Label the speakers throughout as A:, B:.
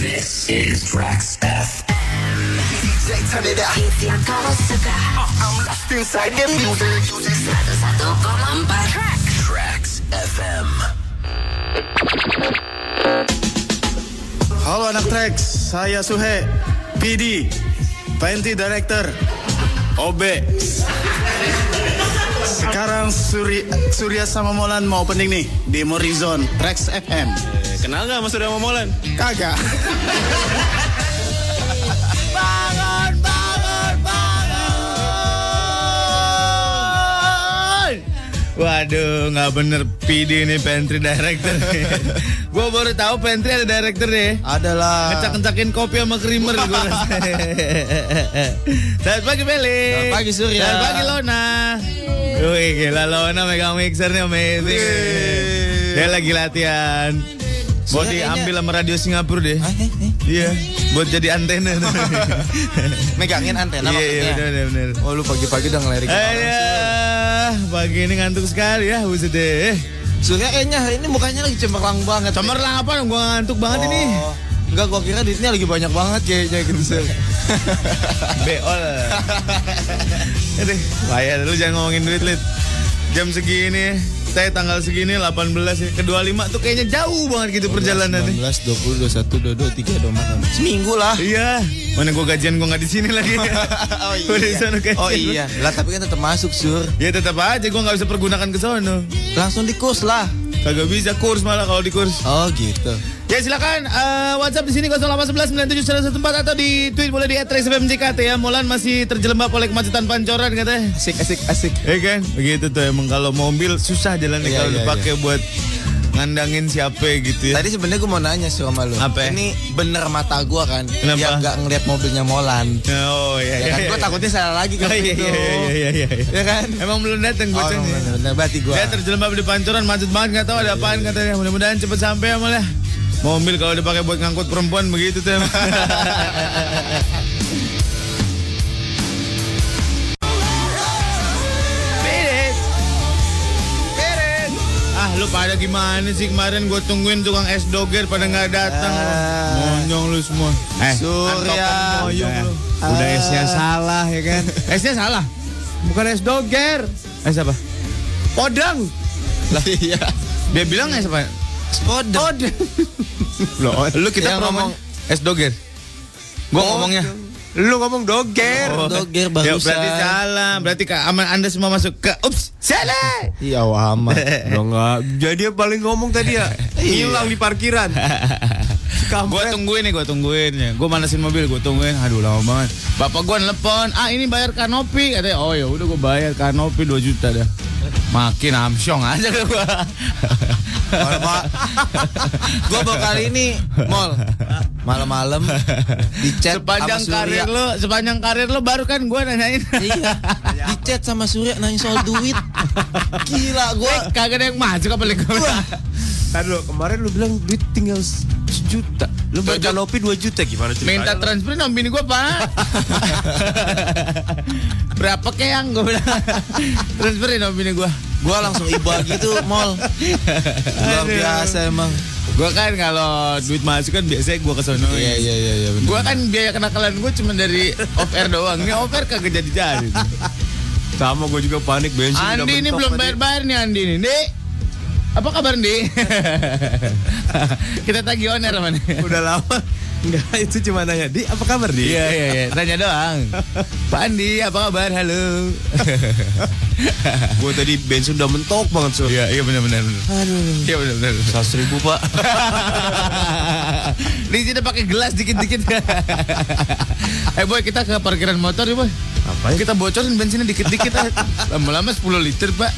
A: This is Drax F.
B: DJ turn it up.
C: Hits yang kau suka
B: uh-uh, I'm lost inside the music.
C: 101,4 Track
A: Drax FM.
D: Halo anak Trax, saya Suhe, PD, Penti Director, OB. Sekarang Suri, Surya sama Molan mau opening nih di Morizon Trax FM.
E: Kenal nggak Mas Surya Momolan?
D: Kagak. bangun, bangun, bangun.
E: Waduh, nggak bener PD ini pantry director. gue baru tahu pantry ada director deh.
D: Adalah.
E: Ngecak-ngecakin kopi sama creamer gue rasa. Selamat pagi Meli.
D: Selamat pagi, Surya.
E: Selamat pagi Lona. Wih gila Lona megang mixer nih amazing.
D: Wih.
E: Dia lagi latihan. Mau
D: Surya kayaknya-
E: diambil sama radio Singapura deh.
D: Eh, eh,
E: Iya, buat jadi antena.
D: Megangin antena
E: Iya, iya,
D: maksudnya. Eh,
E: benar-benar.
D: Oh lu pagi-pagi udah ngelirik
E: Ayah, pagi ini ngantuk sekali ya, buset deh.
D: Surya kayaknya hari ini mukanya lagi cemerlang banget
E: Cemerlang apa dong, gua ngantuk banget ini.
D: Oh, Enggak, gua kira duitnya lagi banyak banget kayaknya gitu sih.
E: Beol. Aduh, bahaya lu jangan ngomongin duit, Lid. Jam segini, saya tanggal segini 18 ya. Kedua lima tuh kayaknya jauh banget gitu perjalanannya.
D: 19, 20, 21, 22, 23, 24. Seminggu lah.
E: Iya, mana gua gajian gua nggak di sini lagi.
D: Oh
E: Gua di sana
D: iya.
E: gajian.
D: Oh iya. Lah tapi kan tetap masuk sur.
E: Ya tetap aja gua nggak bisa pergunakan ke sono.
D: Langsung di kurs lah.
E: Kagak bisa kurs malah kalau di kurs.
D: Oh gitu.
E: Ya silakan eh, WhatsApp di sini 08197114 atau di tweet boleh di @traceFMJKT ya. Molan masih terjelembab oleh kemacetan pancoran katanya.
D: Asik asik asik.
E: Ya kan? Begitu tuh emang kalau mobil susah jalannya
D: Iya,
E: kalau
D: iya,
E: dipakai buat ngandangin siapa gitu ya.
D: Tadi sebenarnya gue mau nanya sur sama lu.
E: Apa?
D: Ini bener mata gua kan
E: Kenapa?
D: yang nggak ngeliat mobilnya Molan.
E: Oh iya.
D: Ya kan
E: iya,
D: gue
E: iya.
D: takutnya salah lagi ke
E: Oh, iya,
D: itu.
E: iya, iya, iya, iya, iya.
D: Ya kan?
E: Emang belum datang
D: Oh,
E: bocahnya.
D: bener-bener berarti gue.
E: Dia terjelembab di pancoran macet banget nggak tahu ada apaan katanya. Mudah-mudahan cepet sampai ya malah. Mobil kalau dipakai buat ngangkut perempuan begitu tuh. emang. Beres. Beres. Ah lu pada gimana sih kemarin gue tungguin tukang es doger pada nggak datang.
D: Ah.
E: Monyong lu semua. Eh,
D: Surya.
E: antokan moyong lu.
D: Ah.
E: Eh, Udah esnya salah ya kan? esnya salah. Bukan es doger. Es apa? Podang.
D: Lah iya.
E: Dia bilang es apa?
D: Kode.
E: Podang. Loh, lu
D: Yang
E: kita pernah
D: ngomong-
E: ngomong es doger. Gua
D: Podang.
E: ngomongnya. Lu ngomong doger.
D: Oh, doger barusan.
E: Ya, berarti salah. Berarti ke aman Anda semua masuk ke ups. Salah.
D: Iya amat.
E: Lo nggak.
F: Ah,
E: Jadi yang paling ngomong tadi ya.
D: Iya.
E: Hilang di parkiran. gue tungguin nih, gue tungguin ya. Gue manasin mobil, gue tungguin. Aduh lama banget. Bapak gue nelpon, ah ini bayar kanopi. Katanya, oh ya udah gue bayar kanopi 2 juta dah. Makin amsyong aja gue.
D: gue baru kali ini mall malam-malam di chat
E: sepanjang
D: sama Surya.
E: karir lo, sepanjang karir lo baru kan gue nanyain.
D: Iya, di chat sama Surya nanya soal duit. Gila gue.
E: Eh, kagak ada yang masuk apa lagi?
F: Kemarin lu bilang duit tinggal sejuta. Lu
E: bayar
F: kanopi 2 juta gimana
E: Minta transfer dong bini gue pak Berapa keyang gue bilang Transferin dong bini gue
D: Gue langsung iba gitu mall. Luar
E: Aduh.
D: biasa emang.
E: Gue kan kalau duit
F: Nah,
E: masuk kan biasanya gue kesono
D: Iya iya iya iya. bener.
E: Gue kan biaya kenakalan gue cuma dari off air doang Ini off air kagak jadi-jadi
F: Sama gue juga panik bensin. udah
E: Andi ini
F: mentok
E: belum
F: tadi.
E: bayar-bayar nih Andi ini Dik apa kabar Andi? Kita tagih owner mana?
F: Udah lama. Enggak, itu cuma nanya, "Di, apa kabar, Di?"
E: Iya iya iya, tanya doang. Pak Andi, apa kabar? Halo.
F: Gue tadi bensin udah mentok banget, Sur.
E: Iya iya benar-benar. Aduh. Iya benar-benar.
F: 100 ribu, Pak.
E: Di sini pakai gelas dikit-dikit. eh boy, kita ke parkiran motor ya boy.
F: Apa
E: Kita bocorin bensinnya dikit-dikit. ah. Lama-lama 10 liter pak.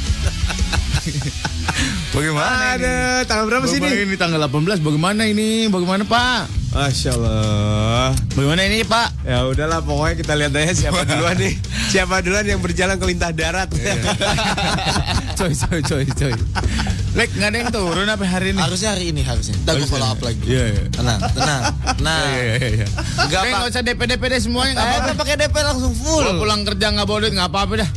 E: bagaimana ini?
F: Ada, tanggal berapa sih
E: Bapak
F: ini?
E: ini tanggal 18 bagaimana ini? Bagaimana Pak?
F: Masya Allah.
E: Bagaimana ini Pak?
F: Ya udahlah, pokoknya kita lihat aja siapa duluan nih. Siapa duluan yang berjalan ke lintah darat.
D: Iya,
E: coy coy coy coy. Lek nggak ada yang turun apa hari ini?
D: Harusnya hari ini harusnya. Ntar gue follow up lagi.
E: Iya iya.
D: Tenang, tenang, tenang.
E: Iya, iya, iya.
D: Nggak,
E: Lek,
D: Pak.
E: nggak usah DP-DP deh semuanya nggak
D: Eh,
E: apa-apa.
D: ntar pakai DP langsung full.
E: Kalau pulang kerja nggak bawa duit nggak apa-apa dah.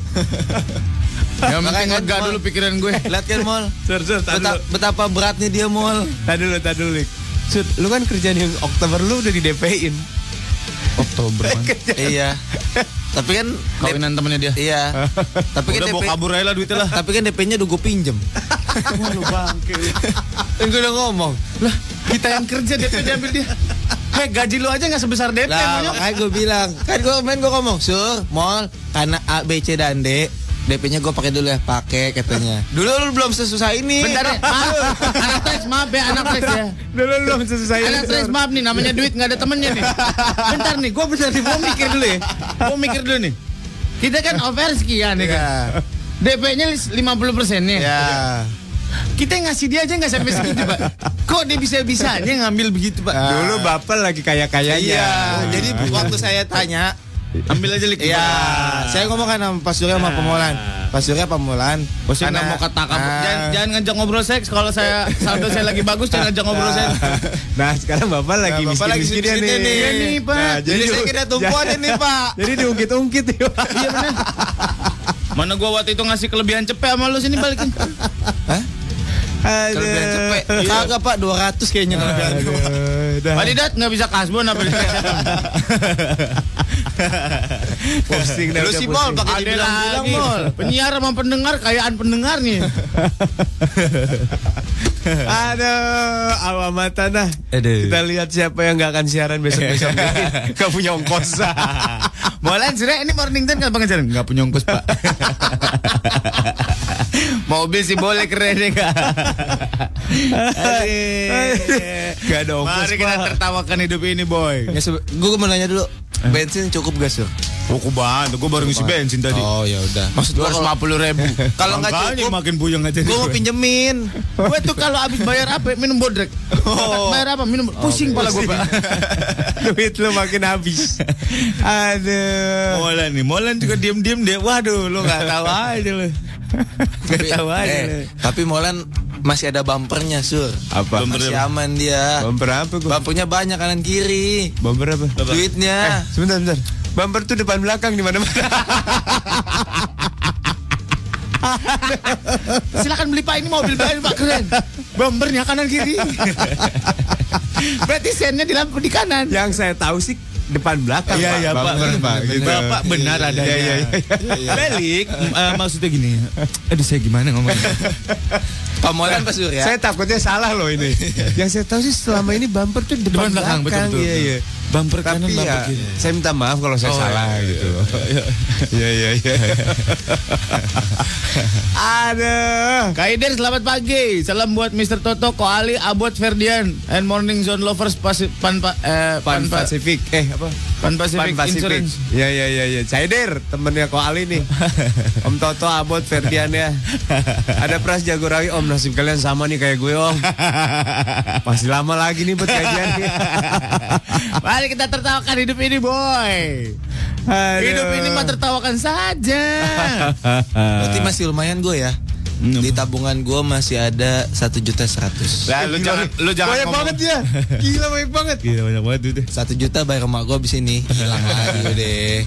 E: Yang penting
D: Makanya
E: lega
D: cuma-
E: dulu pikiran gue.
D: Lihat kan mall.
F: Sur, sur, tahan
D: Beta- betapa beratnya dia mall.
F: Tadi dulu, tadi dulu, Lik.
G: Sud, lu kan kerjaan yang Oktober lu udah di DP-in.
E: Oktober man.
D: iya. Tapi kan
E: Kawinan temennya dia.
D: iya. Tapi kan
E: Udah
D: DP
E: bawa kabur aja lah duitnya lah.
D: tapi kan DP-nya udah gue pinjem.
G: Kan gue udah ngomong.
E: lah kita yang kerja DP diambil dia. Hei gaji lu aja nggak sebesar DP
D: Lah,
E: monyok.
D: makanya gue bilang, kan gue main gue ngomong, "Sur, mall karena A, B, C dan D, DP-nya gue pakai dulu ya, pakai katanya." Dulu lu belum sesusah ini.
E: Bentar deh, maaf. Anak teks, maaf ya, anak teks ya.
G: Dulu lu selesai.
F: Iya,
E: Anak teks, maaf nih, namanya duit nggak ada temennya nih. Bentar nih, gue bentar nih, gue mikir dulu ya. Gue mikir dulu nih. Kita kan over sekian ya kan.
D: Iya.
E: Iya. DP-nya 50 persen nih.
D: Ya.
E: Kita ngasih dia aja nggak sampai segitu, Pak. Kok dia bisa-bisanya ngambil begitu, Pak? Ya,
G: Dulu Bapak lagi kaya-kayanya.
D: Nah. Iya,
E: Oh,
D: jadi waktu saya tanya,
E: Ambil aja liquid.
D: Iya, saya ngomong kan sama Pak Surya sama Pemolan. Pak Surya Pemolan.
E: Karena mau katakan
D: Ah.
E: jangan, jangan ngajak ngobrol seks kalau saya saldo saya lagi bagus jangan ngajak ngobrol
G: Nah,
E: seks.
G: nah, sekarang Bapak lagi
D: Bapak lagi
G: miskin-miskinnya
D: miskin-miskinnya
G: nih.
D: nih. Nah,
E: Iya nih, Pak.
D: Jadi saya kira tumpuan ini, Pak.
G: Jadi diungkit-ungkit ya.
E: Iya benar. Mana gua waktu itu ngasih kelebihan cepet sama lu sini balikin.
D: Kelebihan cepet.
G: Iya.
D: Kagak Pak, 200 kayaknya kelebihan.
G: Aduh, dah.
E: Wadidat nggak bisa kasbon apa dia?
G: Pusing dah,
D: Lu
G: udah
D: si
G: pusing.
D: Mol pakai
E: Ada
D: dibilang-bilang
E: lagi.
D: Mol.
E: Penyiar sama pendengar kayaan pendengar nih.
G: Aduh, awam tanah.
D: Aduh.
G: "Oh, Kita lihat siapa yang nggak akan siaran besok-besok. Gak punya ongkos.
E: Molan sih ini morning ten kan pengajaran nggak punya ongkos pak. Mobil sih boleh keren ya kak.
G: Gak ada ongkos.
E: Mari kita tertawakan hidup ini boy.
D: Ya, sebe- gua mau nanya dulu.
G: Eh.
D: Bensin cukup gak, Sur?
E: Buku banget, gue Oh, baru ngisi bensin tadi.
D: Oh, ya udah. Maksud gua kalau
E: ribu.
D: Kalau nggak cukup,
E: iya. makin buyang aja.
D: gua mau pinjemin.
E: Gue tuh kalau habis bayar apa minum bodrek. Bayar apa minum pusing pala gue pak.
G: Duit lu makin habis. Aduh.
E: Molan nih, Molan juga diem-diem deh. Waduh, lo nggak tahu aja lo. Nggak tahu aja. lo.
D: Eh, tapi Molan masih ada bumpernya, Sur.
G: Apa?
D: Masih aman dia.
G: Bumper apa gua?
D: Bumpernya banyak kanan kiri.
G: Bumper apa?
E: Eh.
D: Duitnya.
G: Sebentar, sebentar. Bumper tuh depan belakang di mana-mana.
E: Silakan beli pak ini mobil baru pak keren. Bumpernya kanan kiri. Berarti sennya di lampu di kanan.
G: Yang saya tahu sih depan belakang.
E: Iya iya
G: Pak.
E: pak,
G: Bumper,
E: bener,
G: Pak.
E: bener.
G: Gitu.
E: Bapak benar
G: Iya,
E: adanya.
G: iya, iya.
E: Belik, eh, maksudnya gini. Aduh saya gimana ngomongnya?
D: Pak Molan Pak Surya.
G: Saya takutnya salah loh ini. yang saya tahu sih selama ini bumper tuh depan,
E: Depan belakang, betul, betul,
G: Iya,
E: betul.
G: iya.
E: Bumper kanan,
G: Tapi
E: bumper
G: ya,
E: kiri. Oh, iya,
G: saya minta maaf kalau saya salah gitu. Iya, iya, iya. Aduh.
E: Kaider selamat pagi. Salam buat Mr. Toto, Koali, Abot, Ferdian, and Morning Zone Lovers Pasi, Pan Pa- eh, Pan
G: Pan
E: Pa-
G: Pacific. Eh, apa?
E: Pan Pacific Insurance.
G: Iya, iya, iya, iya. Caider, temennya Ko Ali nih. Om Toto, Abot, Ferdian ya. Ada Pras Jagorawi, Om nasib kalian sama nih kayak gue, Om. Masih lama lagi nih buat kajian nih.
E: Mari kita tertawakan hidup ini, boy.
G: Aduh.
E: Hidup ini mah tertawakan saja.
D: Berarti
E: Eh.
D: masih lumayan gue ya.
E: Hmm.
D: Di tabungan gue masih ada satu juta seratus.
E: Lah, lu jangan lu jangan
G: Banyak
E: ngomong.
G: banget ya. Gila banyak banget.
E: Gila, banyak banget duit
F: Nah,
E: deh.
D: Satu juta bayar emak gue abis ini hilang lagi deh.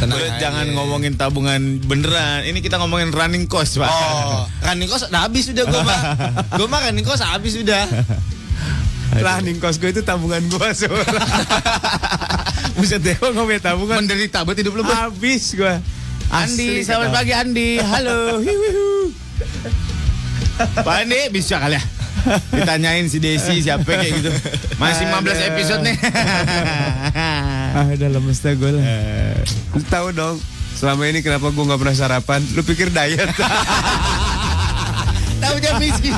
D: Tenang
F: iya,
E: Lu
D: aja.
E: jangan ngomongin tabungan beneran. Ini kita ngomongin running cost, Pak.
D: Oh, running cost udah habis udah gue mah. Gue mah running cost habis udah.
G: Running cost gue itu tabungan gue sebenernya. Buset deh, gue punya tabungan.
E: Menderita buat hidup lu, Bos.
G: Habis gue.
E: Andi,
G: Asli,
E: selamat
G: kata.
E: pagi Andi. Halo. Hiu, hiu, hiu. Pak Andi bisa kali ya. Ditanyain si Desi siapa kayak gitu. Masih 15 episode nih.
G: Ah, udah lemes dah gue lah.
E: Eh.
G: Lu tahu dong, selama ini kenapa gue nggak pernah sarapan? Lu pikir diet?
E: Tahu dia miskin.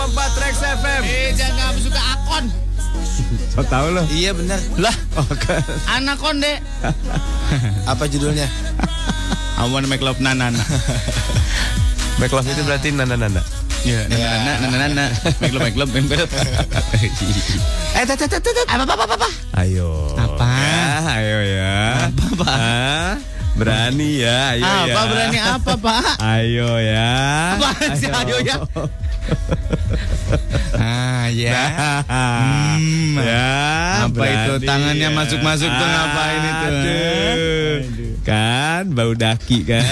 E: Eh, jangan suka akon.
G: So tahu lo?
D: Iya benar.
E: Lah,
G: Oh, kan.
E: anakon deh.
D: Apa judulnya?
E: I wanna make love nanana.
G: Back love itu berarti nana-nana.
E: Iya, nanana, nanana. Make love, make love, make love.
D: Eh, tata tata tata. Apa apa apa apa?
G: Ayo. Apa? ayo ya. Apa, Pak? berani ya, ayo ya.
E: Apa berani apa, Pak?
G: Ayo ya.
E: Apaan sih, ayo ya?
D: Ah, ya.
G: Hmm, ya,
E: Apa itu
G: berani
E: tangannya
G: ya.
E: masuk-masuk tuh ngapain itu?
G: Aduh. Kan, bau daki kan.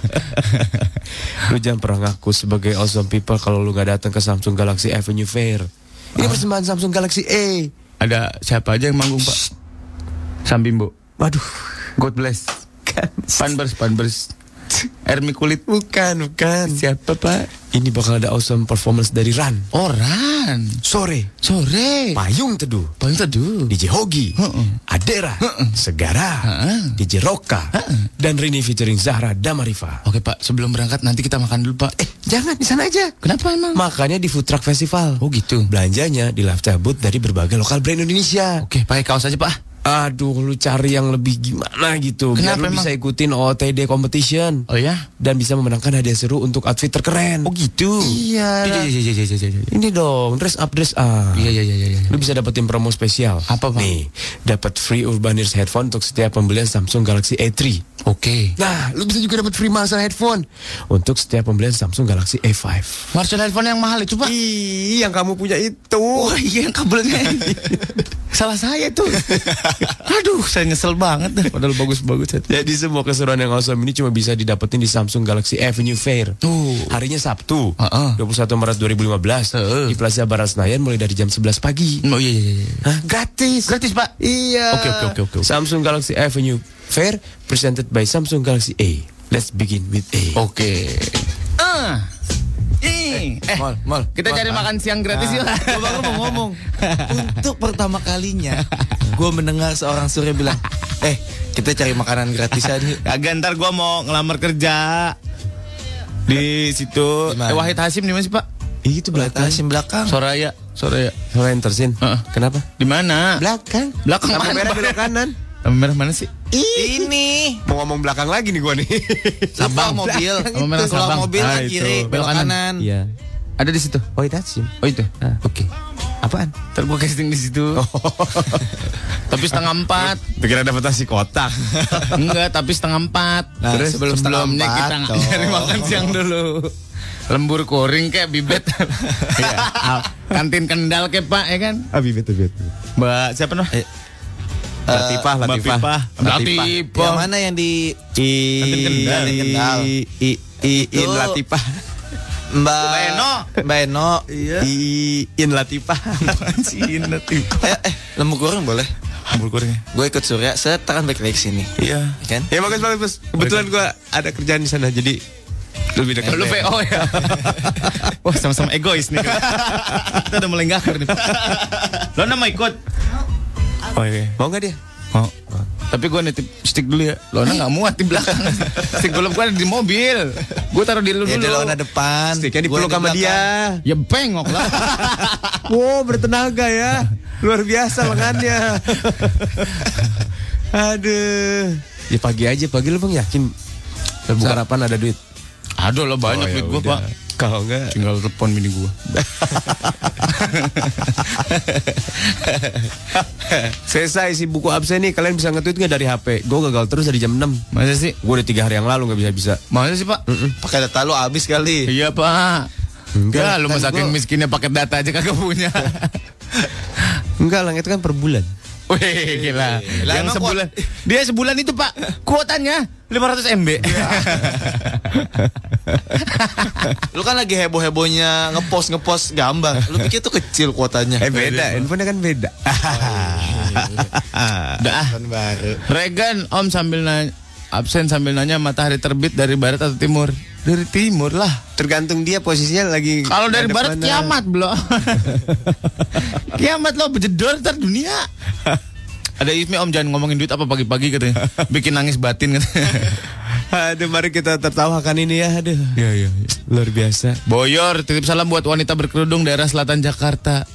G: lu jangan pernah ngaku sebagai awesome people kalau lu nggak datang ke Samsung Galaxy Avenue Fair. Ini persembahan Samsung Galaxy A.
E: Ada siapa aja yang manggung, Pak? Sambimbo.
G: Waduh,
E: God bless.
G: kan.
E: Panbers, Panbers. Ermi kulit.
G: Bukan, bukan.
E: Siapa, Pak?
G: Ini bakal ada awesome performance dari Ran.
E: Oran.
G: Sore,
E: Oh, Sore.
G: Payung Teduh,
E: Paling teduh.
G: DJ Hogi, Adera, Segara,
E: Heeh.
G: DJ Roka, dan Rini featuring Zahra Damarifa.
E: Oke, Pak. Sebelum berangkat nanti kita makan dulu, Pak. Eh,
G: Jangan di sana aja.
E: kenapa emang?
G: Makanya di Food Truck Festival.
E: Oh, gitu.
G: Belanjanya di lifestyle booth dari berbagai lokal brand Indonesia.
E: Oke,
D: ya,
E: pakai kaos aja, Pak.
G: Aduh, lu cari yang lebih gimana gitu.
E: Kenapa
G: biar lu
E: emang?
G: bisa ikutin OOTD competition
E: Oh ya?
G: dan bisa memenangkan hadiah seru untuk outfit terkeren.
E: Oh gitu.
G: Iya.
E: Iya iya iya iya iya.
G: Ini dong, dress up, dress up.
E: Iya iya iya iya. iya.
G: Lu bisa dapetin promo spesial.
E: Apa, Bang?
G: Nih, dapat free Urban Ears headphone untuk setiap pembelian Samsung Galaxy A3.
E: Oke.
G: Nah, lu bisa juga dapat free Marshall headphone untuk setiap pembelian Samsung Galaxy A5.
E: Marshall headphone yang mahal itu, Pak.
G: Ih, yang kamu punya itu.
E: Oh iya yang kabelnya. Salah saya tuh. Aduh, saya nyesel banget dah. Padahal bagus-bagus.
G: Jadi semua keseruan yang awesome ini cuma bisa didapetin di Samsung Galaxy Avenue Fair.
E: Tuh.
G: Harinya Sabtu,
E: Heeh.
G: 21 Maret 2015
E: Heeh.
G: di Plaza Barat Senayan mulai dari jam 11 pagi.
E: Oh iya iya iya.
G: Hah, gratis.
E: Gratis, Pak.
G: Iya.
E: Oke, oke, oke, oke, oke.
G: Samsung Galaxy Avenue Fair presented by Samsung Galaxy A. Let's begin with A.
E: Oke. Ah. Ih. Eh,
D: Mall, mall.
E: kita cari makan siang gratis yuk.
D: Gue baru mau ngomong Untuk pertama kalinya Gue mendengar seorang surya bilang Eh kita cari makanan gratisan yuk
E: Kagak ntar gue mau ngelamar kerja di situ.
D: Di mana?
E: Eh, Wahid Hasim di mana sih Pak?
G: Ih, itu belakang.
D: Tasnya belakang
E: Soraya, Soraya.
G: Sorry, tersin.
E: Heeh.
G: Kenapa?
E: Di mana?
G: Belakang.
E: Belakang
G: Lampu
E: mana,
G: merah
E: Pak?
G: belok kanan.
E: Lampu merah mana sih?
D: Ini
G: Mau ngomong belakang lagi nih gua nih.
D: Sabang mobil
E: Lampu merah
D: Keluar
E: Sabang.
D: mobil
E: Ah,
D: kan
E: itu.
D: kiri
E: Belok
D: Belok
E: kanan.
D: kanan
G: Iya.
E: Ada di situ.
G: Oh, itu Hasim.
E: Oh itu.
G: Oke. Apaan?
E: Ntar gue casting di situ. tapi setengah empat.
G: Pikiran dapat nasi kotak.
E: Enggak, tapi setengah empat.
D: Nah, sebelum setengah
E: sebelumnya
D: empat,
E: kita
D: dong.
E: cari makan siang dulu. Lembur kuring kayak bibet. Iya. Al- Kantin kendal kayak Pak ya kan?
G: Abi betul
E: Mbak siapa noh?
G: Latifah,
E: Mbak Iya,
G: Latifah.
E: Pipah.
G: Latifah.
E: Latifah.
D: Yang mana yang di
E: Kantin Kendal.
D: Kantin Kendal.
G: I I I in
D: Itu-
G: Latifah.
D: Mbak
E: Mbak Eno.
D: Mbak Eno
E: Iya.
G: I in Latifah.
E: Pancin Latifah.
D: Eh, eh lembu goreng boleh
E: Lembur kuringnya.
D: Gue ikut surya Saya tekan balik lagi sini
G: Iya.
D: Kan?
G: Ya bagus bagus. Bos. Kebetulan gua ada kerjaan di sana jadi lebih dekat.
E: Lu VO ya? Wah sama-sama egois nih Kita udah mulai ngakar nih Lo nama ikut? Oh iya
G: Mau nggak dia?
E: Oh. Tapi gue nitip stick dulu ya Lona gak muat di belakang Stick golf gue ada di mobil Gue taruh di lu
D: Ya
E: dulu
D: dia lawan depan
G: Iya, Sticknya
D: gua
G: dipeluk
D: di
G: sama dia.
D: belakang.
E: Ya bengok lah
G: Wow bertenaga ya. Luar biasa lengannya. Aduh. Ya pagi aja pagi lu bang yakin Lembu
E: Sa-
G: harapan ada duit.
E: Aduh lo banyak
G: Oh, ya
E: duit gue
G: udah.
E: pak
G: Kalau enggak
E: Tinggal telepon mini gue
G: Selesai si buku absen nih Kalian bisa nge-tweet nggak dari HP Gue gagal terus dari jam 6
E: Masa sih?
G: Gue udah 3 hari yang lalu nggak bisa-bisa
E: Masa sih pak?
D: Pakai data lu habis kali
E: Iya pak
G: Enggak,
E: Enggak, lu mau
D: kan
E: saking
D: gua-
E: miskinnya paket data aja kagak punya
G: Enggak lah itu kan per bulan
E: Wih gila.
D: Lah,
E: Yang
D: emang
E: sebulan dia sebulan itu Pak kuotanya 500 MB.
D: Iya. Lu kan lagi heboh-hebohnya ngepost ngepost gambar. Lu pikir tuh kecil kuotanya.
G: Eh beda handphonenya kan beda
E: Udah ah. Regan Om sambil nanya, absen sambil nanya matahari terbit dari barat atau timur? Dari timur lah.
G: Tergantung dia posisinya lagi
E: Kalau dari
G: ada
E: barat
G: mana.
E: kiamat bro. kiamat lo bejedor ntar dunia. Ada Ifmi Om jangan ngomongin duit apa pagi-pagi katanya. Bikin nangis batin katanya.
G: Aduh mari kita tertawakan ini ya Aduh
E: Iya iya. iya.
G: Luar biasa
E: Boyor, titip salam buat wanita berkerudung daerah selatan Jakarta.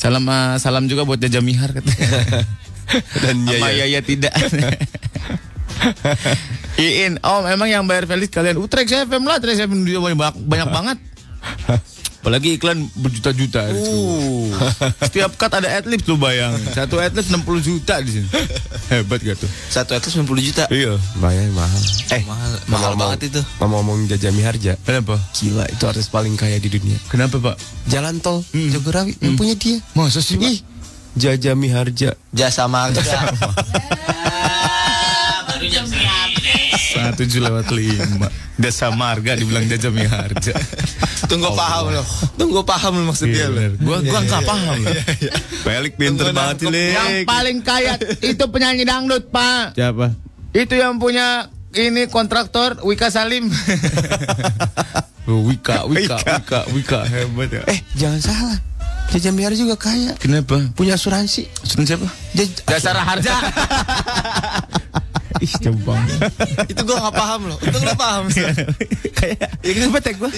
E: Salam eh, salam juga buat Jaja Mihar katanya.
G: Dan iya,
E: Sama
G: Yaya.
E: Yaya tidak. Iin, Om emang yang bayar Felix kalian Utrecht FM lah, Utrecht FM dia banyak, banyak banget. Apalagi iklan berjuta-juta. di situ. Setiap cut ada adlibs lu bayang. Satu adlibs 60 juta di sini. Hebat gak tuh?
D: Satu ratus sembilan puluh juta.
E: Iya.
G: Bayar mahal
D: Eh, mahal, Eh, mahal banget itu.
G: Mau ngomong Jaja Miharja
E: Kenapa?
G: Gila itu artis paling kaya di dunia
E: Kenapa, Pak?
G: Jalan tol
D: Hmm.
G: Jagorawi yang punya dia
E: Masa sih, Pak?
G: Jaja Miharja
D: Jasa marga.
E: tujuh lewat lima. Jasa marga dibilang jajami harja.
D: Tunggu paham loh. Tunggu paham lo maksud
E: Iya,
D: dia Iya, lo.
E: Gua gua nggak paham. loh. iya, Pelik pinter
D: Tunggu
E: banget sih,
D: nangkep.
E: Lik.
H: Yang paling kaya itu penyanyi dangdut, Pak.
E: Siapa?
H: Itu yang punya ini kontraktor Wika Salim.
E: Oh, Wika, Wika, Wika, Wika hebat ya.
D: Eh, jangan salah. Jajam Biar juga kaya.
E: Kenapa?
D: Punya asuransi.
E: Sunan siapa?
D: Jaj-
H: Dasar harja.
E: Ih, jauh banget.
D: itu gua nggak paham loh. Untung lo paham. Sur.
E: Kayak ya kenapa tag gua?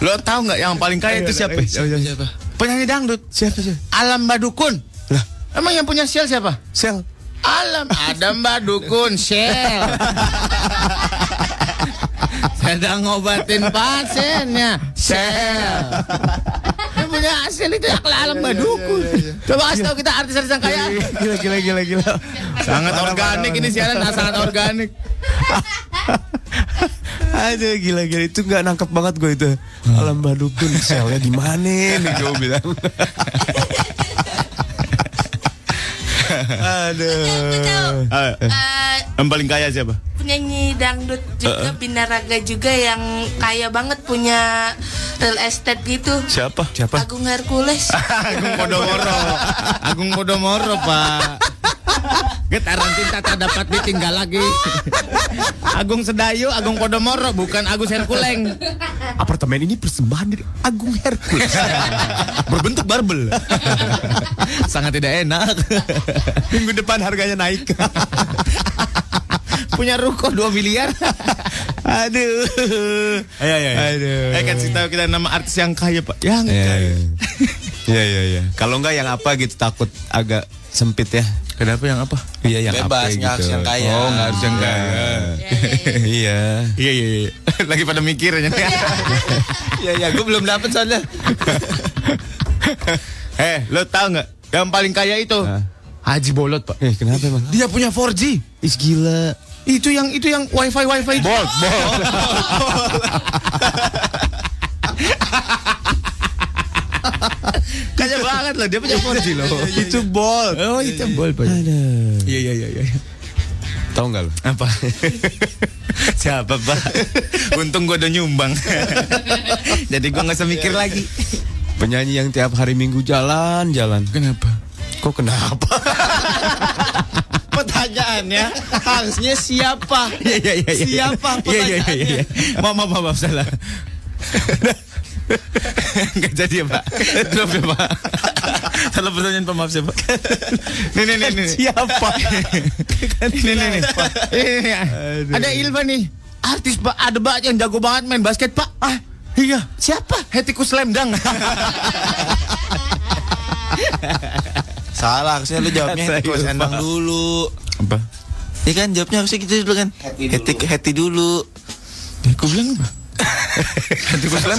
E: Lo tau nggak yang paling kaya itu siapa?
D: Siapa?
H: Penyanyi dangdut
D: Siapa sih?
H: Alam Badukun. Emang yang punya Shell siapa?
D: Sel.
H: Alam ada Mbak Dukun Shell. Sedang ngobatin pasiennya Shell. Yang punya hasil itu yang Alam Mbak Dukun. Coba kasih tahu kita artis-artis yang kaya.
G: Gila gila gila gila.
H: Sangat organik ini siaran ah, sangat organik.
G: Aduh gila gila itu nggak nangkep banget gue itu. Alam badukun selnya di mana nih gue bilang.
B: Aku tahu.
E: Ah,
B: Eh,
E: Yang paling kaya siapa?
B: penyanyi dangdut juga binaraga juga yang kaya banget punya real estate gitu.
E: Siapa?
G: Siapa?
B: Agung Hercules.
H: Agung Podomoro. Agung Podomoro, Pak. Getaran cinta tak dapat ditinggal lagi. Agung Sedayu, Agung Podomoro, bukan Agus Herkuleng.
G: Apartemen ini persembahan dari Agung Hercules.
E: Berbentuk barbel. Sangat tidak enak.
G: Minggu depan harganya naik.
H: Punya ruko 2 miliar.
G: Aduh.
E: Ayo, ayo, ayo.
G: Aduh.
E: Eh, kasih tahu kita nama artis yang kaya, Pak. Yang
G: Iya
E: kaya.
G: iya iya. Ya. Kalau nggak yang apa gitu takut agak sempit ya.
E: Kenapa yang apa?
G: Iya yang
D: Bebas, nggak harus yang kaya.
E: Oh, nggak harus yang kaya.
G: Iya.
E: Iya, iya, iya. Lagi pada mikirnya.
D: Iya iya, gua belum dapet soalnya.
E: eh, lo tau nggak? Yang paling kaya itu Haji Bolot, Pak.
G: Eh kenapa emang?
E: Dia punya 4G.
G: Is gila.
H: Itu yang itu yang wifi wifi itu.
E: Bolt, bolt.
H: Kaya banget loh dia punya 4G loh.
G: Itu bol.
E: Iya, Oh, itu bolt, Pak. Iya, iya, iya, iya.
G: Tahu nggak lo?
E: Apa? Siapa, Pak? Untung gue udah nyumbang. Iya, Jadi gue nggak usah mikir lagi.
G: Penyanyi yang tiap hari minggu jalan jalan.
E: Kenapa?
G: Kok kenapa?
D: Pertanyaannya harusnya siapa?
E: Iya, iya, iya. iya.
D: Siapa
E: Iya, iya, iya, iya. Maaf, maaf, maaf, maaf, salah. Gak jadi ya, Pak. Drop ya, Pak. Salah pertanyaan, Pak. Maaf, siapa? Nih, nih, nih, nih.
G: Siapa?
E: Nih, nih, nih. Pak.
H: Ini, ada Ilva nih. Artis Pak ada banget yang jago banget main basket, Pak. Ah,
E: Iya.
H: siapa? Hetiku Slamdang.
D: Salah, harusnya lu jawabnya Gue sendang dulu.
E: Apa?
D: Iya kan jawabnya harusnya gitu dulu kan. Hati hati dulu.
E: Gue bilang apa? Nanti gue bilang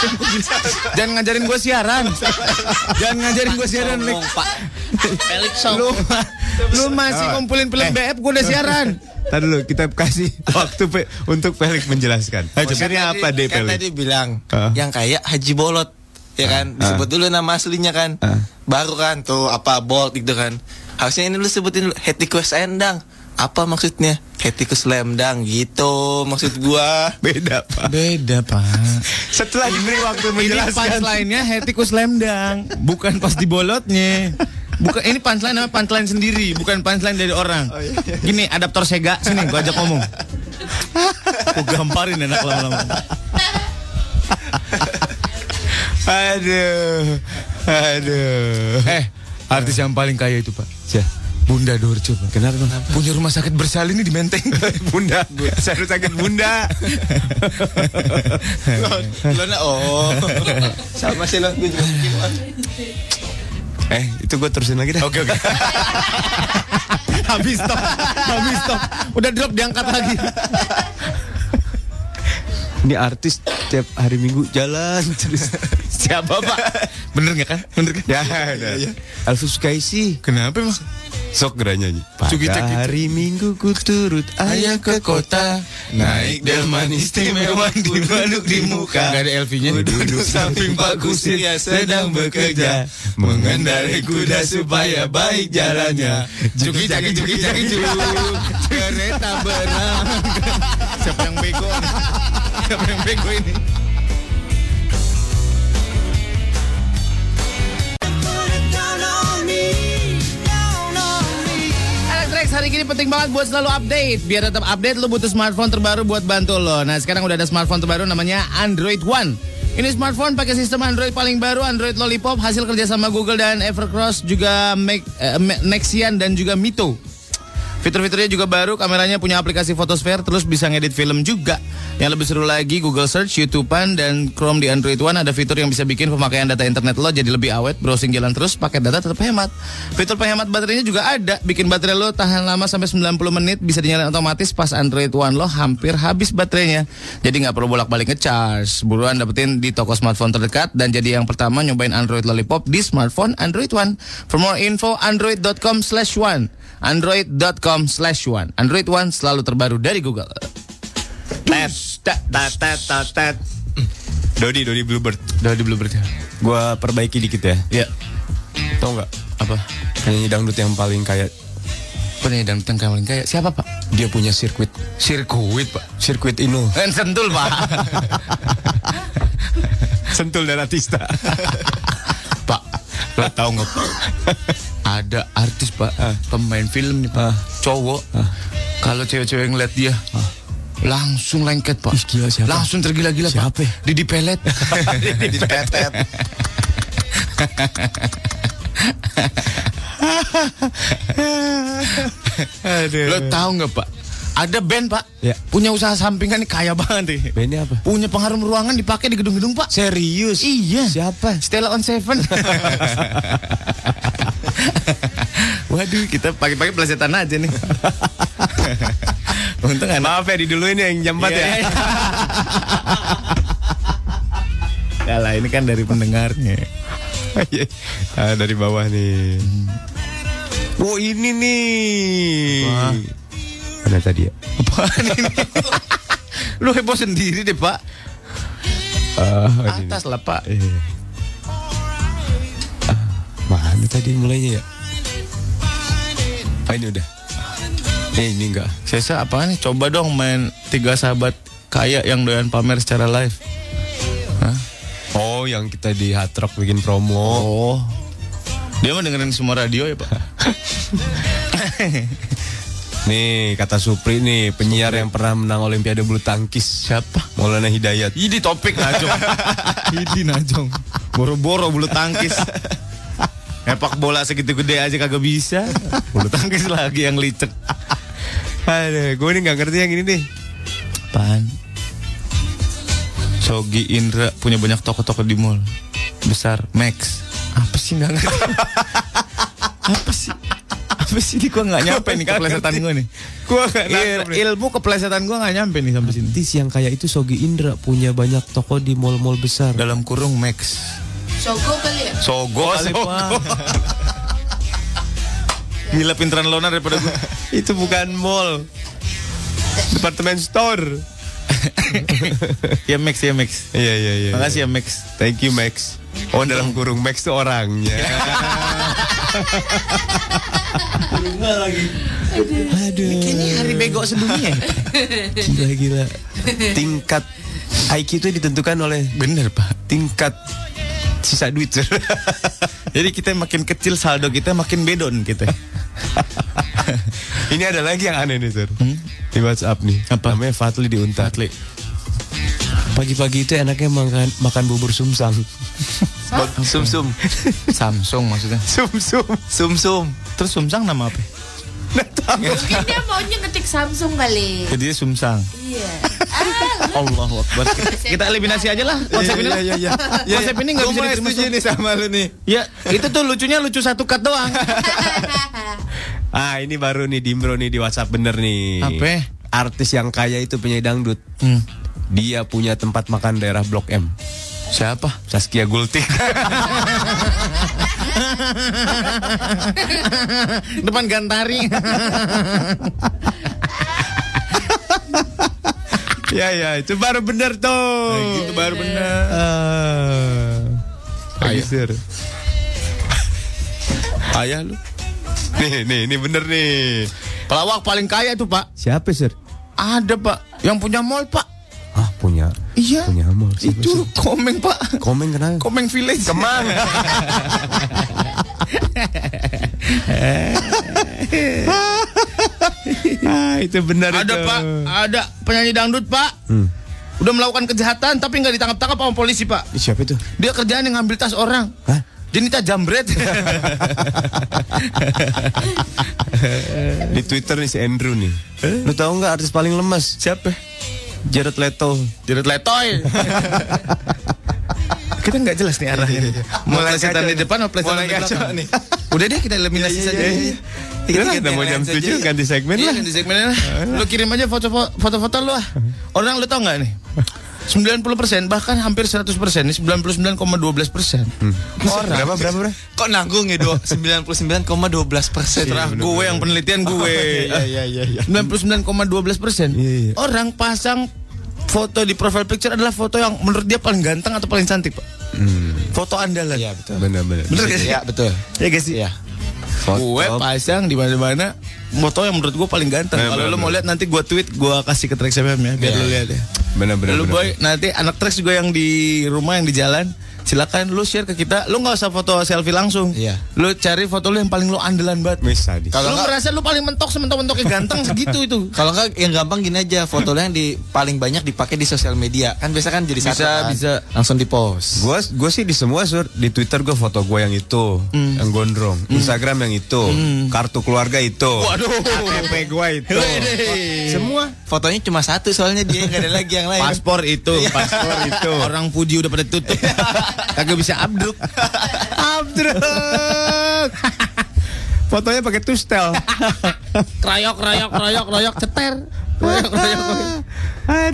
H: Jangan ngajarin gue siaran. Jangan ngajarin gue siaran, Lik.
D: Ngomong Pak.
H: Felix Lu, lu masih
E: Oh.
H: ngumpulin
E: Eh.
H: film BF gue udah siaran.
G: Tadi dulu kita kasih waktu Pe, untuk Felix menjelaskan. Maksudnya apa deh
D: Kan
G: Felix?
D: tadi bilang
G: Ah.
D: yang kayak Haji Bolot ya kan disebut dulu nama aslinya kan.
G: Ah.
D: Baru kan tuh apa Bolt gitu kan. Harusnya ini lu sebutin dulu Hetikus Endang. Apa maksudnya? Hetikus Lemdang gitu maksud gua.
G: Beda Pak.
E: Beda, Pak.
G: Setelah diberi waktu menjelaskan.
H: Punchline-nya Hetiku Slamdang.
E: Bukan pas di bolotnya.
H: Bukan ini punchline namanya punchline sendiri, bukan punchline dari orang. Gini, adaptor Sega sini gua ajak ngomong.
E: Gue gamparin enak lama-lama.
G: Aduh. Aduh.
E: Eh, artis yang paling kaya itu, Pak.
G: Ya.
E: Bunda Dorce, Pak. Kenapa, Punya rumah sakit bersalin di Menteng.
G: Bunda, saya harus sakit bunda.
D: Lo na- oh. Sama sih lo. Gua juga bikin, Wan.
G: Eh, itu gue terusin lagi dah.
E: Oke, oke.
H: Habis stop, habis stop. Udah drop diangkat lagi.
G: Ini artis tiap hari Minggu jalan terus. Iya,
E: Siapa, Pak? Bener nggak kan? Bener kan?
G: ya, ya, Elvis Kaisi.
E: Kenapa, Mas?
G: Sok gerak nyanyi. Pada
E: Cugitek gitu.
G: hari Minggu ku turut ayah ke kota. Naik delman istimewa duduk di muka.
E: Gak ada LV-nya.
G: Duduk samping Pak Kusir ya, sedang bekerja. Mengendarai kuda supaya baik jalannya.
E: Cuki caki cuki caki cuk. Kereta benang. Siapa yang bego? Siapa yang bego ini? Elektrex hari ini penting banget buat selalu update Biar tetap update lu butuh smartphone terbaru buat bantu lo Nah sekarang udah ada smartphone terbaru namanya Android One ini smartphone pakai sistem Android paling baru Android Lollipop hasil kerjasama Google dan Evercross juga Mac- eh, Ma- Nexian dan juga Mito. Fitur-fiturnya juga baru, kameranya punya aplikasi Photosphere, terus bisa ngedit film juga. Yang lebih seru lagi, Google Search, YouTube-an, dan Chrome di Android One ada fitur yang bisa bikin pemakaian data internet lo jadi lebih awet, browsing jalan terus, pakai data tetap hemat. Fitur penghemat baterainya juga ada, bikin baterai lo tahan lama sampai 90 menit, bisa dinyalain otomatis pas Android One lo hampir habis baterainya. Jadi nggak perlu bolak-balik ngecharge, buruan dapetin di toko smartphone terdekat, dan jadi yang pertama nyobain Android Lollipop di smartphone Android One. For more info, android.com slash one android.com slash one android one selalu terbaru dari google
G: Tet, tet, tet, tet, tet, tet. Dodi, Dodi Bluebird.
E: dari bluebird ya
G: Gua perbaiki dikit ya.
E: ya
G: Tau nggak?
E: apa
G: Penyanyi dangdut yang paling kayak
E: penyanyi dan tengkang paling kaya siapa pak
G: dia punya sirkuit,
E: sirkuit pak
G: sirkuit Inul.
E: Eh, sentul pak
G: Sentul dan Atista.
E: pak
G: Lo tau nggak?
E: ada artis pak
G: Ah.
E: pemain film nih pak cowok kalau cewek-cewek ngeliat dia langsung lengket pak
G: Ah. Ih, gila, siapa?
E: langsung tergila-gila
G: Siapa
E: pak
G: ya?
E: Didi Pelet
D: Dipetet.
E: lo tau nggak pak ada band pak
G: Ya.
E: punya usaha sampingan nih kaya banget nih
G: Bandnya apa?
E: punya pengharum ruangan dipakai di gedung-gedung pak
G: Serius?
E: Iya.
G: Siapa?
E: Stella on Seven. Waduh, kita pagi-pagi pelajaran aja nih. Untung anak.
G: Maaf ya di dulu ini yang jam 4 ya.
E: ya lah, ini kan dari pendengarnya.
G: Ah, dari bawah nih. Oh ini nih. Mana tadi ya?
E: Apaan ini? Lu heboh sendiri deh, Pak.
G: Ah, oh, ini.
E: Atas lah, Pak.
G: Eh. Ah, Mana tadi mulainya ya? Ah, ini udah. Eh, ini enggak.
E: Sesa apaan nih? Coba dong main tiga sahabat kaya yang doyan pamer secara live.
G: Oh, yang kita di Hard Rock bikin promo.
E: Oh. Dia mah dengerin semua radio ya, Pak.
G: Nih, kata Supri nih, penyiar yang pernah menang Olimpiade bulu tangkis.
E: Siapa?
G: Maulana Hidayat.
E: Ini topik najong. Ini najong. Boro-boro bulu tangkis. Epak bola segitu gede aja kagak bisa. Bulu tangkis lagi yang licek.
G: Aduh, gue ini nggak ngerti yang ini nih.
E: Apaan? Sogi Indra punya banyak toko-toko di mall. Besar Max. Apa sih nggak ngerti? Apa sih? Apa sih ini gua nggak nyampe nih keplesetan gua nih.
G: Gue nggak
E: Il-
G: nangkep nih.
E: ilmu keplesetan gua nggak nyampe nih sampai sini.
G: Tis yang kayak itu Sogi Indra punya banyak toko di mall-mall besar.
E: Dalam kurung Max.
B: Sogo kali ya?
E: Oh, Sogo kali, Pak. Gila pinteran lona daripada gua.
G: itu bukan mall. Departemen store.
E: ya Max ya Max.
G: Iya iya iya.
E: Makasih ya Max.
G: Thank you Max. Oh dalam kurung Max tuh orangnya.
E: Iya. Ini hari bego sedunia. Ya,
G: Gila gila. Tingkat IQ itu ditentukan oleh
E: Bener Pak.
G: tingkat sisa duit. Sur.
E: Jadi kita makin kecil saldo kita makin bedon kita.
G: Ini ada lagi yang aneh nih, Sur. Di WhatsApp nih.
E: Hmm? Apa?
G: Namanya Fatli di Unta. Pagi-pagi itu enaknya makan makan bubur sumsang.
D: Sum sum.
E: Samsung maksudnya.
G: Sumsum.
D: Sum sum.
E: Terus Sumsang nama apa?
B: Mungkin dia maunya ngetik Samsung kali.
E: Jadi Sumsang.
B: Iya.
E: Allahu Akbar. Kita, kita eliminasi aja lah konsep ini. lah.
G: Iya iya iya.
E: Konsep ini nggak
G: Gua
E: bisa
G: mulai
E: diterima
G: setuju nih sama lu nih.
E: Ya, itu tuh lucunya lucu satu cut doang.
G: Ah, ini baru nih Dimbro nih di WhatsApp bener nih.
E: Apa?
G: Artis yang kaya itu penyanyi dangdut.
E: Hmm.
G: Dia punya tempat makan daerah Blok M.
E: Siapa?
G: Saskia Gultik.
E: Depan gantari.
G: ya ya, itu baru bener tuh. Iya. Ah.
E: Itu gitu baru bener.
G: Eh,
E: Ayo.
G: bagus, Sir.
E: Ayah lu.
G: Nih nih ini bener nih.
E: Pelawak paling kaya tuh, Pak.
G: Siapa sir?
E: Ada, Pak. Yang punya mall, Pak.
G: Ah punya.
E: Iya.
G: Punya mall. Siapa,
E: Itu Komeng, Pak.
G: Komen kenapa?
E: Komeng Village. Kemang.
G: Ah, itu bener
E: ada,
G: itu.
E: Pak. Ada penyanyi dangdut, Pak.
D: Hmm.
E: Udah melakukan kejahatan tapi nggak ditangkap-tangkap sama polisi, Pak.
G: Siapa itu?
E: Dia kerjaan yang ngambil tas orang.
G: Hah?
E: Jenita jambret.
G: Di Twitter nih si Andrew nih. Lu tahu nggak artis paling lemes? Eh? Siapa? Jared Leto.
E: Jenit letoy. kita nggak jelas nih arahnya.
D: Iya,
E: Mau plesetan di depan atau plesetan
D: Mulai
E: di
D: kacau
E: belakang?
D: nih.
E: Udah deh kita eliminasi
D: Iya, iya,
E: saja.
D: iya, iya.
G: Kita
D: ganti
G: udah mau
D: yang
G: jam
D: lain saja,
G: 7
D: iya.
G: kan? ganti segmen
E: Iya,
G: lah.
E: ganti segmennya lah. Lu kirim aja foto- foto-foto lu ah. Orang lu tau nggak nih? 90% bahkan hampir 100% nih 99,12%.
G: Hmm.
E: Orang
G: Berapa berapa berapa?
D: Kok nanggung ya dua-
G: Iya,
D: 99,12 persen
E: Terah gitu? gue yang penelitian gue.
G: iya iya iya.
E: 99,12 persen.
G: Iya, iya.
E: Orang pasang foto di profile picture adalah foto yang menurut dia paling ganteng atau paling cantik, Pak.
G: Hmm.
E: Foto andalan. Iya, betul.
G: Benar benar.
E: Bener gak sih?
G: Ya,
D: Iya betul
E: Iya gak sih? Gue pasang di mana-mana foto yang menurut gue paling ganteng.
G: Bener,
E: Kalau
G: bener,
E: lo mau lihat nanti gue tweet, gue kasih ke Trax FM ya, biar
D: Iya.
E: lo lihat ya.
G: Benar benar.
E: Lu
G: benar.
E: boy, nanti anak Trax juga yang di rumah yang di jalan, silakan lu share ke kita. Lu nggak usah foto selfie langsung.
D: Iya.
E: Lu cari foto lu yang paling lu andalan banget.
G: Miss tadi.
D: Kalau
E: lu
D: nggak-
E: merasa lu paling mentok sementok-mentoknya ganteng segitu itu.
D: Kalau enggak yang gampang gini aja fotonya yang di paling banyak dipakai di sosial media kan biasa kan jadi
E: Bisa,
D: satu kan.
E: bisa.
D: langsung di post.
G: Gue gue sih di semua sur di Twitter gue foto gue yang itu, yang gondrong, Instagram yang itu, kartu keluarga itu, KTP gue itu,
D: Semua fotonya cuma satu soalnya dia nggak ada lagi yang lain.
E: Paspor itu, paspor itu. Iya. Orang Fuji udah pada tutup. Kagak bisa abdruk. abdruk.
G: fotonya pakai tustel.
E: Krayok, krayok, krayok, krayok, ceter. Krayok, krayok, krayok.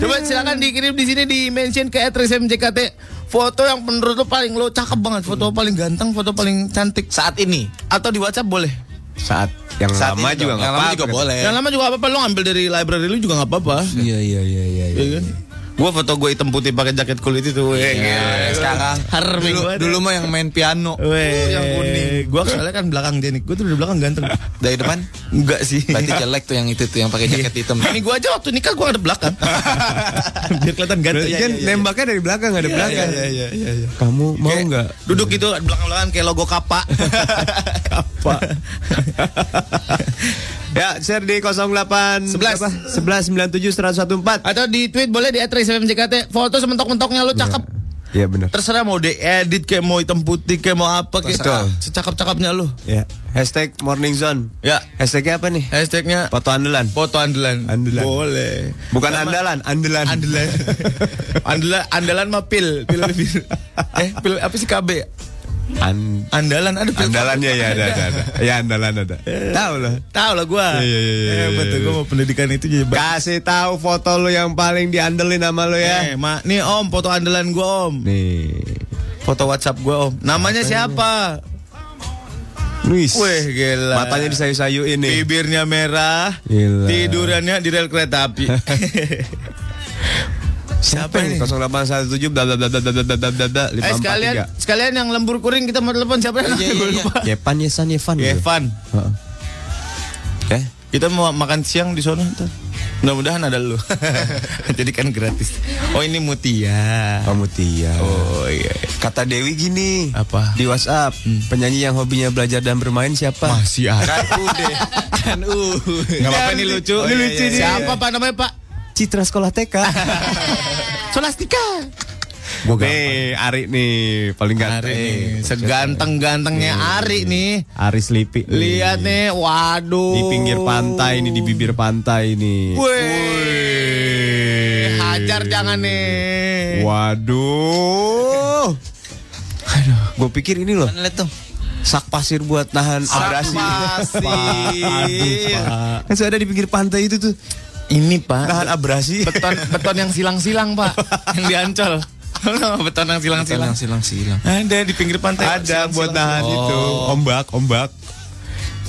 E: Coba silakan dikirim di sini di mention ke @resmjkt foto yang menurut lo paling lo cakep banget, foto paling ganteng, foto paling cantik
D: Saat ini.
E: atau di WhatsApp boleh.
G: Saat yang
D: Saat
G: lama
D: ini
G: juga
D: dong.
G: nggak
D: Yang lama
G: apa-apa. kan.
D: juga boleh.
E: Yang lama juga apa-apa lo ngambil dari library lu juga nggak apa-apa.
G: Iya iya iya iya. iya. iya,
E: Iya kan? Gua foto gue hitam putih pakai jaket kulit itu.
D: Nah, sekarang
E: Harmi
D: dulu,
E: gua ada.
D: dulu mah yang main piano
E: Weh,
D: yang kuning
E: Gua soalnya kan belakang dia nih. Gua tuh di belakang ganteng.
D: dari depan
E: Enggak sih.
D: berarti jelek tuh yang itu tuh yang
G: Iya.
D: pakai jaket hitam
E: Ini gua aja waktu nikah gua ada belakang. Biar kelihatan ganteng. Iya,
G: Berarti kan nembaknya dari belakang nggak ada belakang. iya, Kamu mau
E: Kayak
G: nggak?
E: Duduk gitu belakang-belakang kayak logo Kappa. Kappa.
G: Ya, share di 08
E: Sebelas.
G: berapa? 11 97 114.
E: Atau di tweet boleh di @resmjkt foto sementok-mentoknya lu cakep.
G: Iya benar.
E: Terserah mau diedit kayak mau hitam putih kayak mau apa kayak
G: Terserah.
E: secakep-cakepnya lu.
G: Ya. Hashtag Morning Zone.
E: Ya.
G: Hashtagnya apa nih?
E: Hashtagnya
G: Foto andalan.
E: foto andalan.
G: Andalan.
E: Boleh.
G: Bukan andalan, andalan.
E: Andalan. andalan andalan mah pil, pil, pil. Eh, pil apa sih KB? ya?
G: An-
E: Andalan ada pil.
G: andalannya ya ada, ada, ada. Ya andalan ada. Tahu lah.
E: Tahu lah gua.
G: Iya, iya, iya, iya,
E: Hebat tuh
G: iya.
E: gua mau pendidikan itu jadi bak-
G: Kasih tahu foto lu yang paling diandelin sama lu
E: Eh,
G: ya.
E: Ma, nih Om, foto andalan gua Om.
G: Nih.
E: Foto WhatsApp gua Om. Namanya siapa?
G: Wih.
E: Weh, gila.
G: Matanya disayu-sayu ini.
E: Bibirnya merah,
G: Eh. Gila.
E: tidurannya di rel kereta api. Eh, siapa ini?
G: 0817 bla bla bla bla bla bla bla bla bla
E: Eh, sekalian sekalian yang lembur kuring kita mau telepon siapa namanya?
D: iya,
E: Gua
D: iya.
E: lupa.
G: Yepan Yesan Yevan.
E: Evan.
G: Heeh. Eh,
E: Kita mau makan siang di sana ntar. Mudah-mudahan ada lu. Jadi kan gratis. Oh ini Mutia.
G: kamu Tia.
E: Oh iya.
G: Kata Dewi gini.
E: Apa?
G: Di WhatsApp, penyanyi yang hobinya belajar dan bermain siapa?
E: Masih ada. Kan uh. Enggak apa-apa ini lucu.
G: Ini lucu Oh, iya, nih.
E: Siapa Pak namanya Pak?
G: Citra sekolah TK.
E: Solastika.
G: nih, Ari nih paling ganteng.
E: Ari nih, seganteng-gantengnya Ari nih.
G: Ari Slipi.
E: Lihat nih, waduh.
G: Di pinggir pantai ini di bibir pantai ini.
E: Wih. Hajar jangan nih.
G: Waduh. Aduh, gue pikir ini loh
D: lihat dong
G: sak pasir buat nahan abrasi.
E: Pasir.
G: Pak. Kan sudah ada di pinggir pantai itu tuh
E: Ini Pak.
G: nahan abrasi.
E: Beton beton yang silang-silang, Pak. yang diancol. Sama betonang silang-silang.
D: Silang, silang, silang.
E: Ada di pinggir pantai.
G: Ada
E: Silang-silang.
G: buat nahan
E: Oh.
G: itu ombak, ombak.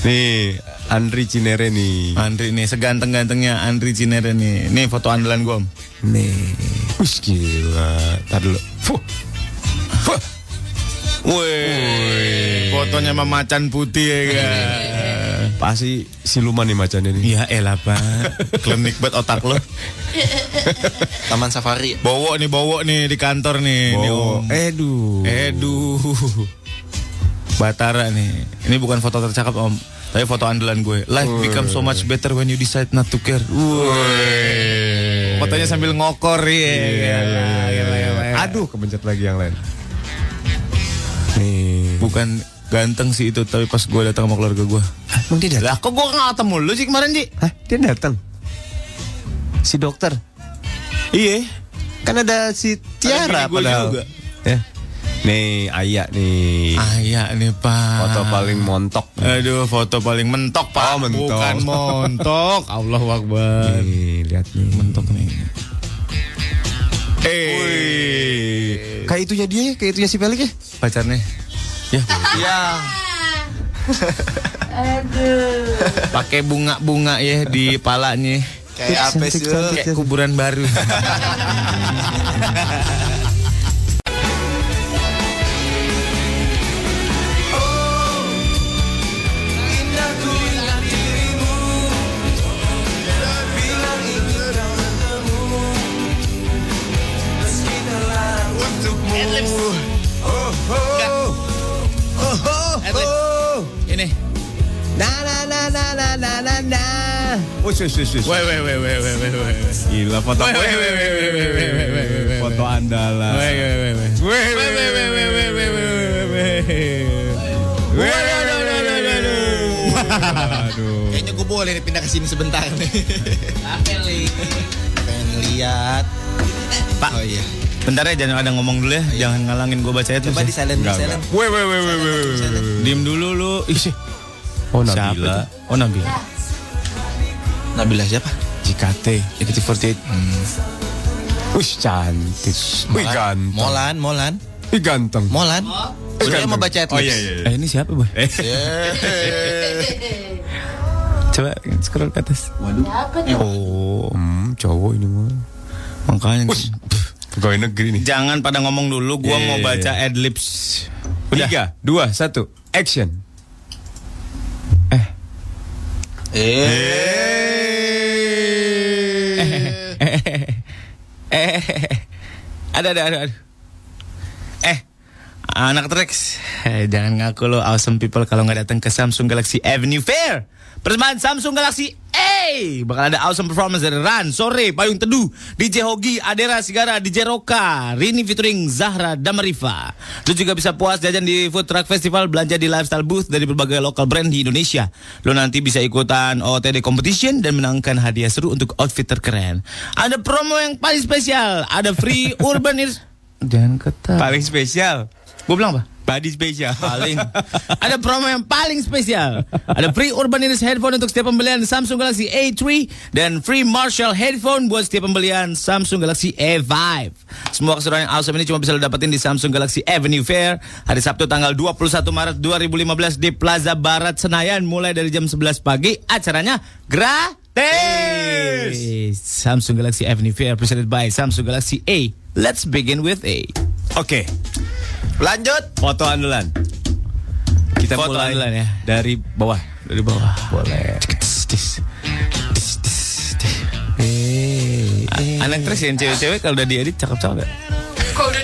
G: Nih, Andri Cinere nih.
E: Oh, Andri nih seganteng-gantengnya Andri Cinere nih. Nih foto andalan gua. Om.
G: Nih. Wih gila. Tar dulu. Fuh. Fuh.
E: Woi, fotonya sama macan putih ya
G: Iya.
E: kan.
G: Pasti siluman nih macannya nih.
E: Ya elah, Pak. Klinik buat otak lo.
D: Taman safari.
E: Bowo nih, bowo nih di kantor nih. Nih,
G: Oh,
E: Om.
G: Edu.
E: Edu Eh, Batara nih Ini bukan foto tercakap om Tapi foto andalan gue Life becomes so much better when you decide not to care Woi. Fotonya sambil ngokor ya
G: Aduh, kemencet lagi yang lain. Nih.
E: Bukan ganteng sih itu Tapi pas gue datang sama keluarga gue
G: Emang dia
E: Lah kok gue gak ketemu lu sih kemarin Ji?
G: Hah, dia datang. Si dokter.
E: Iya
G: Kan ada si Tiara
E: bini gua
G: padahal.
E: juga. Ah.
G: Ya. Nih, Aya nih.
E: Ayak iya nih pak
G: Foto paling montok.
E: Aduh foto paling mentok pak
G: Oh, mentok.
E: Bukan montok Allah wakbar
G: Nih, lihat nih.
E: Mentok nih Eh
G: Kayak itunya dia, ya, kayak itunya si Pelik ya.
E: pacarnya ya
D: Ya.
E: pakai bunga-bunga ya di palanya
D: Kayak apa sih lu?
E: kayak kuburan baru Oh, ini
G: Na na na na na na na na. Wes wes wes wes.
E: weh weh weh weh weh weh weh
G: Gila foto
E: Weh, weh, weh, weh, weh, weh, weh, weh, weh, weh.
G: Foto andalan.
E: Weh, weh, weh, weh.
G: Weh, weh,
E: Weh, weh, weh, weh, weh, weh, weh, weh, weh.
G: Weh,
E: Waduh, waduh, waduh, waduh, waduh.
G: Aduh.
D: Kayaknya gue boleh nih pindah ke sini sebentar nih. Pengen lihat. Pak. Oh iya.
E: Bentar ya jangan ada ngomong dulu ya, jangan ngalangin gue baca ya. itu.
D: Coba di silent, di
G: Enggak,
D: silent.
G: Weh, weh, weh, weh, weh.
E: Diem dulu lu. Ih, sih.
G: Oh,
E: Siapa? Oh, Nabil.
D: Nabila siapa?
E: JKT, JKT48. Hmm.
G: Wih, cantik. Wih, ganteng.
D: Molan, Molan,
G: Wih, ganteng.
D: Molan. Udah mau baca
G: Oh iya iya.
E: Eh, ini siapa, Boy? Coba scroll ke atas.
G: Oh, hmm, cowok ini mah.
E: Makanya.
G: Pegawai negeri nih.
E: Jangan pada ngomong dulu, gua
G: Iya,
E: mau
G: iya,
E: baca adlibs.
G: Tiga, dua, satu, action. Eh.
E: Eh, ada ada ada. ada. Eh, anak Trex, eh, jangan ngaku lo awesome people kalau nggak datang ke Samsung Galaxy Avenue Fair. Persembahan Samsung Galaxy A Bakal ada awesome performance dari Ran, Sore, Payung Teduh DJ Hogi, Adera, Sigara, DJ Roka Rini featuring Zahra Damarifa Lu juga bisa puas jajan di Food Truck Festival Belanja di Lifestyle Booth dari berbagai lokal brand di Indonesia Lu nanti bisa ikutan OTD Competition Dan menangkan hadiah seru untuk outfit terkeren Ada promo yang paling spesial Ada free urban ears Jangan ketat
G: Paling spesial.
E: Gue bilang apa?
G: Body spesial.
E: paling ada promo yang paling spesial ada free Urban Ears headphone untuk setiap pembelian Samsung Galaxy A3 dan free Marshall headphone buat setiap pembelian Samsung Galaxy A5 semua keseruan yang awesome ini cuma bisa lo dapetin di Samsung Galaxy Avenue Fair hari Sabtu tanggal 21 Maret 2015 di Plaza Barat Senayan mulai dari jam 11 pagi acaranya gratis Samsung Galaxy Avenue Fair presented by Samsung Galaxy A let's begin with A
G: Oke,
D: Lanjut.
G: foto andalan. Kita
E: Foto
G: mulai
E: andalan ya.
G: dari bawah.
E: dari bawah
G: Boleh.
E: Eh, Anak terus yang cewek-cewek kalau udah diedit cakep-cakep ya?
B: Kok udah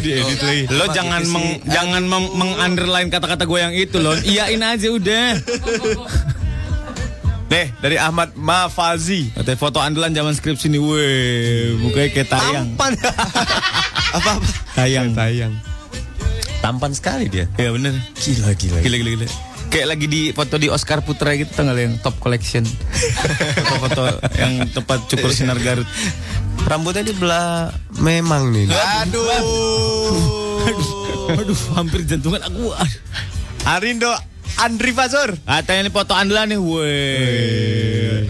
B: di
E: Lo jangan meng, jangan mem- meng-underline kata-kata gue yang itu lo. Iyain aja udah.
G: Nih, dari Ahmad Mafazi.
E: Katanya foto andalan zaman skripsi nih, weh. Mukanya kayak tayang.
G: Tampan. Apa-apa.
E: Tayang.
G: Tayang. Tampan sekali dia.
E: Iya bener.
G: Gila, gila.
E: Gila gila gila. Kayak lagi di foto di Oscar Putra gitu tanggal yang top collection. Foto-foto yang tempat cukur sinar Garut.
G: Rambutnya dibelah memang nih.
E: Aduh, hampir jantungan aku. Aduh.
G: Arindo Andri Fasur.
E: Katanya ini foto andalan nih, weh.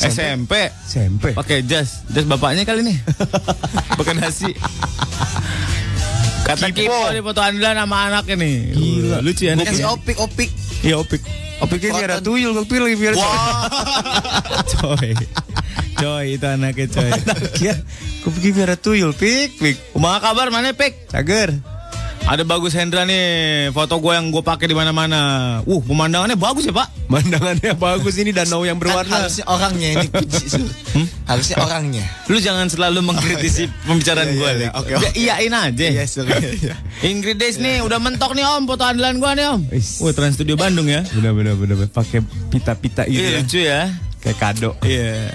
E: SMP.
G: SMP.
E: Pakai jas, jas bapaknya kali nih. Pakai nasi. Kata Kipo di foto Anda nama anaknya nih. Gila, lucu ya.
D: Kasih
E: anaknya.
D: Kan opik opik.
E: Iya, opik.
G: Opiknya tiada tuyul, gue pilih biar
E: coy. Coy, itu anaknya coy.
G: Ya, gue pikir biar tuyul, pik, pik.
E: Kumaha kabar mana Pek?
G: Cager.
E: Ada Bagus Hendra nih, foto gue yang gue pakai di mana-mana. Uh, pemandangannya bagus ya Pak.
G: Mandangannya bagus ini danau yang
D: Kan
G: berwarna.
D: harusnya orangnya yang dipuji. Sul. Harusnya orangnya.
E: Lu jangan selalu mengkritisi pembicaraan gue. Iya,
D: oke, Iya,
E: iyain aja. Ingrid Days nih, udah mentok nih Om, foto andalan gue nih Om.
G: Is.
E: Wah, Trans Studio Bandung ya.
G: Bener bener bener bener. pakai
E: Iya,
G: pita-pita gitu ya.
E: lucu ya.
G: Kayak kado.
E: Iya.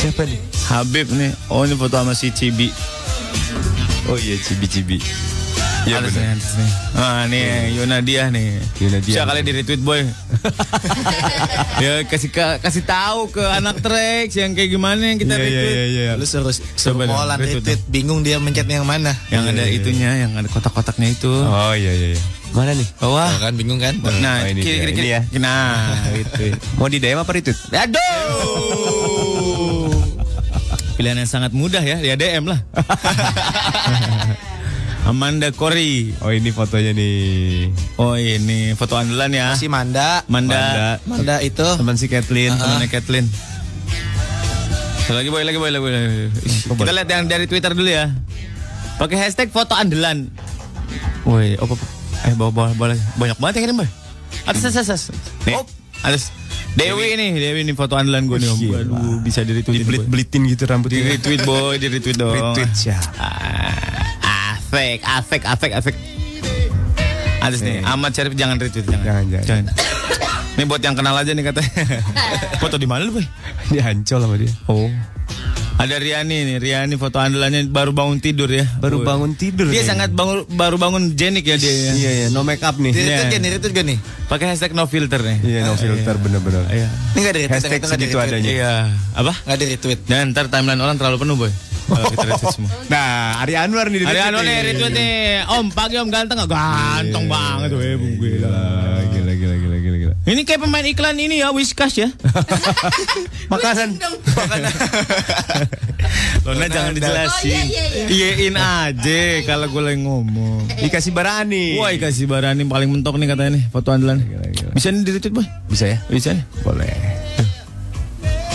G: Siapa nih?
E: Habib nih. Oh, ini foto sama si Cibi.
G: Oh iya, cibi-cibi. Iya
E: Ada
G: bener.
E: nih, ada nih. Ah, nih Yona Diah nih.
G: Yuna Diah.
E: Siapa kali di retweet boy. ya kasih ka- kasih tahu ke anak Trax yang kayak gimana yang kita
G: Iya iya
E: retweet.
G: iya iya.
D: Lu suruh suruh
E: Coba dong,
D: molan
E: retweet
D: retweet bingung dia mencetnya yang mana.
E: Yang ada itunya, yang ada kotak-kotaknya itu.
G: Iya, Oh iya iya iya. Mana nih?
E: Bawah.
D: Tuh kan bingung kan?
E: Nah,
G: Oh, ini
E: kiri
G: dia,
E: kiri
G: ini
E: kiri.
G: ya.
E: Nah, itu.
G: Mau di DM apa retweet?
E: Aduh. Pilihan yang sangat mudah ya, ya DM lah. Amanda Kori.
G: Oh ini fotonya nih.
E: Oh ini foto andalan ya.
D: Nah, Si Manda.
E: Manda.
D: Manda itu
G: Teman si Kathleen.
E: Temennya Kathleen. Satu Lagi boy, lagi boy, lagi boy. lagi boy. Kita lihat yang dari Twitter dulu ya. Pakai hashtag foto andalan. Woi, apa? Eh, bawa bawa bawa lagi. Banyak banget yang kirim boy. Atas, atas, atas. Nih, atas. Dewi nih, Dewi nih foto andalan gue nih. Om.
G: Gila.
E: Aduh, bisa dari tweet
G: Dibelit-belitin gitu
E: Di
G: rambutnya.
E: retweet boy, di retweet dong.
G: Retweet ya. siapa?
E: Ah, Afek, afek, afek, afek. Atas nih, Ahmad Syarif jangan retweet jangan.
G: Jangan, jangan.
E: Ini buat yang kenal aja nih katanya. foto di mana lu, Boy?
G: Ini hancol sama dia.
E: Oh. Ada Riani nih, Riani foto andalannya baru bangun tidur ya.
G: Baru
E: Woi.
G: bangun tidur.
E: Dia
G: kayaknya.
E: sangat bangun baru bangun jenik ya dia. ya.
G: Iya iya, no make up nih.
D: Di retweet
E: Iya.
D: gak nih, retweet gak nih?
E: Pakai hashtag no filter nih.
G: Iya, no filter bener-bener.
E: Iya.
D: Ini gak ada retweet.
G: Hashtag
D: ternyata nggak
G: segitu
D: retweet.
G: adanya.
E: Iya. Apa?
D: Nggak ada retweet.
E: Jangan ntar timeline orang terlalu penuh, Boy. Kalau kita retweet semua.
G: Nah, Ari Anwar nih. di
E: Ada
G: retweet
E: anu nih retweet nih. Om pagi Om ganteng nggak? Ganteng
G: Iya.
E: banget weh Bung
G: Gila, Ah, gila, gila, gila, gila, gila.
E: Ini kayak pemain iklan ini ya Whiskas ya.
G: Makanan.
E: Lona jangan
B: Oh, iya,
E: dijelasin.
B: iya,
E: Iyain aja kalau gue lagi ngomong.
G: Dikasih barani.
E: Wah, kasih barani paling mentok nih katanya nih foto andalan.
G: gila.
E: Bisa nih di retweet, Boy.
G: Bisa ya?
E: Bisa nih.
G: Boleh.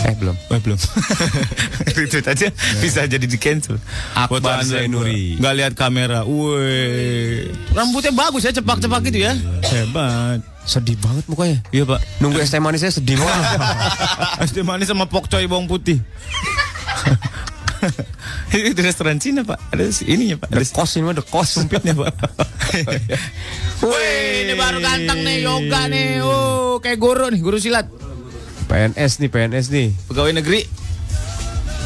G: Eh belum.
E: Eh, belum. Iya. Retweet aja bisa jadi di cancel.
G: Akbar Zainuri.
E: Gak lihat kamera. Woi. Rambutnya bagus ya, cepak-cepak gitu ya. Hebat.
G: Sedih banget mukanya.
E: Iya, Pak.
G: Nunggu es teh manisnya sedih banget.
E: Es teh manis sama pokcoy bawang putih. Itu restoran Cina, Pak. Ada si- ininya, Pak. Ada
G: The kos ini mah the kos
E: sumpitnya, Pak. Wih, ini baru ganteng nih, yoga nih. Oh, kayak guru nih, guru silat.
G: PNS nih, PNS nih.
E: Pegawai negeri.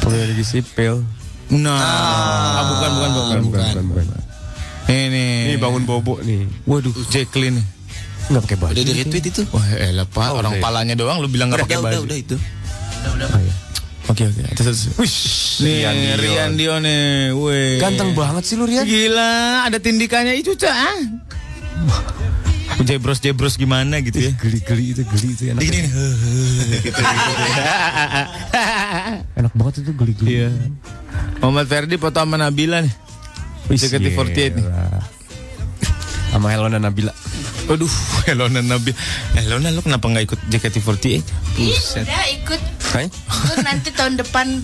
G: Pegawai negeri sipil.
E: Nah, ah, bukan, bukan, bukan. Eh.
G: Bukan, bukan.
E: Ini.
G: Ini bangun bobo nih.
E: Waduh, Jacqueline.
G: Nggak pakai baju.
D: Udah di retweet itu.
E: Wah, elah, Pak. Orang palanya doang lu bilang nggak
D: Udah,
E: pakai
D: udah,
E: baju.
D: udah itu.
E: Oke, oke. Terus, terus. Nih,
G: Rian Dion.
E: Rian Dion nih. Wih.
G: Ganteng banget sih lu Rian.
E: Gila, ada tindikannya itu cah. ah. jebros jebros gimana gitu ya?
G: Geli-geli itu, geli itu enak.
E: Gini, gitu.
G: Enak banget itu geli-geli.
E: Iya. Muhammad Ferdi foto sama Nabila nih. JKT48 nih.
G: Sierra. Sama Helona Nabila.
E: Aduh, Elona Nabila. Elona lu kenapa nggak ikut JKT48?
B: Iya, ikut. Ikut nanti tahun depan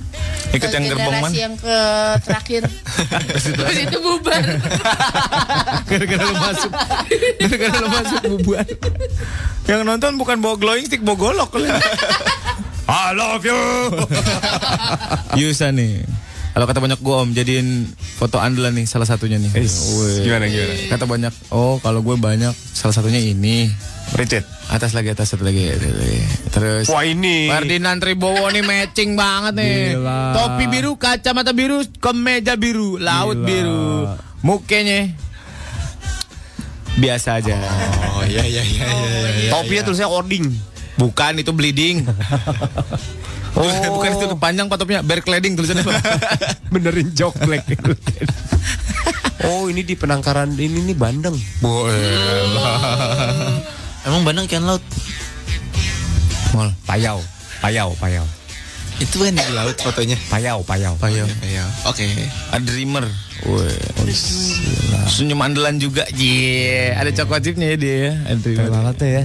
B: ke
E: Ikut yang
B: generasi
E: gerbong mana?
B: yang ke terakhir. Terus itu bubar.
E: Gara-gara lu masuk. Gara-gara lu masuk bubar. Yang nonton bukan bawa glowing stick, bawa golok. I love you. Yusa nih. Kalau kata banyak gue om, jadiin foto andalan nih salah satunya nih. Weh.
G: Gimana gimana?
E: Kata banyak, oh kalau gue banyak, salah satunya ini.
G: Richard.
E: Atas lagi, atas satu lagi. atas lagi. Terus...
G: Wah ini.
E: Ferdinand Tribowo nih matching banget nih.
G: Gila.
E: Topi biru, kacamata biru, kemeja biru, laut
G: Gila.
E: biru. Mukanya biasa aja.
D: Oh iya iya iya iya. iya.
G: Topinya tulisnya ording.
E: Bukan itu bleeding. Bukan itu panjang pak topinya, berkleding tulisannya. Pak.
G: Benerin jok black. oh ini di penangkaran ini nih Bandeng.
D: Emang Bandung ikan laut.
E: Mall.
G: Payau. Payau, payau.
D: Itu kan di laut fotonya.
G: Payau, payau.
D: Payau. Payau. Oke.
E: A dreamer. Senyum andalan juga. Jee, ada coko chipnya ya dia ya. A dreamer.
G: Banget ya.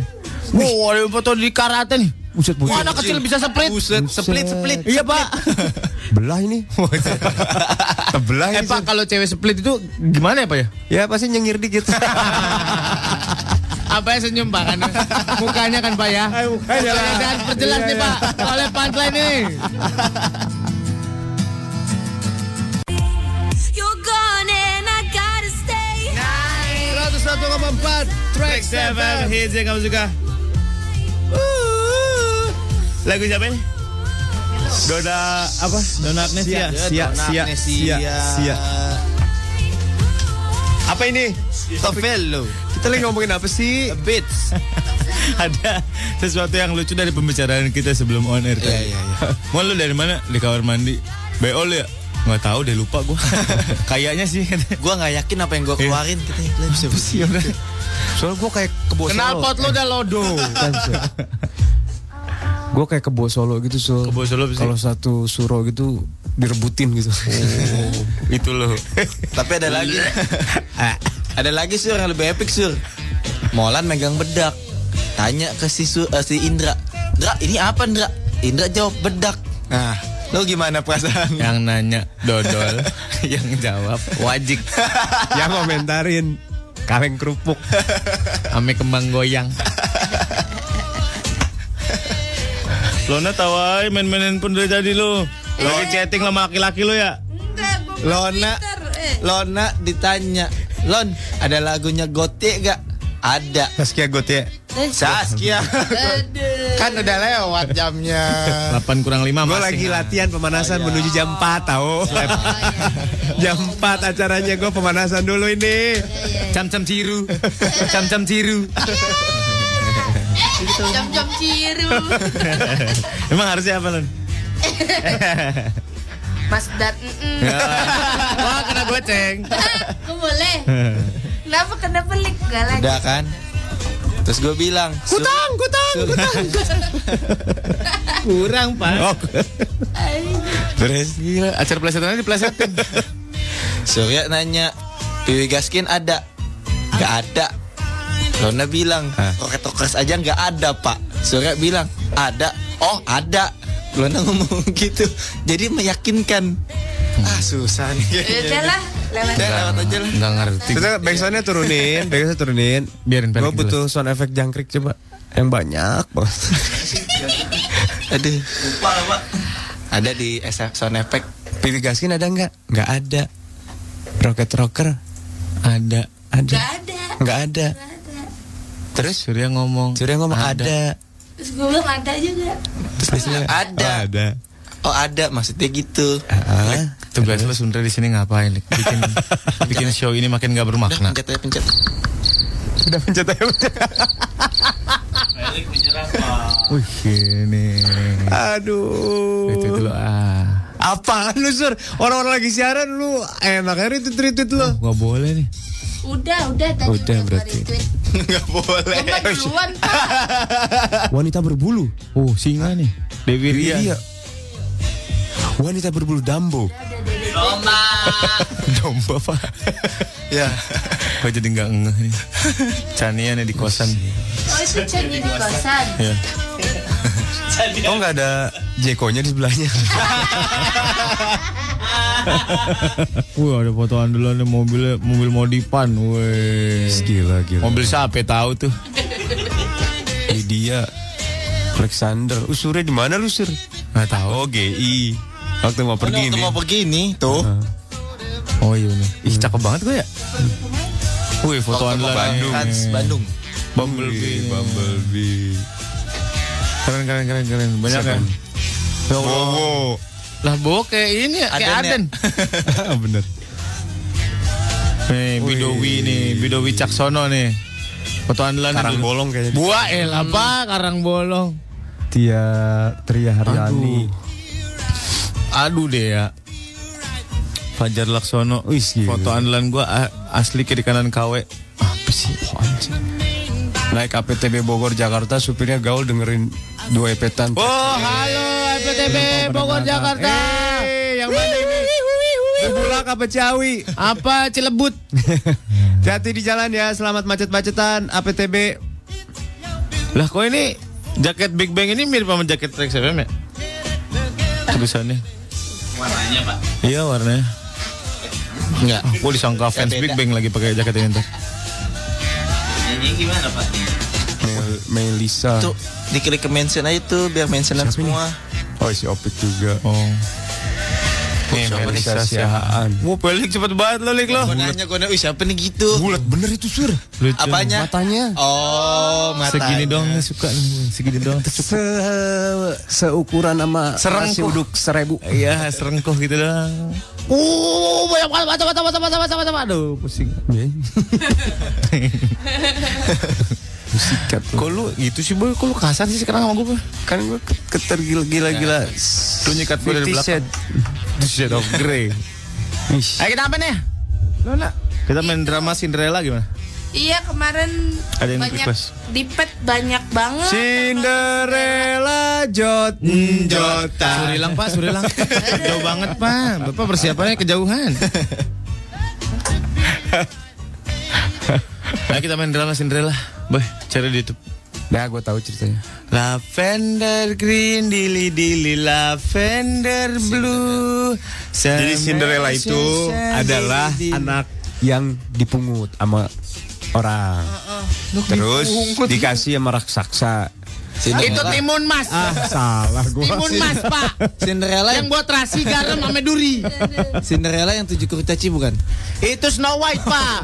E: Wow, ada foto di karate nih. Buset, buset. Wah, anak kecil bisa split.
D: Buset, split, split.
E: Iya, Pak.
G: Belah ini. Belah
E: eh,
G: ini.
E: Pak, kalau cewek split itu gimana ya, Pak ya?
G: Ya pasti nyengir dikit.
E: Apa ya senyum, Pak? Kan? Mukanya kan, Pak ya. Perjelas, perjelas nih, Pak. Oleh punchline nih.
I: You're gone and I gotta stay.
E: 101,4 Track 7 Hits yang kamu suka Uh. Lagu siapa ini? Dona apa? Dona Agnesia
G: Sia,
D: Dona
G: sia,
D: Agnesia.
G: sia, sia. Apa ini?
D: Tovello.
G: Kita lagi ngomongin apa sih?
D: Beats.
E: Ada sesuatu yang lucu dari pembicaraan kita sebelum on air tadi.
D: iya,
E: Mau lu dari mana? Di kamar mandi BO lu ya? Nggak tahu deh lupa gua Kayaknya sih
D: Gua nggak yakin apa yang gua keluarin. Kita kita bisa bersih.
G: Soalnya gue kayak kebo
E: Kenal pot lu udah lodo
G: Gue kayak kebo solo gitu so.
E: Kebo Solo apa sih?
G: Kalau satu suro gitu direbutin gitu.
E: Itu lo
D: Tapi ada lagi. Eh, ada lagi sur yang lebih epic sur. Molan megang bedak. Tanya ke si Sur- eh, si Indra. Indra ini apa Indra? Indra jawab bedak. Nah, lo gimana perasaan?
E: Yang nanya Dodol Yang jawab Wajik
G: Yang Ya, komentarin kaleng kerupuk.
E: Ame kembang goyang. Lona tawai main-mainin pun dari tadi lo. Lagi
G: Iya.
E: chatting sama laki-laki lo ya?
B: Enggak, gua main
D: Lona,
B: Twitter, eh.
D: Lona ditanya. Lon, ada lagunya Gotik gak? Ada.
G: Saskia Got ya.
D: Saskia. kan udah lewat jamnya.
E: 8 kurang 5
G: Gue lagi latihan
E: Oh,
G: pemanasan
E: iya.
G: menuju jam 4 tau. jam 4 acaranya gue pemanasan dulu ini.
E: Iya, Cam-cam ciru. Cam-cam ciru.
G: Iya.
B: Jam-jam ciru.
E: Emang harusnya apa, Lon?
B: Mas Dat, mm-mm.
E: Ya. Wah, kena goceng.
B: Aku boleh. Kenapa kena pelik? Gak lagi.
D: Udah kan? Terus gue bilang, "Sur,
E: Kurang, Pak. Oh. Terus gila, acara plesetannya diplesetin.
D: Surya nanya, Piwi Gaskin ada? Gak ada. Lona bilang, roket rokers aja nggak ada pak. Surya bilang, ada. Oh ada. Lona ngomong gitu, jadi meyakinkan.
G: Hmm.
D: Ah susah
G: Iya,
D: nih.
B: Udah lah, lewat.
D: Udah, lewat aja lah.
E: Enggak ngerti.
G: Kita backsoundnya turunin, backsoundnya turunin.
E: Biarin gitu. pendek
G: Gue
E: dulu.
G: butuh sound effect jangkrik coba. Yang banyak banget.
D: Aduh. Lupa lah pak. Ada di SF Sound Effect.
G: Pipi Gaskin ada nggak? Nggak ada. Rocket Rocker ada. Ada.
B: Gak ada.
G: Nggak ada.
E: Terus Surya ngomong.
G: Surya ngomong ada.
B: Terus gue bilang ada juga.
D: Terus dia bilang, ada.
G: Oh, ada.
D: Oh ada, maksudnya gitu.
G: Ah,
E: Tugas lu sebenernya di sini ngapain? Lik? Bikin bikin show ini makin gak
D: Udah
E: bermakna.
D: pencet aja pencet.
G: Nah. udah pencet aja. pencet.
E: Wih, ini.
G: Aduh.
E: Itu dulu ah.
G: Apaan lu sur? Orang-orang lagi siaran lu enaknya retweet retweet lu.
E: Gak boleh nih.
B: Udah, udah tadi
G: Udah,
B: gua
G: berarti.
B: retweet.
D: Nggak boleh.
B: Gua
E: iya.
B: duluan, Pak.
G: Wanita berbulu.
E: Oh, singa nih. Dewi Ria.
G: Iya. Wanita berbulu Dumbo.
E: Domba, Pak.
D: Ya.
E: Kok jadi gak ngeh nih. Canian ya di kosan.
B: Oh, itu Chenny di kosan.
G: Oh nggak ada Jeko-nya di sebelahnya.
E: Wih, ada fotoan dulu nih mobilnya, mobil modipan. Wih.
G: gila gila.
E: Mobil siapa tahu tuh.
G: dia Alexander. Usurnya di mana lu sur?
E: Gak tahu.
G: Oh GI. Waktu mau pergi
D: Waktu
G: nih.
D: mau pergi nih tuh.
E: Oh iya nih. Ih, cakep banget gue ya. Wih, fotoan
D: Waktu
E: dulu.
D: mau
E: Bandung.
D: Trans Bandung.
E: Bumblebee.
G: Bumblebee.
E: Keren, keren, keren, keren. Banyak kan? Ya Allah.
G: Bowo.
E: Lah, Bowo kayak ini ya, kayak Aden.
D: Aden
G: Ah, Bener.
E: Nih, Bidowi nih, Bidowi Caksono nih. Fotoan dulu.
G: Karang bolong kayaknya.
E: Buah elah, Pak, karang bolong.
G: Tia Tria Haryani.
E: Aduh deh ya. Fajar Laksono, Wih,
G: gila.
E: foto andalan gua a- asli kiri kanan KW. Apa sih?
G: Naik KPTB Bogor Jakarta supirnya gaul dengerin Dua epetan.
E: Oh, halo FPTB Bogor Jakarta. Eh, yang mana ini?
G: Bulak apa Ciawi?
E: Apa Cilebut?
G: Hati-hati di jalan ya, selamat macet-macetan APTB.
E: Lah kok ini jaket Big Bang ini mirip sama jaket Trax FM ya? Tulisannya. Warnanya, Pak. Iya, warnanya. Enggak, gue disangka fans Big Bang lagi pakai jaket ini ntar.
G: Mel- Melisa.
D: Tuh, diklik ke mention aja tuh biar mentionan semua.
G: Oh, si Opik juga.
E: Oh. Nih,
G: Siapa
E: Melisa
G: nih?
E: Siahaan. Wah, balik cepet banget lo, Lik, lo.
D: Gue nanya, gue nanya, "Wih, siapa nih gitu?
G: Bulat bener itu, Sur.
E: Lucu.
D: Apanya?
G: Matanya.
D: Oh, mata.
E: Segini dong nih, suka nih. Segini dong.
G: Se seukuran sama
E: Serengkuh.
G: nasi uduk seribu. Oh,
E: Iya, serengkuh gitu dong. Uh, banyak banget, banyak banget, banyak banget, banyak banget. Aduh, pusing.
G: Sikat tuh.
E: Kok lu gitu sih boy? Kok lu kasar sih sekarang sama gue boy?
G: Kan gue ketergila-gila-gila.
E: Lu nyikat gue dari
G: ya.
E: belakang. The Shade of Grey. Ayo kita apa nih? Lona. Kita main drama Cinderella gimana?
B: Iya kemarin
E: Ada yang
B: banyak
E: request.
B: di pet banyak banget.
G: Cinderella jot jota.
E: Surilang pak, surilang. Jauh banget pak. Bapak persiapannya kejauhan. Ayo kita main drama Cinderella. Boy, cari di YouTube.
G: Nah, gue tahu ceritanya.
E: Lavender green, dili dili lavender blue.
G: Jadi Cinderella itu adalah anak yang dipungut sama orang.
D: Ah,
G: Terus dikasih sama raksasa.
E: Itu timun mas.
G: Ah, salah gua.
E: Timun mas pak.
D: Cinderella
E: Yang
D: yang
E: buat terasi garam sama duri.
D: Iya. Cinderella yang tujuh kurcaci bukan?
E: Itu Snow White pak.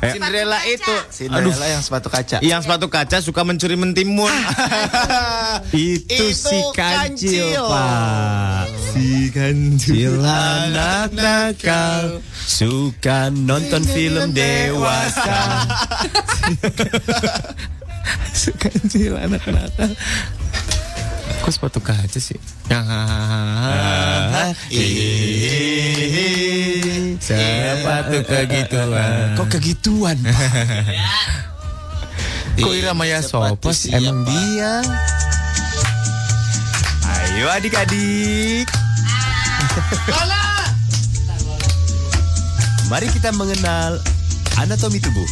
G: Eh.
E: Cinderella itu
D: Cinderella yang sepatu kaca.
E: yang sepatu kaca suka mencuri mentimun. Ah,
G: Itu,
E: Itu
G: si kancil,
E: kancil.
G: Pak. Si kancil anak nakal suka nonton film dewasa.
E: si kancil anak nakal. Kok sepatu kaca sih? Ah, ih, sepatu kegituan.
G: Kok kegituan? Pak?
E: Kok ya Ira Maya Sopo sih?
G: Emang dia. Ayo adik-adik. Mari kita mengenal anatomi tubuh.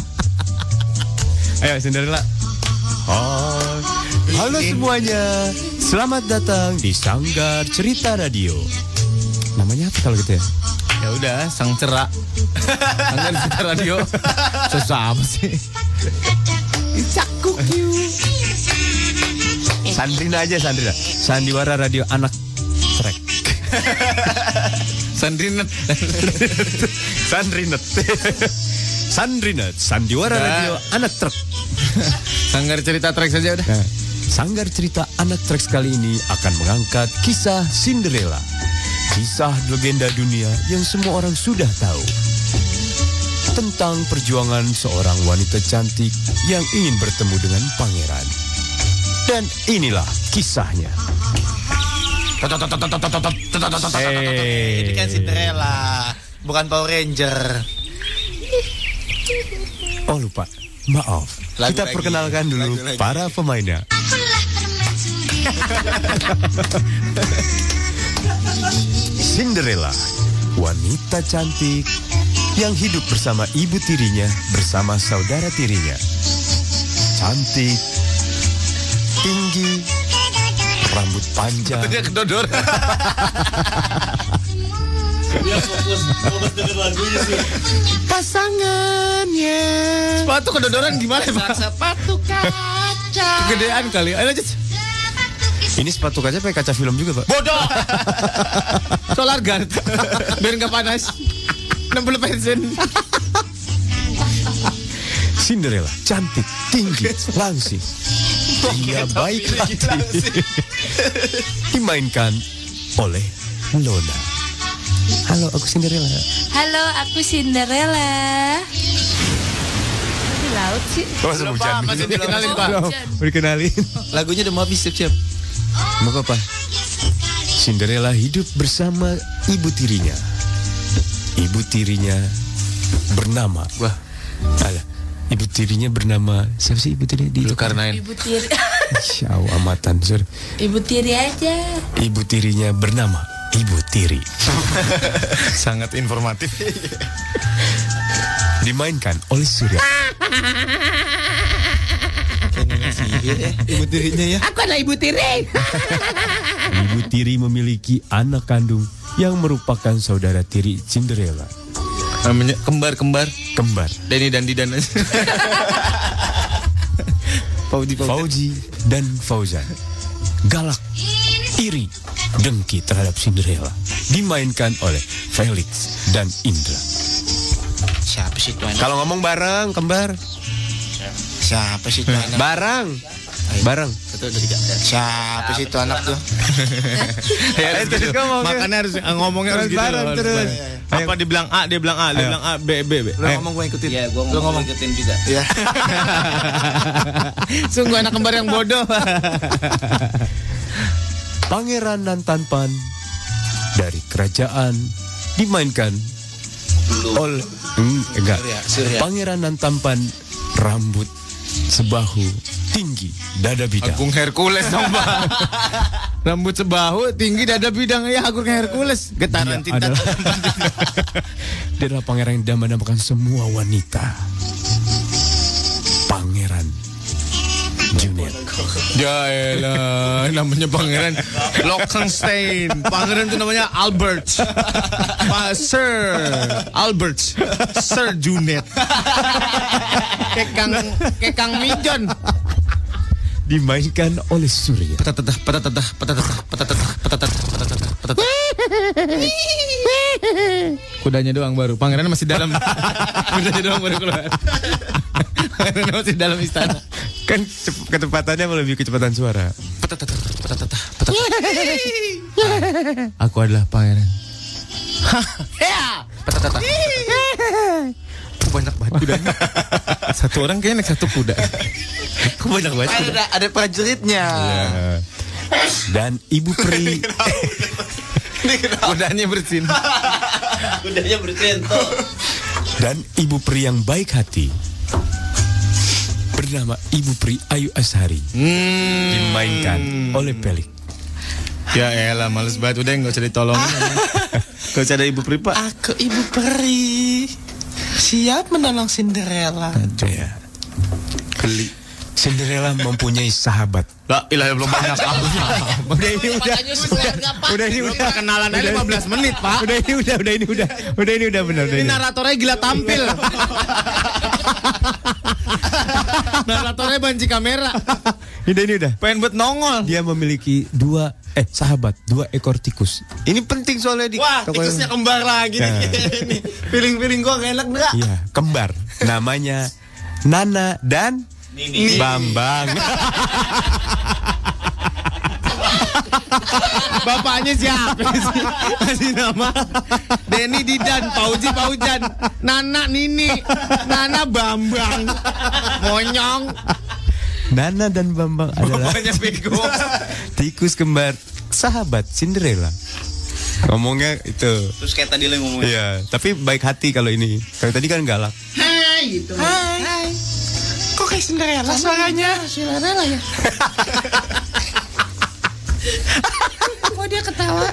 G: Ayo Cinderella. Oh. Halo semuanya, selamat datang di Sanggar Cerita Radio. Namanya apa kalau gitu ya?
E: Ya udah, sang cerak. Angkat kita radio. Susah apa sih?
G: Sandrina aja Sandrina. Sandiwara Radio Anak Trek.
E: Sandrinet.
G: Sandrinet. Sandrinet, Sandiwara Radio Anak Trek.
E: Sanggar cerita track saja udah.
G: Sanggar cerita Anak Trek kali ini akan mengangkat kisah Cinderella. Kisah legenda dunia yang semua orang sudah tahu. Tentang perjuangan seorang wanita cantik yang ingin bertemu dengan pangeran. Dan inilah kisahnya.
D: Ini kan Cinderella, bukan Power Ranger.
G: Oh lupa, maaf.
D: Lagu
G: Kita
D: lagi.
G: perkenalkan dulu
D: Lagu lagi.
G: para pemainnya. Cinderella, wanita cantik yang hidup bersama ibu tirinya bersama saudara tirinya. Cantik, tinggi, rambut panjang. Pasangannya.
E: Sepatu kedodoran gimana, Pak? Sepatu kaca. Gedean kali. Ayo lanjut.
G: Ini sepatu kaca pakai kaca film juga, Pak.
E: Bodoh. Solar guard. Biar nggak panas. 60 pensiun.
G: Cinderella, cantik, tinggi, langsing. Dia baik hati. Dimainkan oleh Lona. Halo, aku Cinderella.
B: Halo, aku Cinderella. Di laut sih.
G: Oh, hujan.
E: Masih dikenalin, Pak.
G: Dikenalin.
D: Lagunya udah mau habis siap-siap.
G: Mau apa? Cinderella hidup bersama ibu tirinya. Ibu tirinya bernama. Wah. Alah, ibu tirinya bernama siapa sih ibu tirinya? Di
D: Karena
B: Ibu tiri
G: Insya Allah, amatan sur.
B: Ibu tiri aja
G: Ibu tirinya bernama Ibu Tiri.
D: sangat informatif.
G: Dimainkan oleh Surya.
D: Ibu tirinya
E: Ah,
D: ya.
B: Aku adalah ibu tiri
G: Ibu Tiri memiliki anak kandung yang merupakan saudara tiri Cinderella.
D: Namanya kembar-kembar.
G: Kembar
D: Dani dan Didan. Fauji
G: Fauji dan Fauzan. Galak, iri, dengki terhadap Cinderella. Dimainkan oleh Felix dan Indra.
D: Siapa sih tuan?
G: Kalau ngomong bareng, kembar.
D: Siapa sih tuan?
G: Bareng. Bareng.
D: Siapa sih tuan anak tuh?
G: Ya, terus ngomong.
E: Makanya harus eh, ngomongnya harus
G: Terus
E: gitu.
G: bareng,
E: loh, harus
G: terus.
E: bareng. Apa dibilang A, dia bilang A, dia
G: Ayo.
E: bilang A, B, B, B.
D: Lo ngomong gue ikutin. Iya, gue ngomong, ngomong ikutin juga. Iya.
E: Sungguh anak kembar yang bodoh.
G: Pangeran dan Tanpan dari kerajaan dimainkan oleh Hmm, enggak
D: Surya.
G: Pangeran dan Tampan rambut sebahu tinggi dada bidang
E: Agung Hercules dong, Bang. Rambut sebahu, tinggi dada bidang ya Agung Hercules.
D: Iya,
E: Getaran
G: dia
E: tinta.
G: adalah, dia adalah pangeran yang damai damakan semua wanita pangeran Junet
E: Ya elah, namanya pangeran Lockenstein. Pangeran itu namanya Albert. Pak Sir Albert. Sir Junet. kayak Kang kayak Kang Mijon.
G: dimainkan oleh Surya
D: Petatatah, petatatah, petatatah, petatatah, petatatah, petatatah, petatatah.
E: Kudanya doang baru. Pangeran masih dalam. Kudanya doang baru keluar. Pangeran masih dalam istana.
G: kan cep- kecepatannya melebihi kecepatan suara
D: Petatatah, petatatah, petatatah.
E: Aku adalah pangeran.
D: Petatatah. Kok Banyak banget kudanya.
E: Satu orang kayaknya naik satu kuda.
D: Kok Banyak banget. Ada ada prajuritnya.
G: dan Ibu Pri
E: Kudanya bersin.
D: Kudanya bercentuh.
G: dan ibu pri yang baik hati bernama Ibu Pri Ayu Ashari dimainkan oleh Pelik.
E: Ya elah, males banget. Udah nggak usah ditolongin. Gak usah ada ibu pripa.
D: Aku ibu peri. Siap menolong Cinderella.
G: Ya. Cinderella mempunyai sahabat.
E: Lah, ilah belum banyak Udah ini udah. Udah ini udah kenalan aja 15 menit, Pak.
G: Udah ini udah udah ini udah udah ini udah benar. udah
E: Ini
G: ini.
E: naratornya gila tampil. naratornya banci kamera.
G: Udah ini udah.
E: Pengen buat nongol.
G: Dia memiliki dua eh sahabat dua ekor tikus. Ini penting soalnya di
E: Wah,
G: toko-
E: tikusnya kembar lagi nih.
H: Ya.
E: Ini Piling-piling gua gak enak enggak?
G: Iya, kembar. Namanya Nana dan Bambang.
E: Bapaknya siapa sih? Kasih nama. Denny Didan, Pauji Paujan, Nana Nini, Nana Bambang. Monyong.
G: Nana dan Bambang adalah
E: Bapaknya bego.
G: Tikus kembar sahabat Cinderella. Ngomongnya itu.
H: Terus kayak tadi lo yang ngomongin.
G: Iya, tapi baik hati kalau ini. Kalau tadi kan galak.
D: Kok kayak Cinderella suaranya?
B: Cinderella ya Kok dia ketawa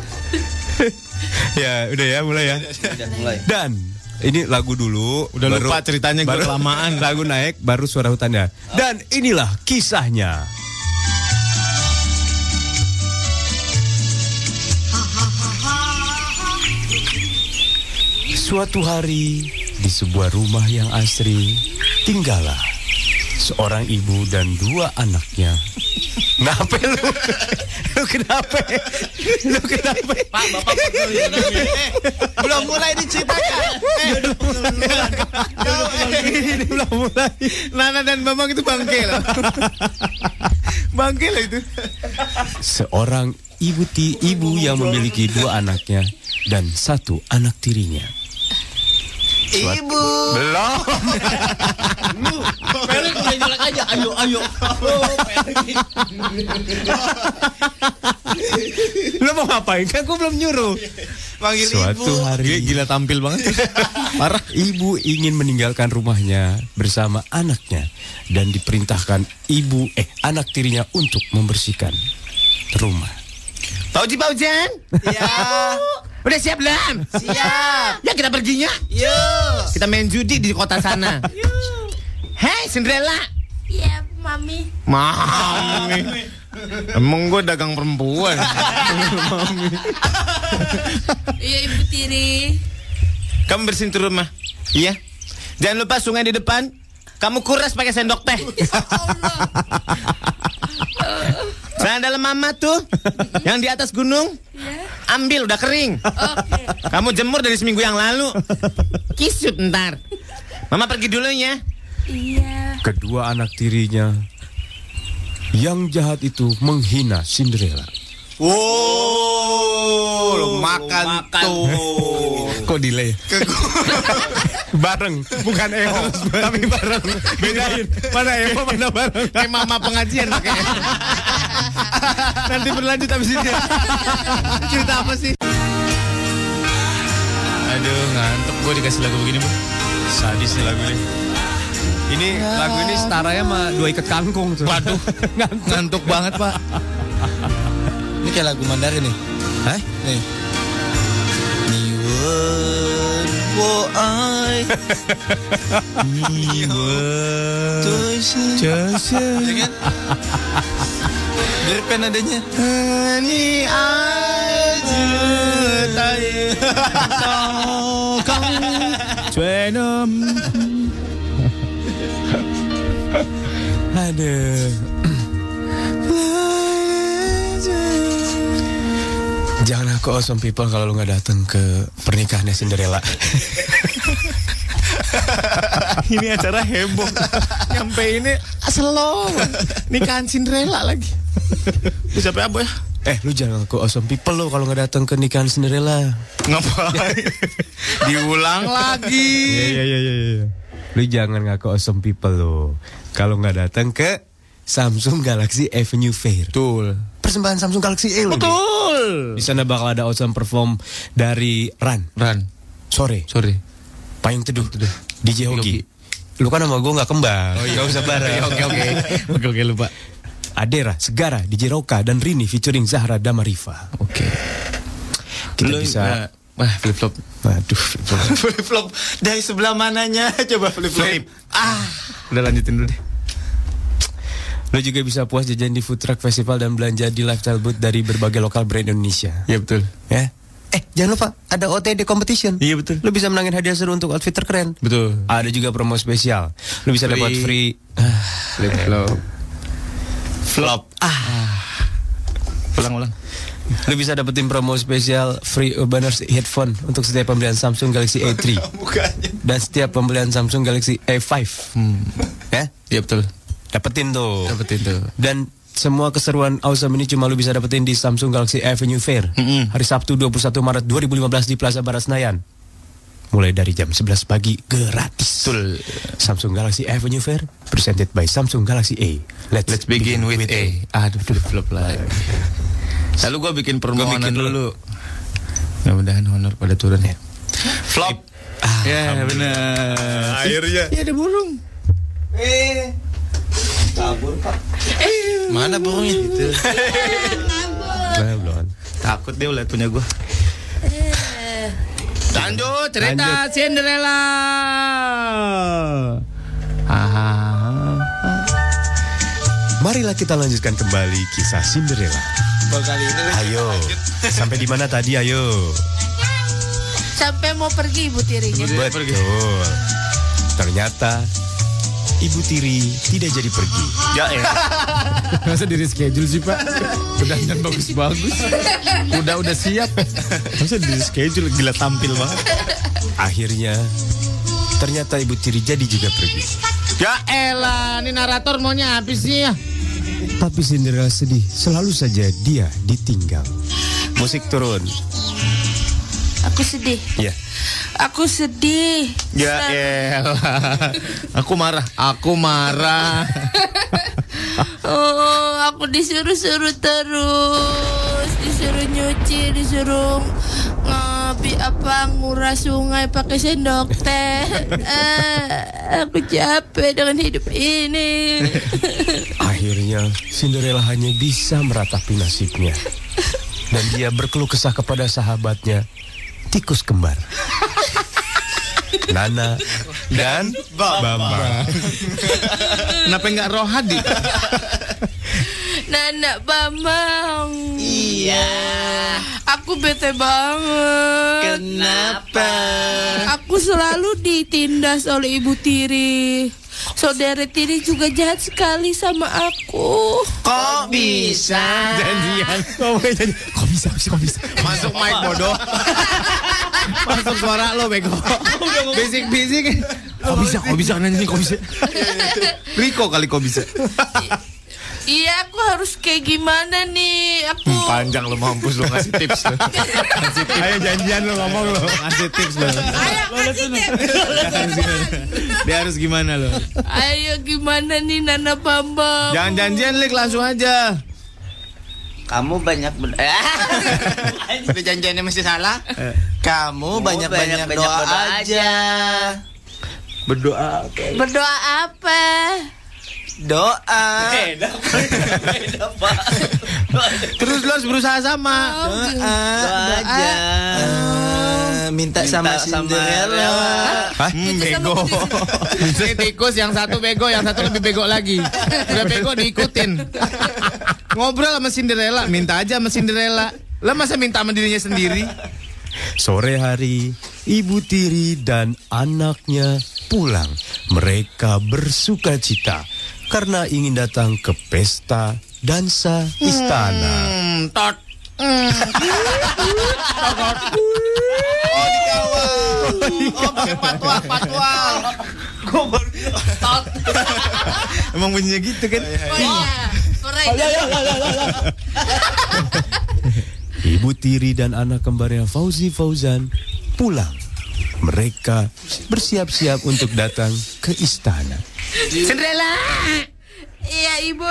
G: Ya, udah ya, mulai ya.
H: Udah mulai.
G: Dan ini lagu dulu,
E: Udah lupa ceritanya gua
G: baru
E: kelamaan.
G: Lagu naik baru suara hutannya. Dan inilah kisahnya. Suatu hari di sebuah rumah yang asri tinggallah seorang ibu dan dua anaknya. Kenapa lu? Lu kenapa? Lu kenapa?
D: Belum mulai diceritakan.
G: Ini udah mulai.
E: Nana dan Bambang itu bangke loh. bangke loh itu.
G: seorang ibu ti ibu yang memiliki dua anaknya dan satu anak tirinya.
D: Ibu.
H: Pelek udah nyolek aja. Ayo, ayo.
G: Lu mau mau ngapain? Kan gue belum nyuruh.
D: Manggil
G: Suatu
D: ibu.
G: hari gila, tampil banget. Parah. Ibu ingin meninggalkan rumahnya bersama anaknya dan diperintahkan ibu eh anak tirinya untuk membersihkan rumah.
H: Pak Uji, Pak Ujan.
E: Iya.
D: Ya,
H: Udah siap belum?
D: siap.
H: Ya kita perginya.
D: Yuk.
H: Kita main judi di kota sana. Hei, Cinderella.
B: Iya, mami.
E: Mami. Emang gue dagang perempuan.
B: Iya, ibu tiri.
H: Kamu bersihin tuh rumah. Iya. Jangan lupa sungai di depan. Kamu kuras pakai sendok teh. Sana ada mama tuh yang di atas gunung. Ambil udah kering.
B: Oke.
H: Kamu jemur dari seminggu yang lalu. Kisut ntar. Mama pergi dulu ya.
B: Iya.
G: Kedua anak tirinya yang jahat itu menghina Cinderella.
D: Wow, lo makan, tuh.
G: Kok delay? bareng, bukan Eho, tapi bareng. Bedain mana Eho mana bareng.
E: Kayak mama pengajian pakai. Nanti berlanjut abis ini. Cerita apa sih? Aduh, ngantuk gue dikasih lagu begini, Bu. Sadis nih lagu ini.
G: Ini lagu ini setaranya sama dua ikat kangkung tuh.
E: Waduh, ngantuk banget, Pak.
D: Ini kayak lagu Mandarin nih. Hah? Nih. Ni wen wo ai. Ni wen tu shi. Ya kan? Dari penadanya.
E: Ini aja tai kau Venom.
G: Aduh. Jangan aku awesome people kalau lu nggak datang ke pernikahannya Cinderella.
E: Ini acara heboh. Nyampe ini slow. Nikahan Cinderella lagi. Lu capek apa ya?
G: eh, lu jangan aku awesome people lo kalau nggak datang ke nikahan Cinderella.
E: Ngapain? Diulang lagi.
G: Iya iya iya iya. Lu jangan ngaku awesome people lo kalau nggak datang ke Samsung Galaxy Avenue Fair.
E: Betul.
G: Persembahan Samsung Galaxy A lo, Bi.
E: Betul.
G: Di sana bakal ada awesome perform dari Ran
E: Ran,
G: sore.
E: sorry.
G: Payung teduh. DJ Hoki. Lu kan sama gue nggak kembang. Oh, Gak usah bareng.
E: iya. Oke oke. Oke oke lupa.
G: Adera, Segara, DJ Roka, dan Rini featuring Zahra Damarifa.
E: Oke.
G: Kita bisa...
E: Wah, flip flop.
G: Aduh, flip-flop.
D: Flip flop dari sebelah mananya coba flip flop.
E: Flip. Udah lanjutin dulu deh.
G: Lo juga bisa puas jajan di food truck festival dan belanja di lifestyle booth dari berbagai lokal brand Indonesia.
E: Iya betul.
G: Ya. Eh, jangan lupa ada OTD competition.
E: Iya, betul.
G: Lo bisa menangin hadiah seru untuk outfit terkeren.
E: Betul.
G: Ada juga promo spesial. Lo bisa
E: Free.
G: dapat free ah,
E: Flip flop. Flop. Ah. Ulang ulang.
G: Lo bisa dapetin promo spesial free Urbaners headphone untuk setiap pembelian Samsung Galaxy A3
D: Bukannya.
G: dan setiap pembelian Samsung Galaxy A5. Ya.
E: Hmm. Iya betul.
G: Dapetin tuh.
E: Dapetin tuh.
G: Dan semua keseruan awesome ini cuma lu bisa dapetin di Samsung Galaxy Avenue Fair hari Sabtu 21 Maret 2015 di Plaza Barat Senayan. Mulai dari jam 11 pagi gratis.
E: Betul.
G: Samsung Galaxy Avenue Fair presented by Samsung Galaxy A. Let's,
E: Let's begin with A. Aduh flip flop lagi. Lalu gue bikin permohonan
D: bikin
E: dulu.
D: dulu.
E: Mudah-mudahan honor pada turun ya.
D: Flop.
E: Ya benar.
D: Akhirnya.
E: Iya ada burung.
D: Eh. Kabur, Pak. Mana burungnya?
G: Nah, belum.
E: Takut dia ulat punya gue. Lanjut cerita Cinderella. Ah.
G: Marilah kita lanjutkan kembali kisah Cinderella.
D: Kali ini
G: Ayo, sampai di mana tadi? Ayo.
B: Sampai mau pergi ibu tirinya.
G: Betul. Ternyata Ibu Tiri tidak jadi pergi.
E: Ya ya.
H: Masa di reschedule sih pak?
E: Udah dan bagus-bagus. Udah udah siap. Masa di schedule gila tampil banget.
G: Akhirnya ternyata Ibu Tiri jadi juga pergi.
E: Ya elah, ini narator maunya habis sih ya.
G: Tapi Cinderella sedih, selalu saja dia ditinggal. Musik turun.
B: Aku sedih.
G: Ya.
B: Aku sedih.
E: Ya elah. Aku marah, aku marah.
B: Oh, aku disuruh-suruh terus. Disuruh
I: disuruh nyuci disuruh ngopi apa nguras sungai pakai sendok teh Eh, aku capek dengan hidup ini
G: Akhirnya, Cinderella hanya bisa meratapi nasibnya. Dan dia berkeluh kesah kepada sahabatnya, tikus kembar. Nana dan Bambang.
E: Kenapa nggak rohadi?
I: Nana Bambang Iya Aku bete banget Kenapa? Aku selalu ditindas oleh ibu tiri Saudara tiri juga jahat sekali sama aku
D: Kok bisa?
E: Janjian. Kok bisa sih, kok bisa? Masuk mic bodoh. Masuk suara lo bego. Bisik-bisik. Kok bisa, kok bisa nanti kok bisa. Riko kali kok bisa.
I: Iya aku harus kayak gimana nih Aku
E: Panjang lo mampus lo ngasih tips lo. Ayo janjian lo ngomong lo. Ngasih tips lo.
I: Ayo kasih tips.
E: Dia harus gimana lo?
I: Ayo gimana nih Nana Bambang
E: Jangan janjian Lik langsung aja.
B: Kamu banyak ber...
D: Udah janjiannya masih salah.
E: Eh.
D: Kamu banyak-banyak
B: banyak-banyak
D: doa,
B: doa
D: aja.
G: Berdoa.
I: Berdoa apa?
D: Doa.
E: Terus lo harus berusaha sama.
D: Oh, Doa.
B: aja.
D: Eh, Minta, sama Ah,
B: sama
D: Cinderella.
E: Hah? Hmm, bego. Ini tikus yang satu bego, yang satu lebih bego lagi. Udah bego diikutin. Ngobrol sama Cinderella, minta aja sama Cinderella. Lah masa minta sama dirinya sendiri?
G: Sore hari, ibu tiri dan anaknya pulang. Mereka bersuka cita karena ingin datang ke pesta dansa istana.
E: Hmm, tot.
I: Tot
E: Emang bunyinya gitu kan?
I: Oh iya Pray.
G: Ibu tiri dan anak kembarnya Fauzi Fauzan pulang. Mereka bersiap-siap untuk datang ke istana.
E: Cinderella,
I: Iya ibu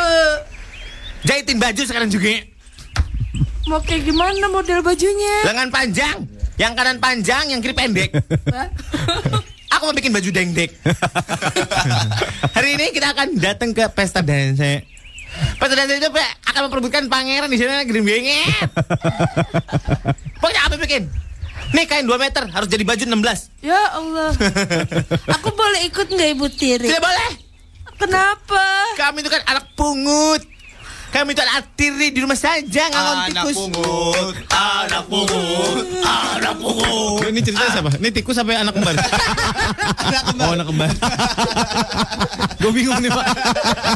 E: jahitin baju sekarang juga.
I: Mau kayak gimana model bajunya?
E: Lengan panjang, yang kanan panjang, yang kiri pendek. Aku mau bikin baju dengdek. Hari ini kita akan datang ke pesta dansa. Pesta dansa itu Pak, akan memperebutkan pangeran di sana gering benget. Pokoknya apa bikin? Nih kain 2 meter harus jadi baju 16.
I: Ya Allah Aku boleh ikut nggak ibu tiri?
E: Tidak boleh.
I: Kenapa?
E: Kami itu kan anak pungut. Kami itu anak tiri di rumah saja ngalon tikus.
D: pungut, anak pungut, anak pungut.
E: Ini cerita siapa? Ini tikus sampai anak kembar. Oh anak kembar. gue bingung nih pak.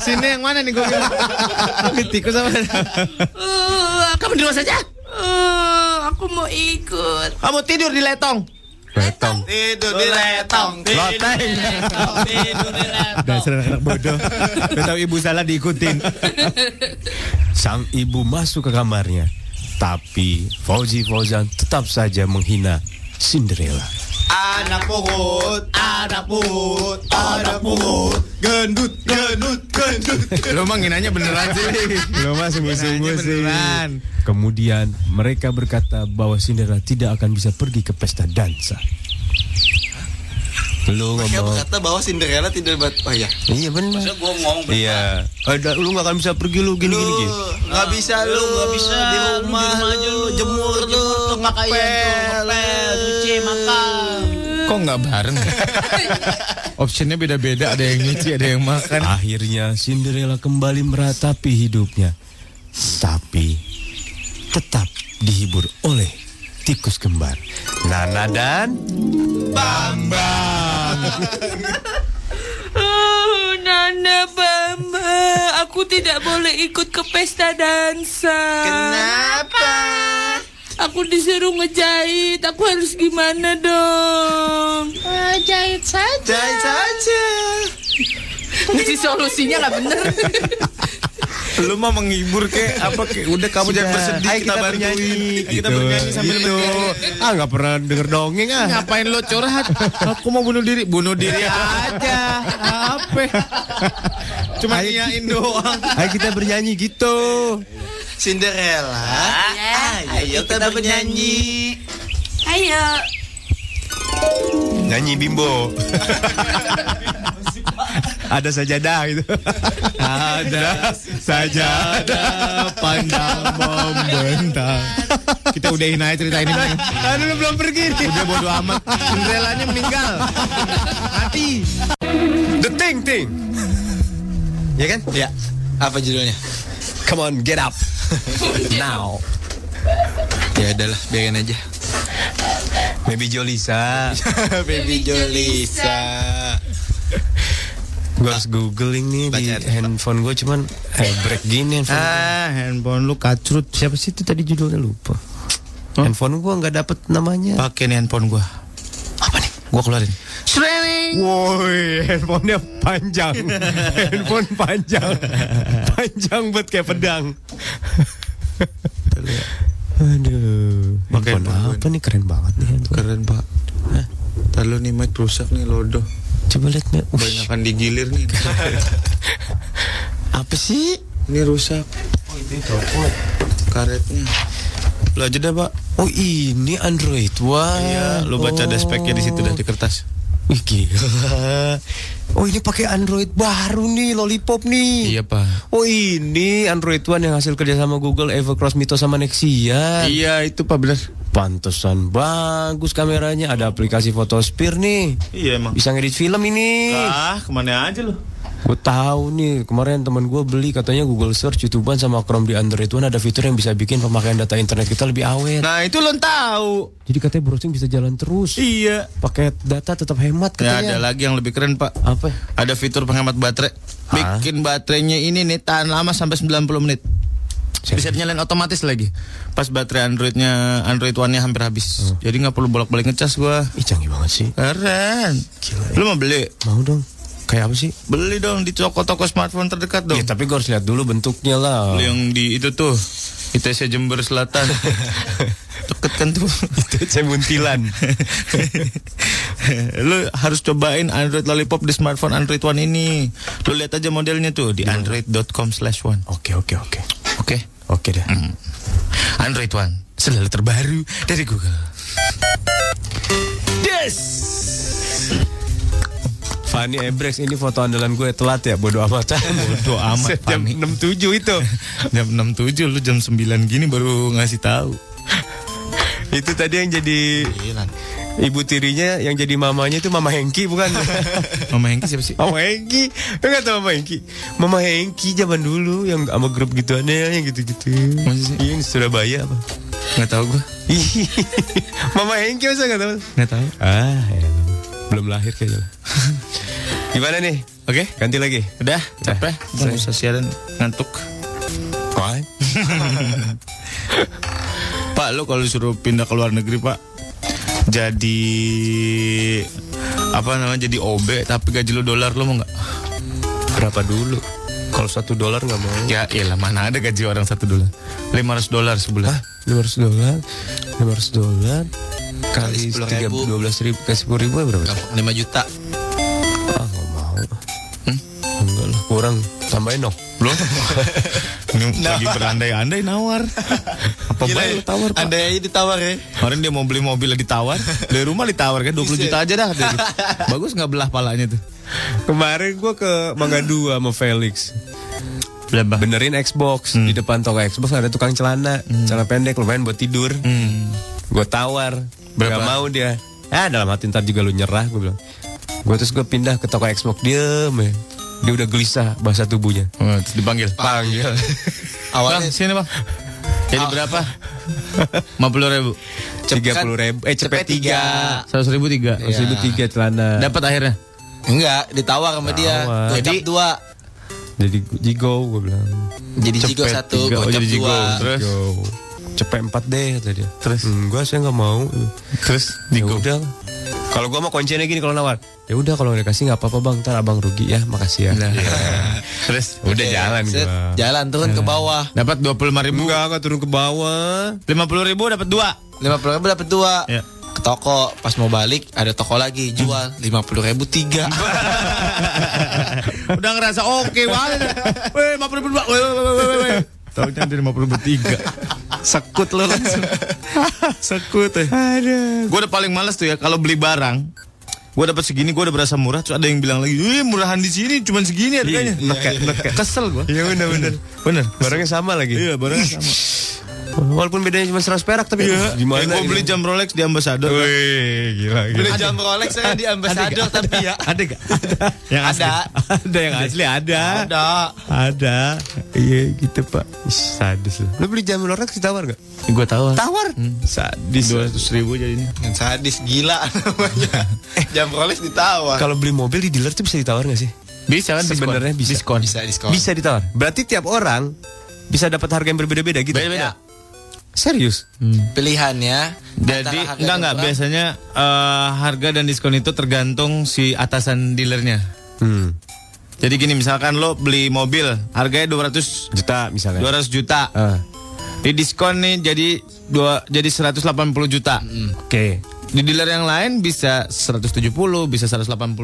E: Sini yang mana nih gue bingung. Ini tikus apa?
I: Uh, aku,
E: Ah, Kamu di rumah saja.
I: uh, aku mau ikut
E: Kamu tidur di letong.
G: Retong.
D: Tidur di letong, tidur di letong, tidur di letong.
E: Dasar anak bodoh. Gak tahu ibu salah diikutin.
G: Sang ibu masuk ke kamarnya. Tapi Fauzi Fauzan tetap saja menghina Cinderella.
D: Anak pungut, anak pungut, anak pungut. Gendut, gendut, gendut.
E: Lo mah nginanya beneran sih.
G: Lo mah
E: Nginanya beneran.
G: Kemudian mereka berkata bahwa Cinderella tidak akan bisa pergi ke pesta dansa. Lu
D: Siapa
G: ngomong.
D: berkata bahwa Cinderella tidak bat? Oh iya.
G: Iya benar.
B: Gue ngomong
G: Iya. Ada lu gak akan bisa pergi lu gini gini. gini.
D: nggak bisa Ah, lu, nggak bisa di rumah lu, jemur lu, ngepel,
B: cuci, makan.
E: Kok nggak bareng? Optionnya beda-beda. Ada yang nyuci, ada yang makan.
G: Akhirnya Cinderella kembali meratapi hidupnya. Tapi tetap dihibur oleh tikus kembar. Nana dan
I: Oh, Nana Bambang Aku tidak boleh ikut ke pesta dansa
D: Kenapa?
I: Aku disuruh ngejahit Aku harus gimana dong? jahit saja
D: Jahit saja.
I: Jadi solusinya nggak bener
E: Lu mah menghibur ke apa ke? Udah kamu jangan bersedih
G: Ayo
E: kita,
G: kita
E: bantuin.
G: bernyanyi.
E: Kita bernyanyi sambil
G: Eh, gitu. Ah nggak pernah denger dongeng ah.
E: Ngapain lo curhat? Aku mau bunuh diri. Bunuh diri aja. Apa? Cuma ngiyain doang.
G: Ayo kita bernyanyi gitu.
D: Cinderella.
I: Ya.
D: Ayo kita bernyanyi.
I: Ayo.
G: Nyanyi bimbo. Ada sajadah gitu. Ada sajadah
E: Pandang membentang. Kita udahin aja cerita ini.
G: Kan lu belum pergi.
E: Udah bodo amat. Cinderellanya meninggal. Mati.
G: The ting ting. Ya kan?
D: Ya. Apa judulnya?
G: Come on, get up. Now.
D: Ya adalah biarin aja.
G: Maybe Jolisa.
D: Baby Jolisa.
G: Gue harus googling nih di
D: Baca ada.
G: handphone gue cuman eh, break gini handphone. gua.
E: Ah, handphone lu kacrut.
G: Siapa sih itu tadi judulnya lupa. Handphone gue nggak dapet namanya.
E: Pakai nih handphone gua.
D: Apa nih?
E: Gua keluarin.
G: Woi, handphonenya panjang, handphone panjang, panjang banget kayak pedang. Aduh,
E: Pakai
G: handphone apa nih keren banget nih handphone.
E: Keren, Pak. Lalu Eh, nih mic rusak nih lodo.
G: Coba lihat nih, Wih,
E: Banyakan digilir nih.
G: apa sih?
E: Ini rusak. Karetnya. Lo aja deh, Pak.
G: Oh ini Android, wah.
E: Iya, lu baca ada speknya di situ dah di kertas.
G: Wih gila. Oh ini pakai Android baru nih, lollipop nih.
E: Iya, Pak.
G: Oh ini Android One yang hasil kerja sama Google, Evercross, Mito sama Nexia.
E: Iya, itu Pak benar.
G: Pantesan bagus kameranya, ada aplikasi Photosphere nih.
E: Iya emang.
G: Bisa ngedit film ini.
E: Ah, kemana aja lu?
G: Gue tahu nih, kemarin teman gue beli katanya Google Search, YouTubean sama Chrome di Android One ada fitur yang bisa bikin pemakaian data internet kita lebih awet.
E: Nah, itu lo tahu.
G: Jadi katanya browsing bisa jalan terus.
E: Iya.
G: Pakai data tetap hemat
E: Ya, ada
G: katanya.
E: lagi yang lebih keren, Pak.
G: Apa?
E: Ada fitur penghemat baterai. Bikin baterainya ini nih tahan lama sampai 90 menit. Bisa dinyalain otomatis lagi. Pas baterai Androidnya Android One-nya hampir habis. Jadi nggak perlu bolak-balik ngecas gua.
G: Ih canggih banget sih.
E: Keren. Lu mau beli?
G: Mau dong. Kayak apa sih?
E: Beli dong di toko-toko smartphone terdekat dong.
G: Ya tapi gue harus lihat dulu bentuknya lah.
E: Beli yang di itu tuh. ITC Jember Selatan. Deket kan tuh.
G: Saya buntilan.
E: lu harus cobain Android Lollipop di smartphone Android One ini. Lu lihat aja modelnya tuh di android.com slash one.
G: Oke oke oke.
E: Oke. Hmm.
G: Oke deh.
E: Android One selalu terbaru dari Google.
G: Fanny Ebrex ini foto andalan gue telat ya bodo amat.
E: Bodoh amat
G: Jam
E: Fani.
G: 67 itu.
E: Jam 67 lu jam 9 gini baru ngasih tahu.
G: itu tadi yang jadi ibu tirinya yang jadi mamanya itu Mama Hengki bukan?
E: Mama Hengki siapa sih?
G: Mama Hengki. Lu nggak tahu Mama Hengki? Mama Hengki zaman dulu yang sama grup gituannya yang gitu-gitu.
E: Masa sih?
G: Iya yang di Surabaya apa?
E: Nggak tahu gua.
G: Ih, Mama Hengki masa nggak tahu?
E: Nggak tahu.
G: Ah, elah. belum lahir kayaknya. Gimana nih?
E: Oke.
G: Ganti lagi.
E: Udah, capek. Nggak usah siaran ngantuk.
G: Wah,
E: Pak, lu kalau disuruh pindah ke luar negeri, Pak. Jadi apa namanya jadi OB tapi gaji lu dolar lu mau nggak?
G: berapa dulu? Kalau satu dolar nggak mau.
E: Ya iyalah mana ada gaji orang satu dolar 500 dolar sebulan
G: Lima ratus dolar, lima ratus dolar kali
D: Kali
G: tiga
D: 10.000.
G: dua belas ribu, kali sepuluh ribu ya berapa?
D: Gampang, 5 juta.
G: Ah, nggak mau. Enggak lah, kurang tambahin dong.
E: Belum Ini lagi berandai-andai nawar Apa
D: Nah. Gila
E: baik
D: ya,
E: lu tawar Pak
D: Andai aja ditawar ya.
E: Kemarin dia mau beli mobil ditawar Dari rumah ditawar kan 20 juta aja dah dia gitu. Bagus gak belah palanya tuh
G: Kemarin gua ke Mangga Dua sama Felix.
E: Belah
G: Benerin Xbox di depan toko Xbox ada tukang celana, celana pendek lumayan buat tidur.
E: Hmm.
G: Gue tawar,
E: Berapa?
G: berapa mau dia? Ah dalam hati ntar juga lu nyerah gue bilang. Gue terus gue pindah ke toko Xbox diem ya. Dia udah gelisah bahasa tubuhnya.
E: Oh, Dipanggil
G: Panggil.
E: Bang
D: Awalnya
E: sini bang Jadi berapa? 50 ribu
G: Tiga puluh ribu, eh cepet
D: cepet tiga.
G: tiga.
E: 100 ribu tiga
G: Terus ribu tiga celana.
E: Dapat akhirnya
D: enggak ditawar sama dia.
G: Tawar.
D: Gocap
E: Jadi-
D: dua.
G: Jadi jigo gue bilang.
D: Jadi jigo
E: Cepet
D: satu,
E: tiga, oh,
D: gocap
E: jadi jigo.
D: dua.
E: Terus?
G: Jigo. Cepet empat deh kata dia. Terus? gue saya nggak mau.
E: Terus
G: Ya
E: digo
G: udah. Kalau gua mau kuncinya gini kalau nawar. Ya udah kalau nggak dikasih nggak apa-apa bang, ntar abang rugi ya, makasih ya.
E: Terus
G: Udah jalan
D: Iya, Set,
G: gua.
D: Jalan Iya. turun ke bawah.
E: Dapat 25 ribu
G: Enggak, nggak turun ke bawah.
E: 50 ribu dapat dua
D: lima puluh ribu dapat dua
E: Iya.
D: ke toko pas mau balik ada toko lagi jual lima puluh ribu tiga
E: Udah ngerasa oke banget Weh 50 ribu dua Weh, weh, weh, weh, weh. Tahunya dari 53.
D: Sekut lo langsung.
E: Sekut ya. Gue udah paling males tuh ya kalau beli barang. Gue dapat segini, gue udah berasa murah. Terus ada yang bilang lagi, "Eh, murahan di sini cuman segini
G: Iya,
E: harganya." Nah,
G: Nekek, nekek.
E: Kesel gue.
G: Iya bener bener.
E: Bener.
G: Barangnya sama lagi.
E: Iya, barangnya sama.
G: Walaupun bedanya cuma 100 perak tapi
E: Gimana?
G: gimana?
E: gue iya. beli jam Rolex di Ambassador. kan.
G: Wih, gila
D: Beli
G: gila.
D: jam Rolex saya di ambasador tapi ya.
G: Ada gak?
E: Yang asli.
D: Ada.
G: Ada yang asli ada.
D: Ada.
G: Ada. Iya gitu pak. Ih, Sadis lu. Lu beli jam Rolex ditawar gak?
E: Gue tahu. Hmm.
G: Tawar. Sadis.
E: Dua ratus ribu jadinya.
D: Yang sadis gila namanya. jam Rolex ditawar.
G: Kalau beli mobil di dealer tuh bisa ditawar gak sih?
E: Bisa
G: kan diskon?
E: sebenarnya bisa. Diskon.
D: Bisa diskon.
G: Bisa ditawar. Berarti tiap orang bisa dapat harga yang berbeda-beda gitu.
E: Beda-beda.
G: Serius?
D: Pilihannya
E: Jadi
D: antara harga
E: enggak enggak
D: murah-
E: biasanya eh, harga dan diskon itu tergantung si atasan dealernya.
G: Hmm.
E: Jadi gini misalkan lo beli mobil harganya 200
G: Juta kan? misalnya.
E: 200 juta.
G: Ah,
E: Di diskon nih jadi dua jadi 180 juta.
G: Oke.
E: Di dealer yang lain bisa 170, bisa 185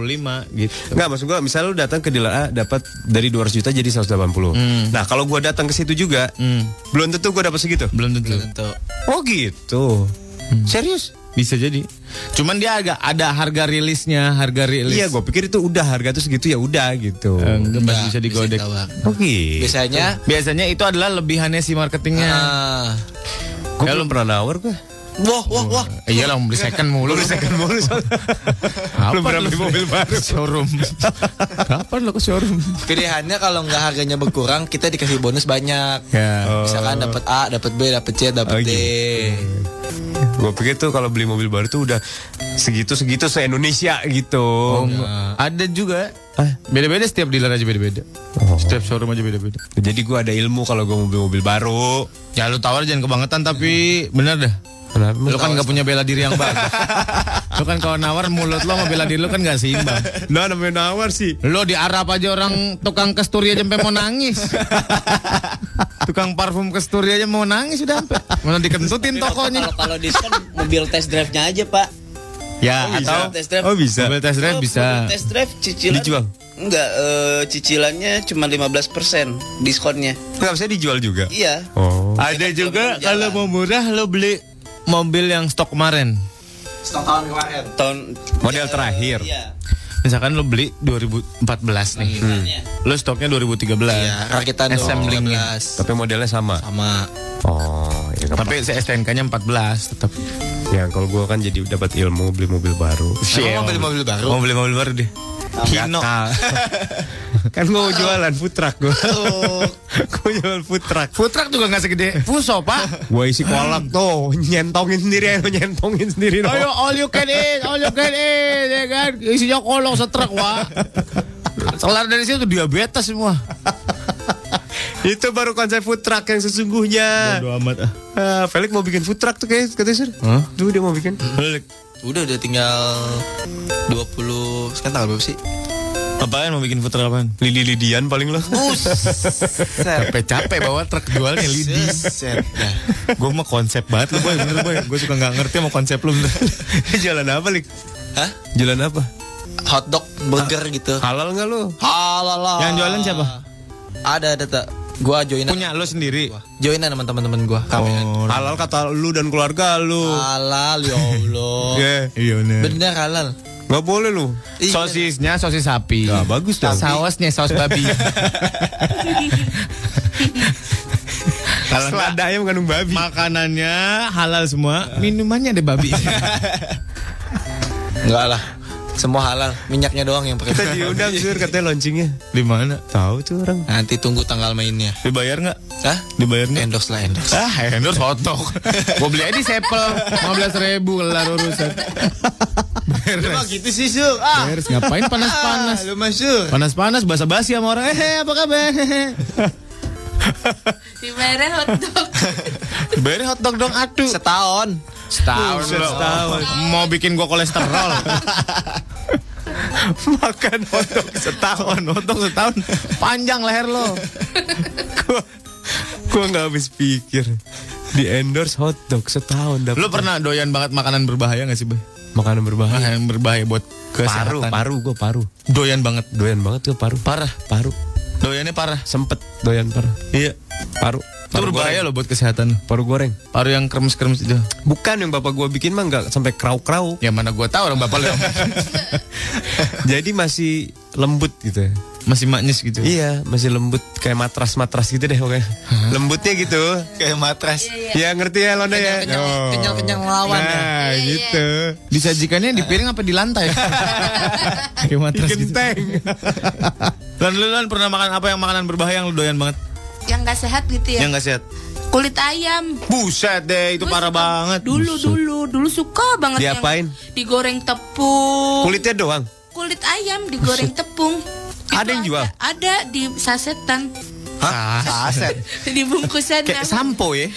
E: gitu.
G: Enggak maksud gua misalnya lu datang ke dealer A dapat dari 200 juta jadi 180.
E: Hmm.
G: Nah, kalau gua datang ke situ juga, belum tentu gua dapat segitu.
E: Belum tentu.
D: Untuk
G: Oh, gitu.
E: Hmm.
G: Serius?
E: Bisa jadi. Cuman dia agak ada harga rilisnya, harga rilis.
G: Iya, gua pikir itu udah harga tuh segitu ya udah gitu.
E: Eh, enggak, masih
D: Enggak,
E: bisa digodek.
D: ditawar.
G: Oh, gitu.
D: Biasanya
E: Biasanya itu adalah lebihannya si marketingnya.
D: ah,
G: Gua
E: Ya,
G: belum pernah nawar gua.
D: wah wah wah.
E: Iya lah beli second mulu. Beli second mulu.
G: Belum pernah beli mobil baru.
E: showroom. Kapan lo ke showroom?
D: Pilihannya kalau nggak harganya berkurang, kita dikasih bonus banyak.
E: Ya.
D: Misalkan dapat A, dapat B, dapat C, dapat
G: Oh,
D: D.
G: Gue pikir tuh kalau beli mobil baru tuh udah segitu-segitu se-Indonesia gitu.
E: Oh, Ada juga. Beda-beda setiap dealer aja beda-beda. Setiap showroom aja beda-beda.
G: Jadi gue ada ilmu kalau gue mau beli mobil baru.
E: Ya lu tawar jangan kebangetan tapi bener dah.
G: Kenapa?
E: Lu kan nggak punya bela diri yang bagus. lu kan kalau nawar mulut lo sama bela diri lu kan nggak seimbang.
G: Nah, namanya nawar sih.
E: Lo di Arab aja orang tukang kesturi aja sampai mau nangis. tukang parfum kesturi aja mau nangis udah sampai. Mau dikentutin tokonya.
J: Kalau kalau diskon mobil test drive-nya aja, Pak.
E: Ya,
J: bisa.
E: atau
J: Test drive.
E: Oh, bisa. Mobil test drive
J: Oh,
E: bisa.
J: mobil Test drive cicilan.
G: Dijual?
J: Enggak, eh, cicilannya cuma 15% diskonnya.
G: Enggak bisa dijual juga.
J: Iya.
G: Oh.
E: Ada juga kalau mau murah lo beli mobil yang stok kemarin.
D: Setengah tahun kemarin.
J: Tahun
G: Model terakhir.
J: Iya.
E: Misalkan lo beli 2014 nih. Lo stoknya 2013.
D: Iya, rakitan
E: Assembling.
D: 12
G: Tapi modelnya sama.
D: sama
G: Oh, ya nggak
E: Tapi STNK-nya 14 tetap.
G: apa-apa. ya kalau gue kan jadi dapat ilmu beli mobil baru.
E: Iya,
D: Emang mau beli mobil baru?
E: Mau beli mobil baru Oh, deh. Kino.
G: kan gue mau jualan food truck gue. gue jualan food truck.
E: Food truck juga nggak segede Fuso, Pak.
G: Gue isi kolak tuh, nyentongin sendiri, ayo nyentongin sendiri. dong.
E: Ayo all you can eat, all you can eat, ya kan? Isinya kolong setrek, wah. Kelar dari situ diabetes semua.
G: Itu baru konsep food truck yang sesungguhnya.
E: Bodo amat ah.
G: Ah, Felix mau bikin food truck tuh kayak katanya sir. Tuh dia mau bikin.
D: udah udah tinggal 20 sekarang tanggal berapa sih?
E: Apaan mau bikin food truck apaan?
G: Lili Lidian paling lah.
D: Buset.
E: Capek-capek bawa truk jualnya lidi.
D: Buset. Ya. dah.
E: gue mah konsep banget lu boy, bener boy. Gue suka nggak ngerti sama konsep lu bener.
G: Jalan apa, Lik?
D: Hah?
G: Jalan apa?
D: Hotdog burger gitu.
G: Halal nggak lo?
D: Halala.
E: Yang jualan siapa?
D: Ada ada tak. Gua joinan.
E: Punya lo sendiri. Oh.
D: Joinan sama teman-teman gua. Kami.
G: kan Halal kata lu dan keluarga lu.
D: Halal ya Allah.
G: Iya.
E: Iya bener.
D: Bener halal.
G: Nggak boleh lu.
D: Iya.
E: Sosisnya sosis sapi.
G: Nah, bagus dong.
E: Sausnya saus babi. Kalau nggak,
G: Selada ayam kandung babi.
E: makanannya halal semua, minumannya ada babi.
D: Enggak lah. Semua halal. Minyaknya doang yang
G: Kita
D: pakai.
G: diundang sir katanya launchingnya.
E: Di mana?
G: Tahu tuh orang.
D: Nanti tunggu tanggal mainnya.
E: Dibayar nggak?
D: Hah?
E: Dibayar nggak?
D: Endorse lah endorse.
E: Ah, endorse hotok. Gue beli aja di sepel, 15 ribu kelar urusan. Beres.
D: gitu sih, Syuk. Ah.
E: Beres, ngapain panas-panas?
D: Lu masuk.
E: Panas-panas, basa-basi sama orang. Eh, apa kabar?
B: Dibayarnya hotdog.
G: Eh,
E: Beri hotdog dong, aduh.
D: Setahun.
E: Setahun,
G: Buset, setahun.
E: Mau bikin gua kolesterol.
G: Makan hotdog setahun.
E: hotdog setahun. Panjang leher lo.
G: gua gua nggak habis pikir. Di endorse hotdog setahun dapat.
E: Lo pernah doyan banget makanan berbahaya gak sih, Boy?
G: makanan berbahaya?
E: Makanan berbahaya buat
G: Paru,
E: kesehatan.
G: paru gue paru.
E: Doyan banget.
G: Doyan banget gue paru. Parah, paru.
E: Doyannya parah.
G: Sempet doyan paru.
E: Iya.
G: Paru.
E: Itu berbahaya loh buat kesehatan.
G: Paru goreng.
E: Paru yang kremes-kremes itu.
G: Bukan yang bapak gua bikin mah nggak sampai krau-krau.
E: Ya mana gua tahu orang bapak lo
G: Jadi masih lembut gitu. ya.
E: masih maknyis gitu.
G: Iya, masih lembut kayak matras-matras gitu deh pokoknya. Lembutnya gitu.
D: Kayak matras.
E: Iya,
G: Ya ngerti ya Londa ya. Oh.
D: Kenyang-kenyang melawan.
B: Iya,
G: Nah, gitu.
E: Disajikannya di piring apa di lantai? Kayak matras gitu. Lan lu Lan, pernah makan apa yang makanan berbahaya yang lu doyan banget?
B: Yang nggak sehat gitu ya.
E: Yang gak sehat?
B: Kulit ayam.
E: Iya. Buset deh, itu
B: Gua
E: parah
B: suka-
E: banget.
B: Dulu dulu dulu suka banget yang
G: Diapain?
B: digoreng tepung.
G: Kulitnya doang.
B: Kulit ayam digoreng tepung. Itu
G: Ada yang jual?
B: Ada, di sasetan,
E: Hah?
D: Aset.
B: di bungkusan.
E: Kayak sampo ya.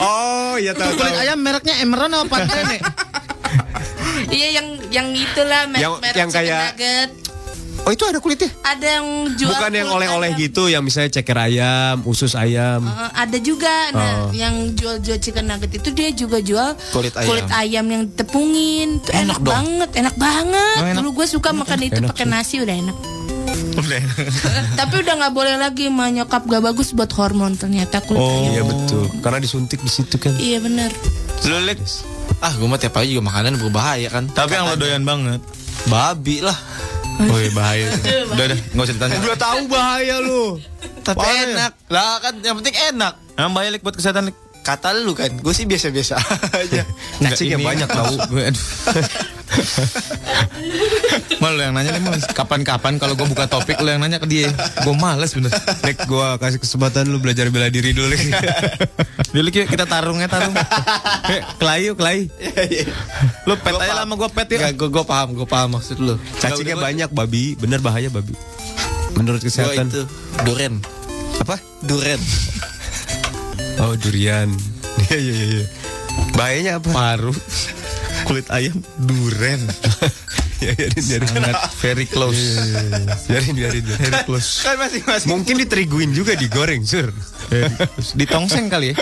G: Oh, iya tahu tahu.
E: ayam mereknya Emerald apa Pantene?
B: Iya yang yang itulah merek
G: Yang- yang kayak-
B: nugget.
G: Oh, itu ada kulitnya.
B: Ada yang jual
G: Bukan yang
B: kulit
G: oleh-oleh
B: ayam.
G: gitu, yang misalnya ceker ayam, usus ayam.
B: Eh, ada juga nah
G: Oh.
B: yang jual-jual chicken nugget itu dia juga jual
D: Kulit ayam.
B: yang tepungin Itu enak, banget enak banget
E: Oh, enak.
B: dulu gue suka makan itu pakai nasi udah enak tapi udah nggak boleh lagi sama nyokap gak bagus buat hormon ternyata kulit ayam
G: Iya betul. Karena disuntik di situ kan.
B: iya bener
E: Lu Lik,
D: Ah, gue mah tiap pagi juga makanan berbahaya kan.
E: tapi yang lo doyan banget.
D: babi lah.
E: Oh iya bahaya. Udah udah, enggak usah ditanya.
G: Udah tahu bahaya lu.
D: Tapi
E: Parah ya?
D: enak. Lah kan yang penting enak.
E: Yang bahaya Lik, buat kesehatan Lik.
D: Kata lu kan, gue sih biasa-biasa aja.
E: Cacing banyak tahu. Malu yang nanya nih Mas. Kapan-kapan kalau gue buka topik lo yang nanya ke dia. Gue males bener.
G: Nek gua kasih kesempatan lu belajar bela diri dulu. Lik.
E: Dulu yuk kita tarungnya tarung.
G: Eh, Kelayu, kelai.
E: Lu pet aja lah sama gue pet yuk.
D: gue gue paham, gue paham maksud lu.
G: Cacingnya
D: Gua-
G: banyak babi, bener bahaya babi.
D: gua
G: Menurut kesehatan.
D: itu duren.
G: Apa?
D: Duren.
G: Oh, durian. Iya, iya, iya, iya. Bahayanya apa?
E: Paru.
G: Kulit ayam duren. ya, biarin, biarin. Iya,
E: Sangat very close.
G: Biarin, biarin, biarin.
D: Kan masing-masing.
G: Mungkin diteriguin juga digoreng, sur.
E: Ditongseng kali ya.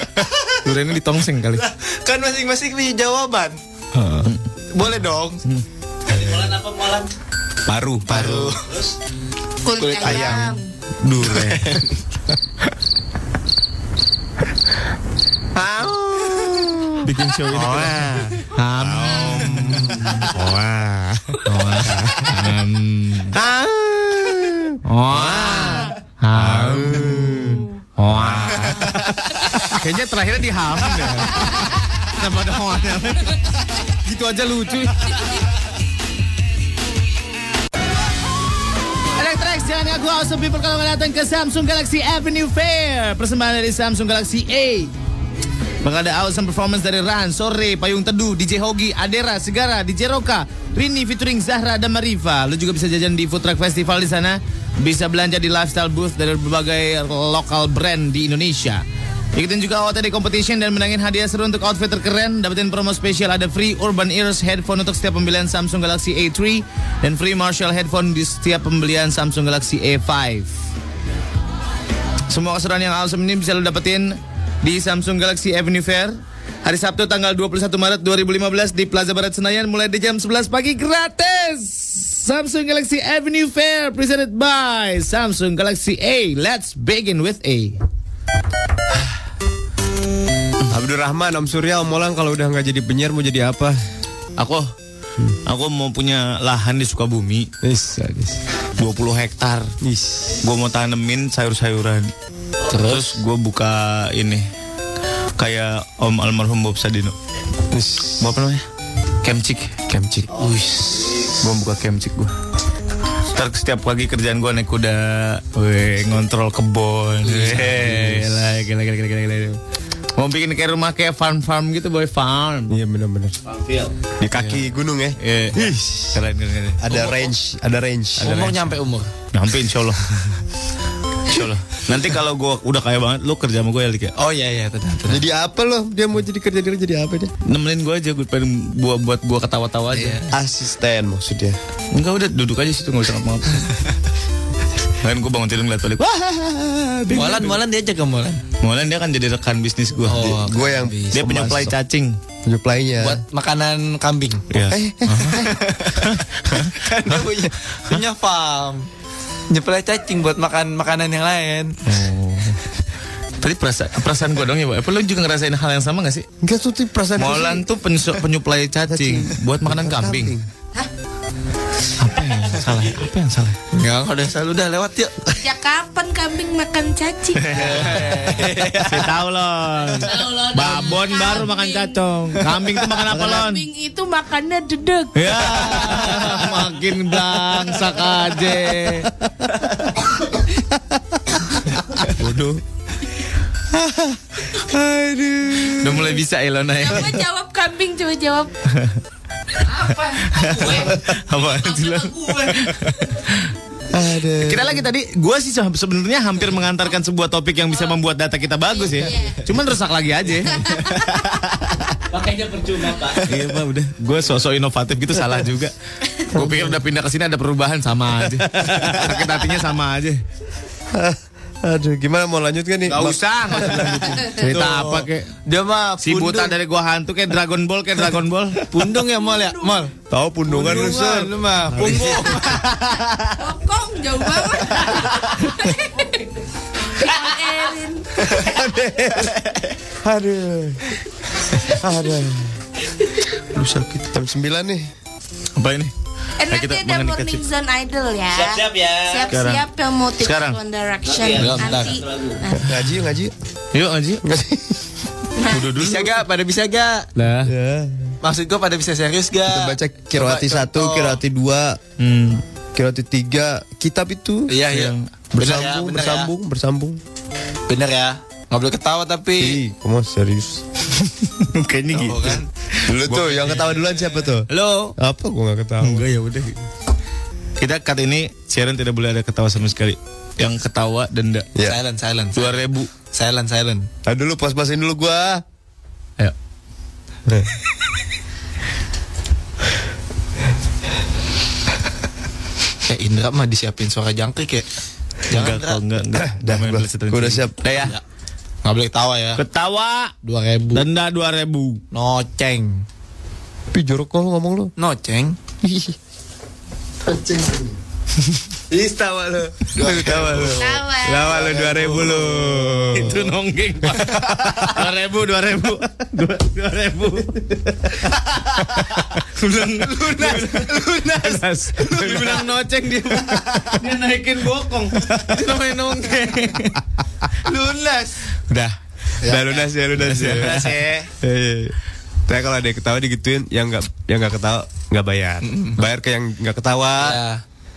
E: Duriannya ditongseng kali.
D: Kan masing-masing punya jawaban. Boleh dong.
J: Molan apa molan?
G: Paru, paru.
B: kulit,
D: Kulit
B: ayam,
D: ayam.
G: Duren.
E: Bikin show ini. Am.
G: Wah. Ah.
E: Kayaknya terakhirnya di ham deh. Kenapa ada hoanya? Gitu aja lucu. Electrix jangan ngaku awesome people kalau nggak datang ke Samsung Galaxy Avenue Fair. Persembahan dari Samsung Galaxy A. Bakal ada awesome performance dari Ran, Sore, Payung Teduh, DJ Hogi, Adera, Segara, DJ Roka, Rini featuring Zahra dan Marifa. Lu juga bisa jajan di Food Truck Festival di sana. Bisa belanja di lifestyle booth dari berbagai lokal brand di Indonesia. Ikutin juga OOTD Competition dan menangin hadiah seru untuk outfit terkeren. Dapetin promo spesial ada free Urban Ears headphone untuk setiap pembelian Samsung Galaxy A3 dan free Marshall headphone di setiap pembelian Samsung Galaxy A5. Semua keseruan yang awesome ini bisa lo dapetin di Samsung Galaxy Avenue Fair hari Sabtu tanggal 21 Maret 2015 di Plaza Barat Senayan mulai di jam 11 pagi gratis. Samsung Galaxy Avenue Fair presented by Samsung Galaxy A. Let's begin with A.
G: Abdurrahman, Om Surya, Om Molang kalau udah nggak jadi penyiar mau jadi apa?
E: Aku aku mau punya lahan di Sukabumi
G: Is, is,
E: 20 hektar.
G: is.
E: Gue mau tanemin sayur-sayuran. Terus, gue buka ini kayak Om almarhum Bob Sadino. Gua apa namanya? Kemcik. Kemcik. Uish. Gua buka kemcik gua. Ntar setiap pagi kerjaan gua naik kuda, weh, ngontrol kebun. Weh, gila, gila, gila, gila, gila, gila. Mau bikin kayak rumah kayak farm-farm gitu, boy, farm.
G: Iya benar-benar. Di kaki gunung ya.
E: Iya. Keren, keren, keren.
G: Ada range, ada range.
D: Umur nyampe umur.
E: Nyampe insya Allah. insya Allah. Nanti kalau gua udah kaya banget, lu kerja sama gua ya, Lik, ya.
D: Oh iya iya tetap. tetap.
G: Jadi apa loh? Dia mau jadi kerja dia jadi apa dia?
E: Nemenin gua aja, gua pengen gua buat gua ketawa-tawa aja.
G: Asisten maksudnya.
E: Enggak udah duduk aja situ nggak usah ngapa-ngapa. Kan gue bangun tidur ngeliat balik Wah
D: Molan molan dia jaga molan.
E: Mulan dia kan jadi rekan bisnis gue
D: Oh,
G: Gue yang
E: Dia penyuplai cacing
G: penyuplainya.
D: buat makanan kambing.
E: Iya.
D: Eh, kan dia punya punya farm. Nyeplai cacing buat makan makanan yang lain. Oh. Tadi perasaan, perasaan gue dong ya, Pak. Apa Lu juga ngerasain hal yang sama gak sih?
G: Enggak tuh tuh perasaan gua sih.
D: Molan tuh penyu- penyuplai cacing buat makanan kambing. Apa yang salah? Apa yang salah? Ya, udah salah udah lewat yuk.
B: Ya kapan kambing makan cacing?
E: Saya tahu loh. Babon baru makan cacing. Kambing tuh makan apa lon?
B: Kambing itu makannya dedek.
E: Ya, makin blangsak aja.
D: Udah mulai bisa Elona ya.
B: Coba jawab kambing, coba jawab. Apa? Gue.
D: Apa?
E: Kita lagi tadi, gue sih se- sebenarnya hampir mengantarkan sebuah topik yang bisa membuat data kita bagus ya. Cuman rusak lagi aja.
J: Makanya percuma pak.
E: Iya pak, udah. Gue sosok inovatif gitu salah juga. Gue pikir udah pindah ke sini ada perubahan sama aja. Sakit hatinya sama aja.
G: Aduh, gimana mau lanjut gak nih?
E: Gak usah. Cerita apa kek?
D: Dia mah
E: Si buta dari gua hantu kayak Dragon Ball kayak Dragon Ball.
D: pundung ya mall ya mall.
G: Tahu pundungan lu, Sur.
D: lu mah punggung.
B: Bokong jauh banget. Erin.
G: Aduh. Aduh. Lu sakit. Jam 9 nih.
E: Apa ini?
B: Eh, nanti
E: kita
B: ada
E: mengenai
B: morning zone idol ya.
J: Siap-siap ya.
B: Siap-siap yang mau tips
E: Sekarang.
B: on direction
J: Belum,
D: bentar.
B: nanti. Nah,
G: Ngaji, yuk, ngaji.
E: Yuk Aji.
D: Bisa gak? Pada bisa gak?
E: Lah.
G: Ya.
D: Maksud gue pada bisa serius gak?
G: Kita baca kirati
D: Coba
G: satu,
D: contoh.
G: kirati dua,
E: Hmm.
G: kirati tiga. Kitab itu
D: Iya iya.
G: bersambung,
D: bener ya,
G: bersambung, bersambung.
D: Bener ya. Nggak boleh ketawa tapi.
G: Ih, kamu serius.
E: Kayaknya gitu.
D: Oh, kan?
G: Dulu tuh yang ketawa duluan siapa tuh?
E: Lo.
G: Apa gua gak ketawa?
E: Enggak ya udah. Kita kali ini siaran tidak boleh ada ketawa sama sekali. Yang ketawa denda.
G: Ya.
D: Silent silent.
E: Dua ribu.
D: Silent silent.
G: Nah, dulu pas-pasin dulu gua.
E: Ayo.
D: Ya Indra mah disiapin suara jangkrik ya. Jangan
E: Enggak
D: Indra.
E: kok enggak enggak.
F: Eh,
G: Dah,
E: Main
G: gua,
E: Blast and
G: gua udah
E: Train.
G: siap.
D: Udah ya. Nggak boleh ketawa ya.
E: Ketawa
D: Dua ribu.
E: denda dua ribu.
D: Noceng.
G: Tapi jorok kok lu ngomong lu.
D: Noceng.
B: tawa.
G: Lawan lu 2000 lu.
E: Itu nonggeng. Dua ribu dua ribu dua dua ribu. Lunas lunas lunas. Dibilang noceng dia dia naikin bokong. Itu namanya nonggeng.
D: Lunas.
G: Udah. Udah lunas ya, lunas ya.
D: Lunas ya.
G: Eh, Tapi kalau ada yang ketawa digituin yang nggak yang nggak ketawa nggak bayar. Bayar ke yang nggak ketawa.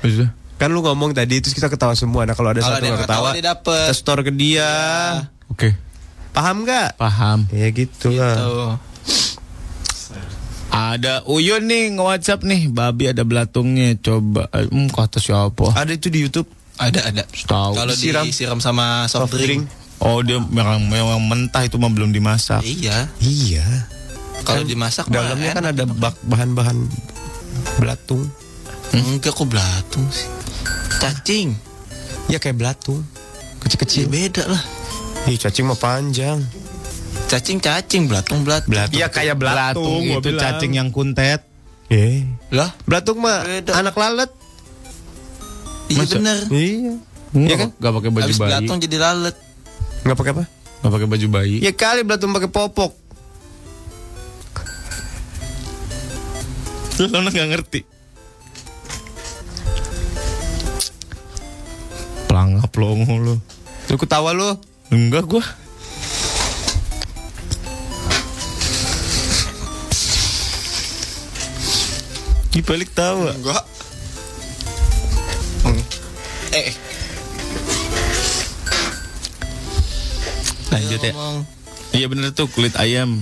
D: Ya.
G: Kan lu ngomong tadi terus kita ketawa semua. Nah kalau ada
D: Kalau
G: satu
D: dia
G: nggak
D: ketawa,
G: ketawa,
D: dia dapet. Ah,
G: kita store ke dia.
E: Oke.
G: Paham nggak?
E: Paham.
G: Ya gitu lah.
D: Tuh.
E: Ada Uyun nih nge-WhatsApp nih, babi ada belatungnya. Coba hmm kata siapa?
G: Ada itu di YouTube.
D: Ada ada.
E: Tahu.
D: Kalau
G: Disiram.
D: disiram sama soft, drink.
E: Oh dia memang memang mentah itu mah belum dimasak.
D: Iya.
G: Iya.
D: Kalau dimasak mah
G: Dalamnya kan
D: enak.
G: ada bak- bahan-bahan belatung.
D: Enggak kok belatung sih. Cacing.
G: Ya kayak belatung.
D: Ya
G: Kecil-kecil.
D: beda lah.
G: Ih, cacing mah panjang.
D: Cacing cacing belatung belatung.
E: Belatung.
G: Iya, kayak belatung, gua
E: itu
G: bilang.
E: cacing yang kuntet.
G: Eh.
D: Lah,
G: Belatung mah
D: Beda.
G: anak lalat.
D: iya
E: Masa?
D: bener.
G: Iya.
E: Iya
G: kan?
E: Gak pakai baju
D: Habis
E: bayi.
D: belatung jadi lalat.
G: Nggak pakai apa?
E: Gak pakai baju bayi.
G: Ya kali belatung pakai popok.
E: Lu Lona gak ngerti. Pelangap lo ngomong lo.
G: Lu ketawa lu.
E: Enggak gua. Dibalik tawa.
D: Enggak. Eh.
E: Lanjut ya.
D: Ngomong.
E: Iya bener tuh kulit ayam.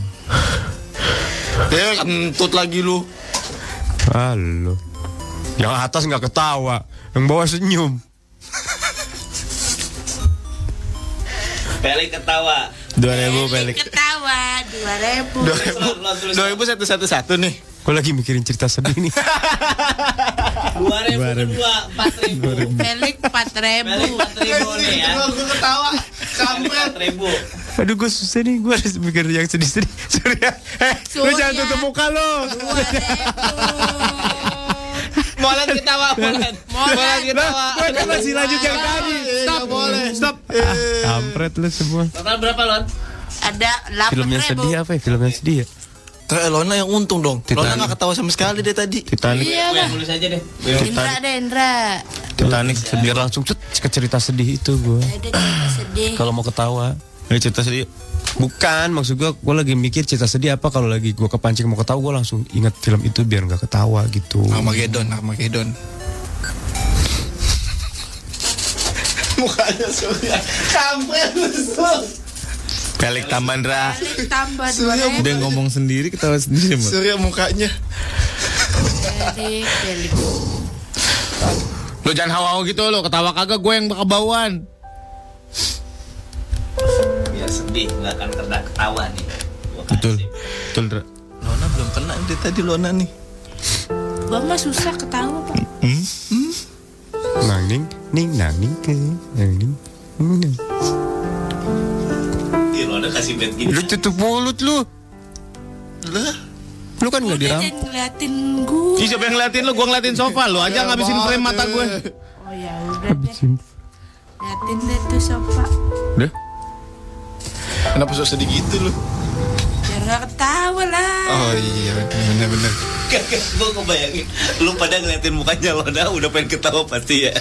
D: Eh, kentut lagi lu.
G: Halo. Yang atas nggak ketawa, yang bawah senyum.
J: Pelik ketawa.
B: Eh,
E: 2000 pelik.
B: Ketawa 2000.
D: Dua ribu satu satu satu nih.
G: Gue lagi mikirin cerita sedih nih.
J: Dua ribu dua, empat ribu.
B: Pelik 4000.
J: Pelik empat ribu nih ya.
D: Gue ketawa.
J: Empat ribu.
G: Aduh gue susah nih, gue harus mikir yang sedih-sedih. Surya, eh, lu
B: Surya.
G: jangan tutup muka lo.
B: 2000.
D: Molan ketawa, Molan. Molan
B: Nah.
D: ketawa.
G: Gue kan masih lanjut yang tadi.
E: Stop. boleh. Stop.
G: Kampret lu semua.
D: Total berapa, Lon?
B: Ada 8
G: Filmnya
B: ribu.
G: sedih apa ya? Filmnya sedih ya?
D: Kayak Lona yang untung dong.
G: Titanic.
D: Lona gak ketawa sama sekali deh tadi.
G: Titanic.
B: Iya lah.
D: Mulus aja deh.
E: Iya,
B: Indra deh Indra.
G: Titanic biar langsung cet ke cerita sedih itu gue.
B: Ada cerita sedih.
G: Kalau mau ketawa. Ini cerita sedih. Bukan, maksud gue, gue lagi mikir cerita sedih apa kalau lagi gue kepancing mau ketawa, gue langsung inget film itu biar nggak ketawa gitu.
D: Armageddon, Armageddon. Mukanya surya. Kampret Pelik Tambandra.
B: Paling Tambah dua ribu
E: Dia ngomong sendiri ketawa sendiri. Mut.
D: Surya mukanya.
B: dari Felix.
E: Lu jangan hawa-hawa gitu lo, ketawa kagak gue yang kebauan.
J: Biar sedih, nggak akan kena ketawa nih. Gua
E: Betul.
J: kasih.
E: Betul, Dra.
D: Lona belum kena deh tadi Lona nih.
B: Gua mah susah ketawa pak.
G: Nang ning, ning nang ning ke, nang ning. ning, nang.
J: Ih, Lona Iya, kasih bed gitu. gini.
G: Lu tutup mulut lu.
D: Lah,
G: Lu kan nggak
B: Udah
G: diram.
B: jangan ngeliatin gua.
E: Ih, siapa yang ngeliatin lu? Gue ngeliatin sofa lu aja ngabisin frame mata gue.
B: Oh ya udah deh. Ngeliatin deh tuh sofa.
E: Udah.
D: kenapa sok sedih gitu lu?
B: Biar nggak ketawa lah.
D: Oh iya, bener-bener.
J: Kagak, gua ngebayangin. Lu pada ngeliatin mukanya Lona udah pengen ketawa pasti ya.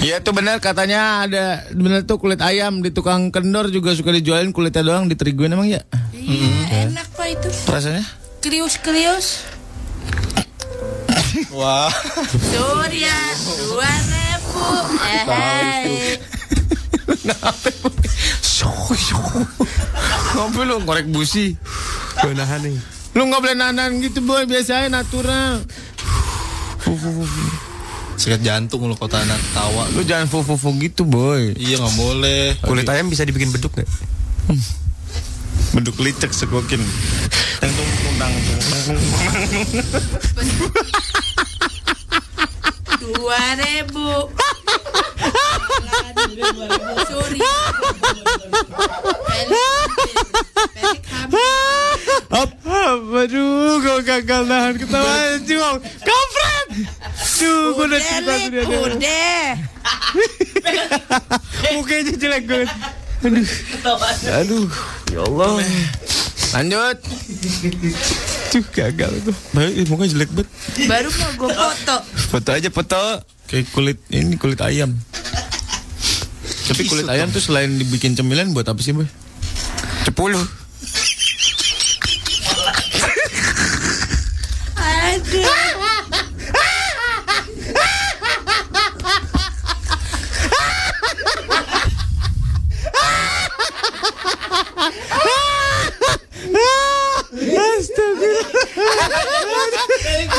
E: Iya tuh benar katanya ada benar tuh kulit ayam di tukang kendor juga suka dijualin kulitnya doang diteriguin emang ya?
B: Iya enak pak itu.
E: Rasanya?
B: Krius krius.
D: Wah,
B: Surya dua ribu. Eh, hai.
E: Ngopi lu korek busi.
G: Gue nahan nih.
E: Lu nggak boleh nanan gitu boy biasanya natural.
D: sakit jantung lu kota anak ketawa.
E: Lu jangan fofo gitu boy.
D: Iya nggak boleh.
G: Kulit ayam bisa dibikin beduk nggak?
E: Bentuk licek sekokin.
B: dua ribu. Surya. Felix hampir. Felix hampir.
E: Up. Aduh, gue gagal nahan ketawa cium. Kampret. Duh, gue udah cerita
B: Felix
E: tuh dia. dia.
B: udah.
E: Mukanya jelek gue. Aduh. Aduh. Ya Allah. Lanjut.
G: Tuh gagal tuh.
E: Baik, mukanya jelek banget.
B: Baru mau gue foto.
E: Foto aja foto. Kayak kulit ini kulit ayam. Tapi kulit ayam tuh selain dibikin cemilan buat apa sih, Boy?
G: Sepuluh.
B: Aduh.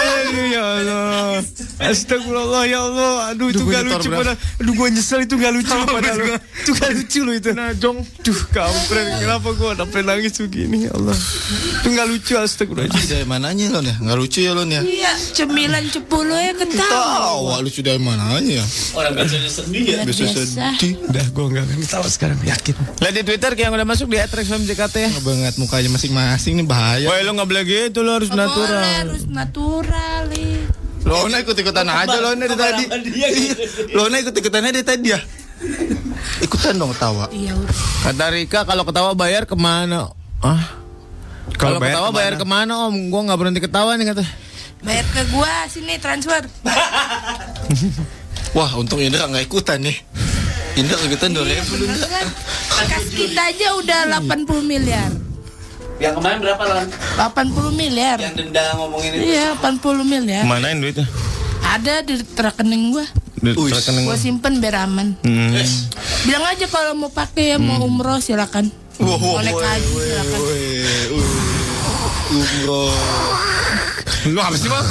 G: Aduh ya Allah. Astagfirullah ya Allah. Aduh itu
E: gue
G: gak
E: nyetor
G: lucu
E: berapa?
G: padahal. Aduh gue nyesel itu gak lucu padahal. lu. Itu gak lucu lo itu. Nah jong. Duh kampret. Kenapa gue sampai nangis begini ya Allah. Itu gak lucu astagfirullah.
D: Lucu dari mananya Lon ya? Nggak lucu ya Lon ya?
B: Iya, cemilan cepuluh ya ketawa.
D: Tawa lucu dari mananya?
J: Orang biasanya sedih ya.
D: Bisa
B: Biasa.
D: sedih.
G: Udah gue gak akan ketawa sekarang yakin.
E: Lihat di Twitter kayak yang udah masuk di @rexfmjkt ya.
D: Banget mukanya masing-masing nih bahaya.
E: Boy, lu nggak boleh gitu, lu harus
B: Boleh,
E: natural.
B: harus natural. Li.
D: Lona ikut-ikutan aja Lona dari tadi. Iya, Lona ikut-ikutan aja dari tadi ya. Ikutan dong ketawa.
B: Iya udah.
E: Kata Rika kalau ketawa bayar kemana? Ah, kalau ketawa bayar kemana om? Gua nggak berhenti ketawa nih kata.
B: Bayar ke gua sini transfer.
D: Wah, untung Indra nggak ikutan nih. Indra ikutan dua ribu
B: Bener kan? Kas kita aja udah 80 miliar.
J: Yang kemarin berapa Lon?
B: 80 miliar.
J: Yang denda ngomongin itu.
B: Iya, 80 miliar.
E: Manain duitnya?
B: Ada di rekening gua. Gua
E: Hmm.
B: simpen biar aman. Bilang aja kalau mau pakai ya,
E: Hmm.
B: mau umroh silakan.
D: Wah, wah,
B: Mau naik
D: wah,
B: haji silakan.
D: Umroh.
E: Lu apa sih bang?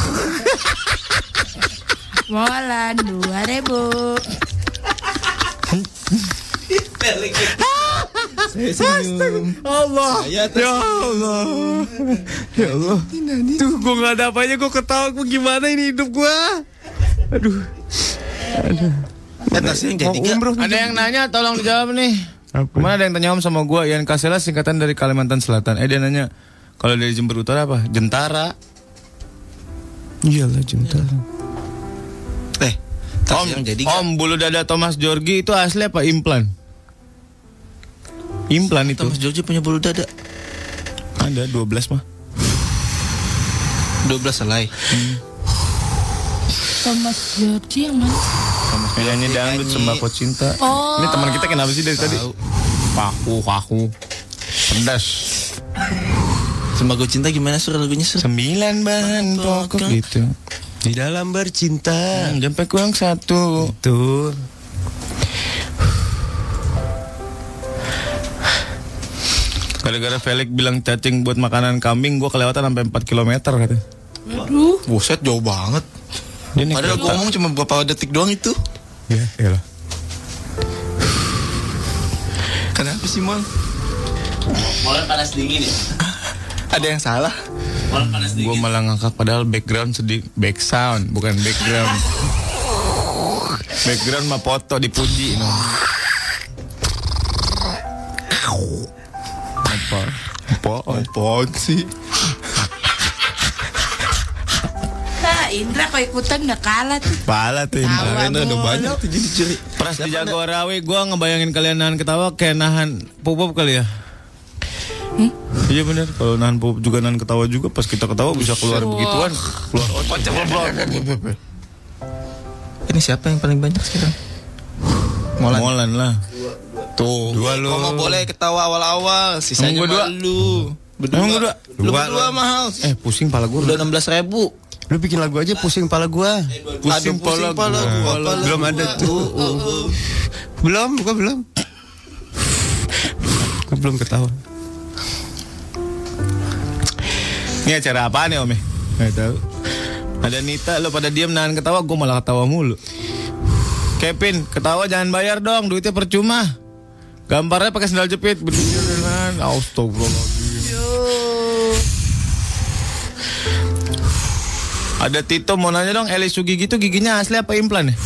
B: Molan 2000.
G: Allah.
D: Iya,
G: Ya Allah. Ya Allah. Tuh gue gak ada apanya gue ketawa. Gue gimana ini hidup gue. Aduh.
D: Eh, nasi yang jadi nggak?
E: Ada yang nanya, tolong dijawab nih.
G: Apa?
E: Kemana ada yang tanya om sama gue? Ian Kasela singkatan dari Kalimantan Selatan. Eh dia nanya, Kalau dari Jember Utara apa? Jentara. Iya
G: Iyalah jentara.
D: Eh,
E: Om,
D: yang jadi
E: Om bulu dada Thomas Jorgi itu asli apa implan? Implan itu.
D: Thomas George punya bulu dada
E: Ada 12 mah.
D: 12 selai.
B: Thomas Jordi yang mana?
E: Penyanyi dangdut sembako cinta.
B: Oh.
E: Ini teman kita kenapa sih dari tadi? Paku, paku. Pedas.
D: Sembako cinta gimana sur lagunya sur?
E: Sembilan bahan pokok gitu.
G: Di dalam bercinta.
E: Hmm, sampai kurang satu.
G: Tuh.
E: Gara-gara Felix bilang cacing buat makanan kambing, gua kelewatan sampai 4 km katanya.
B: Aduh.
D: Buset jauh banget.
E: Dia naik
D: Padahal
E: kereta.
D: gua ngomong cuma beberapa detik doang itu.
E: Ya, iyalah.
D: Kenapa sih Mon?
J: Mulai panas dingin ya.
D: Ada yang salah?
J: Mulai panas
E: Gue
J: dingin.
E: malah ngakak padahal background sedih back sound bukan background. background mah foto dipuji. No. Apa? Apa? Apaan sih?
B: Nah, Indra kok ikutan udah kalah tuh.
E: Pala tuh yang
B: Tawa
E: kemarin udah
B: mulu.
E: banyak tuh jadi curi. Pras di Jagorawi, gue ngebayangin kalian nahan ketawa kayak nahan pupuk kali ya. Iya bener, kalau nahan pupuk juga nahan ketawa juga pas kita ketawa bisa keluar begituan. Keluar otot.
D: Ini siapa yang paling banyak sekarang?
E: Molan. lah. Tuh. Dua lu.
D: Gua mau boleh ketawa awal-awal, sisanya
E: Emang gua dua?
D: malu lu. Berdua.
E: Emang gua dua?
D: Lu
E: Dua.
D: berdua mahal.
E: Eh pusing pala gue.
D: Udah 16 ribu.
G: Lu bikin lagu aja pusing pala gua.
E: Pusing pala gua.
G: Belum ada
D: Uh,
G: tuh. Belum, gua belum. Gua belum ketawa.
E: Ini acara apaan ya Om? Gak tahu. Ada Nita, lo pada diam nahan ketawa, gue malah ketawa mulu. Kevin, ketawa jangan bayar dong, duitnya percuma. Gambarnya pakai sandal jepit, berdiri dengan Astagfirullahaladzim. Ada Tito mau nanya dong, Eli Sugigi itu giginya asli apa implan ya?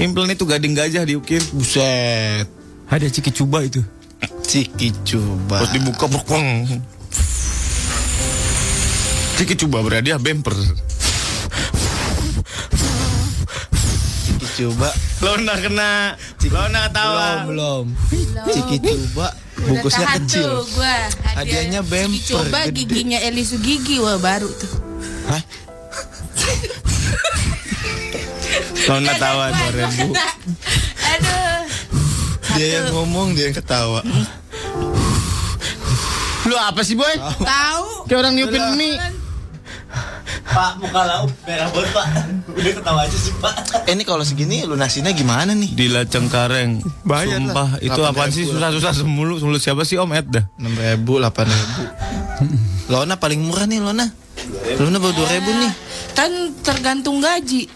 E: Implan itu gading gajah diukir. Buset.
G: Ada ciki coba itu.
D: Ciki coba.
E: Terus dibuka bokong. Ciki coba berhadiah bumper.
D: Ciki coba.
E: Lo nah kena, lo nah ketawa.
D: Belum. Ciki coba. Bungkusnya
B: Udah tahan
D: kecil.
B: Tuh, gua. Hadiah-
D: Hadiahnya bemper,
B: Coba
D: gede.
B: giginya Elisu gigi wah baru tuh.
E: Lo nah tawa
B: Gua- gua kena. Aduh.
D: Dia yang ngomong, dia yang ketawa.
E: Lo apa sih boy?
B: Tahu.
E: Kayak orang niupin mie.
J: Pak muka lauk merah banget pak. Udah ketawa aja sih pak.
D: Eh, ini kalau segini lunasinnya gimana nih?
E: Di Laceng Kareng.
D: Bayar lah.
E: Sumpah, itu
D: Delapan
E: apaan
D: ribu
E: sih
D: lah.
E: susah-susah semulu. Semulu siapa sih Om Ed dah?
D: 6 ribu, 8 ribu. Lona paling murah nih Lona. Lona baru 2 ribu nih.
B: Kan tergantung gaji.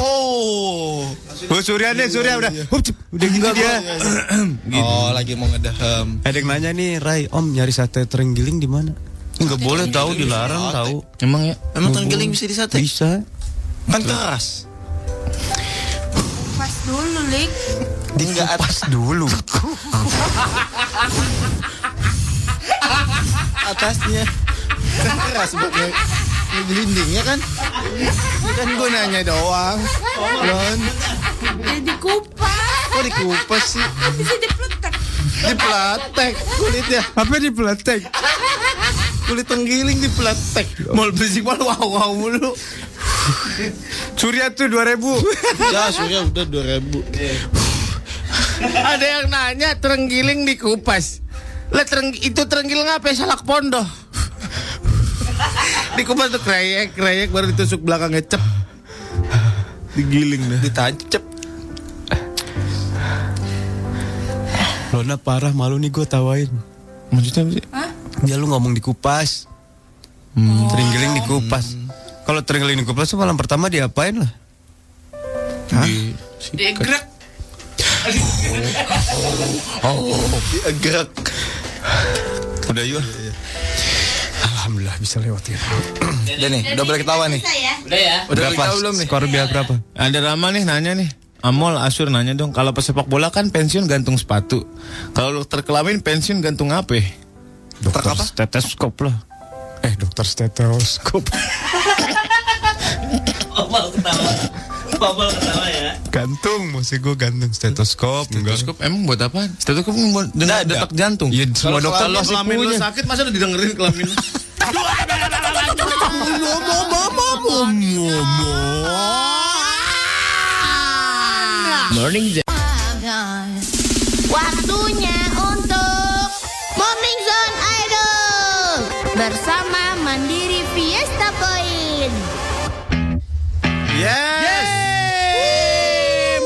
D: Oh.
G: Bu Surya deh, Surya udah.
E: Iya,
G: Hup, cip. udah gitu dia.
D: Oh, lagi mau ngedehem.
G: Ada yang nanya nih, Rai, Om nyari sate terenggiling di mana?
D: Enggak boleh tahu dilarang tahu.
E: Emang ya?
D: Emang tenggeling bisa disate?
G: Bisa.
D: Kan keras.
B: Pas dulu, Lik.
D: Di enggak atas
G: Dulu.
D: atasnya. Kan keras buat nge- ngegelindingnya kan. Kan gue nanya doang. Lon,
B: Jadi kupas.
D: kok dikupas sih?
B: Bisa dipletek.
D: Dipelatek kulitnya.
G: Apa di peletek?
D: Kulit tenggiling dipelatek.
E: Mal berisik mal wow wow mulu.
G: Surya tuh 2000.
D: Ya, surya udah 2 ribu.
E: Ada yang nanya terenggiling dikupas. Lah tereng itu terenggiling apa ya salak pondoh? dikupas tuh kreyek, kreyek baru ditusuk belakangnya cep. Digiling dah.
D: Ditancep.
G: Lona parah malu nih gue tawain.
E: Maksudnya apa sih?
G: Ya lu ngomong dikupas. Hmm. Terenggiling dikupas. Kalau terenggiling dikupas tuh malam pertama diapain lah?
B: Digrek.
D: Gerak.
E: Udah yuk.
G: Alhamdulillah bisa lewatin.
D: Udah nih, udah boleh ketawa nih.
J: Udah ya.
D: Udah boleh
G: Berapa?
D: ketawa belum nih?
G: Skor biar berapa?
E: Ada Rama nih nanya nih. Amol Asur nanya dong, kalau pesepak bola kan pensiun gantung sepatu. Kalau dokter kelamin pensiun gantung apa?
G: Dokter
D: apa?
G: stetoskop lah. Eh, dokter stetoskop.
J: Obal ketawa. Obal ketawa ya.
G: gantung, masih gue gantung stetoskop.
E: Stetoskop
G: Stetoskop.
E: emang buat apa? Stetoskop buat dengar detak jantung.
G: Iya, semua dokter
E: Kalau
G: pasti
E: kelamin lu
G: punya.
E: sakit masa udah didengerin kelamin. lu?
I: Waktunya untuk Morning Zone Idol bersama Mandiri Fiesta Point.
E: Yes.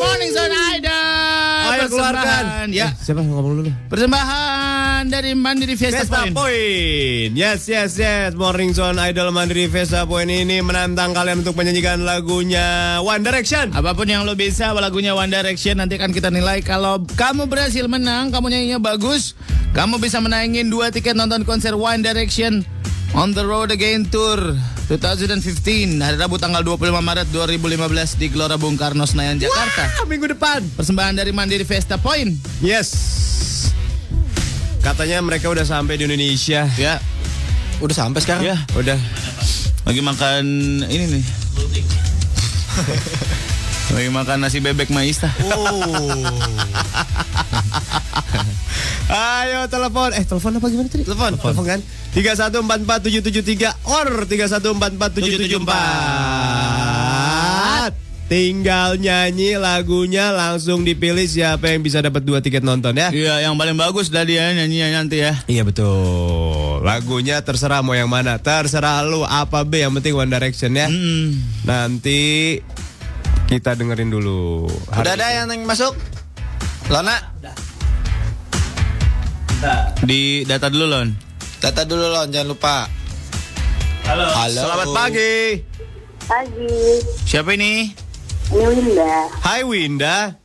E: Morning Zone Idol.
G: Ayo keluarkan.
E: Persembahan, Ya.
G: Siapa yang ngomong dulu?
E: Persembahan dari Mandiri Fiesta
G: Vesta
E: Point.
G: Point. Yes, yes, yes. Morning Zone Idol Mandiri Vesta Point ini menantang kalian untuk menyanyikan lagunya One Direction.
E: Apapun yang lo bisa, lagunya One Direction nanti akan kita nilai. Kalau kamu berhasil menang, kamu nyanyinya bagus, kamu bisa menangin dua tiket nonton konser One Direction On the Road Again Tour 2015 hari Rabu tanggal 25 Maret 2015 di Gelora Bung Karno Senayan Jakarta.
G: Ah, minggu depan.
E: Persembahan dari Mandiri Vesta Point.
G: Yes. Katanya mereka udah sampai di Indonesia.
E: Ya,
D: Udah sampai sekarang.
E: ya.
G: Udah.
E: Lagi makan ini nih. Lagi makan nasi bebek Maista.
G: Ayo telepon. Eh, telepon apa gimana tadi? Telepon. Telepon kan? 3144773 or 3144774. Tinggal nyanyi lagunya langsung dipilih siapa yang bisa dapat dua tiket nonton ya.
E: Iya, yang paling bagus tadi ya nyanyinya nanti ya.
G: Iya betul. Lagunya terserah mau yang mana, terserah lu apa B yang penting One Direction ya.
E: Hmm.
G: Nanti kita dengerin dulu.
D: Udah ada yang masuk? Lona,
E: Di data dulu, Lon.
D: data dulu Lon, jangan lupa.
J: Halo.
D: Halo.
G: Selamat pagi.
K: Pagi,
E: Siapa ini?
K: ini Winda.
G: Hai Winda.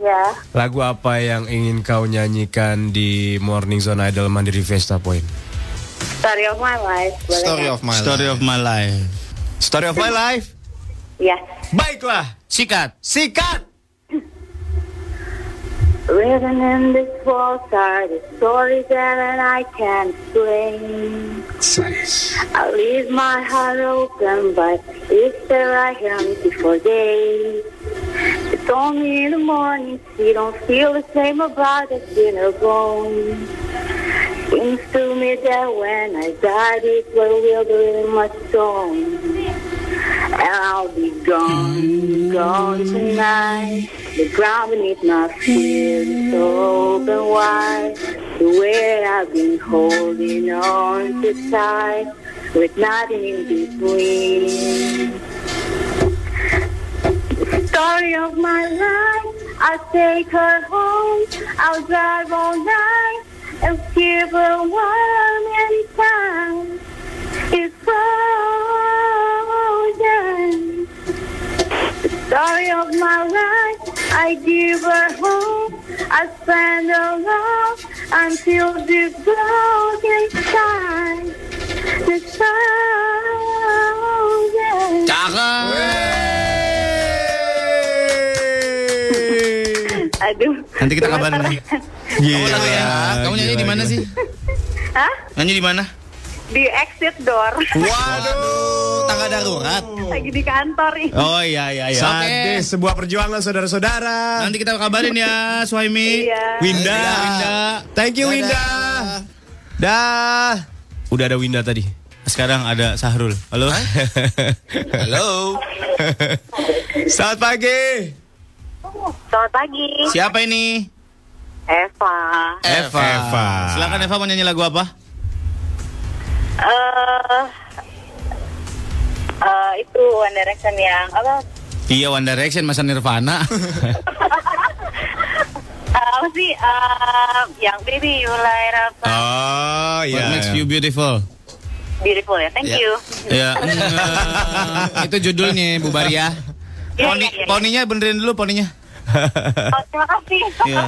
K: Ya,
G: Lagu apa yang ingin kau nyanyikan di Morning Zone Idol Mandiri Vesta Point?
K: story of my life. Boleh
D: Story
K: nggak?
D: of my
E: Story
D: life.
E: of my life.
G: Story of my life.
K: Ya.
G: Baiklah,
E: Sikat.
G: sikat.
K: Written in this walls are the stories that I can't explain. I leave my heart open, but it's there I am before day. It's only in the morning, she don't feel the same about the dinner bone. Seems to me that when I die, it will be in my stone. And I'll be gone, gone tonight. The ground beneath my feet is open wide. The way I've been holding on to tight, with nothing in between. The story of my life, I'll take her home. I'll drive all night and give her warm anytime. It's frozen. Story of my life, I give her hope. I spend her love until the broken sky. The frozen. Aduh.
E: Nanti kita kabarin lagi.
G: Iya, Gila.
E: Kamu lagu ya. Kamu nyanyi di mana sih?
K: Hah?
E: Nyanyi di mana?
K: Di exit door.
D: Waduh, tangga darurat.
K: Lagi di kantor. ih.
E: Oh iya iya iya. Oke.
G: Sadis sebuah perjuangan saudara-saudara.
E: Nanti kita kabarin ya, Suhaimi.
K: Iya.
G: Winda.
E: Winda.
G: Thank you Winda. Dah. Udah ada Winda tadi.
E: Sekarang ada Sahrul. Halo.
D: Halo.
G: Selamat pagi.
K: Selamat pagi.
E: Siapa ini?
K: Eva.
D: Eva.
E: Silakan Eva mau nyanyi lagu apa?
K: Eh eh, itu One Direction yang apa?
E: Iya One Direction masa Nirvana.
K: eh, apa sih? Eh, yang Baby You Light Up My
G: Oh
E: What
G: iya.
E: makes you beautiful?
K: Beautiful ya. Thank you.
E: Ya. eh, itu judulnya Bu ya. Baria.
K: Iya,
E: Poni,
K: iya, iya.
E: poninya benerin dulu poninya.
K: Oh, terima kasih.
E: Iya.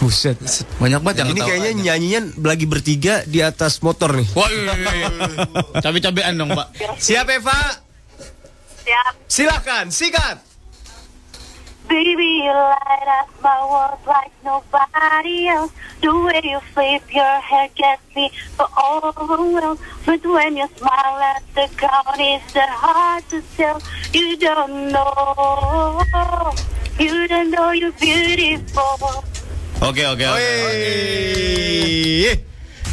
G: Buset.
E: Banyak banget yang
G: Ini
E: ketawa.
G: kayaknya nyanyian lagi bertiga di atas motor nih.
E: Wah, iya, iya, iya. cabe-cabean dong, Pak.
G: Siap Eva?
K: Siap.
G: Silakan, sikat.
L: Baby, you light up my world like nobody else. The way you flip your hair gets me so overwhelmed. But when you smile at the crowd, it's so hard to tell. You don't know. You don't know you're beautiful.
E: Oke oke oke.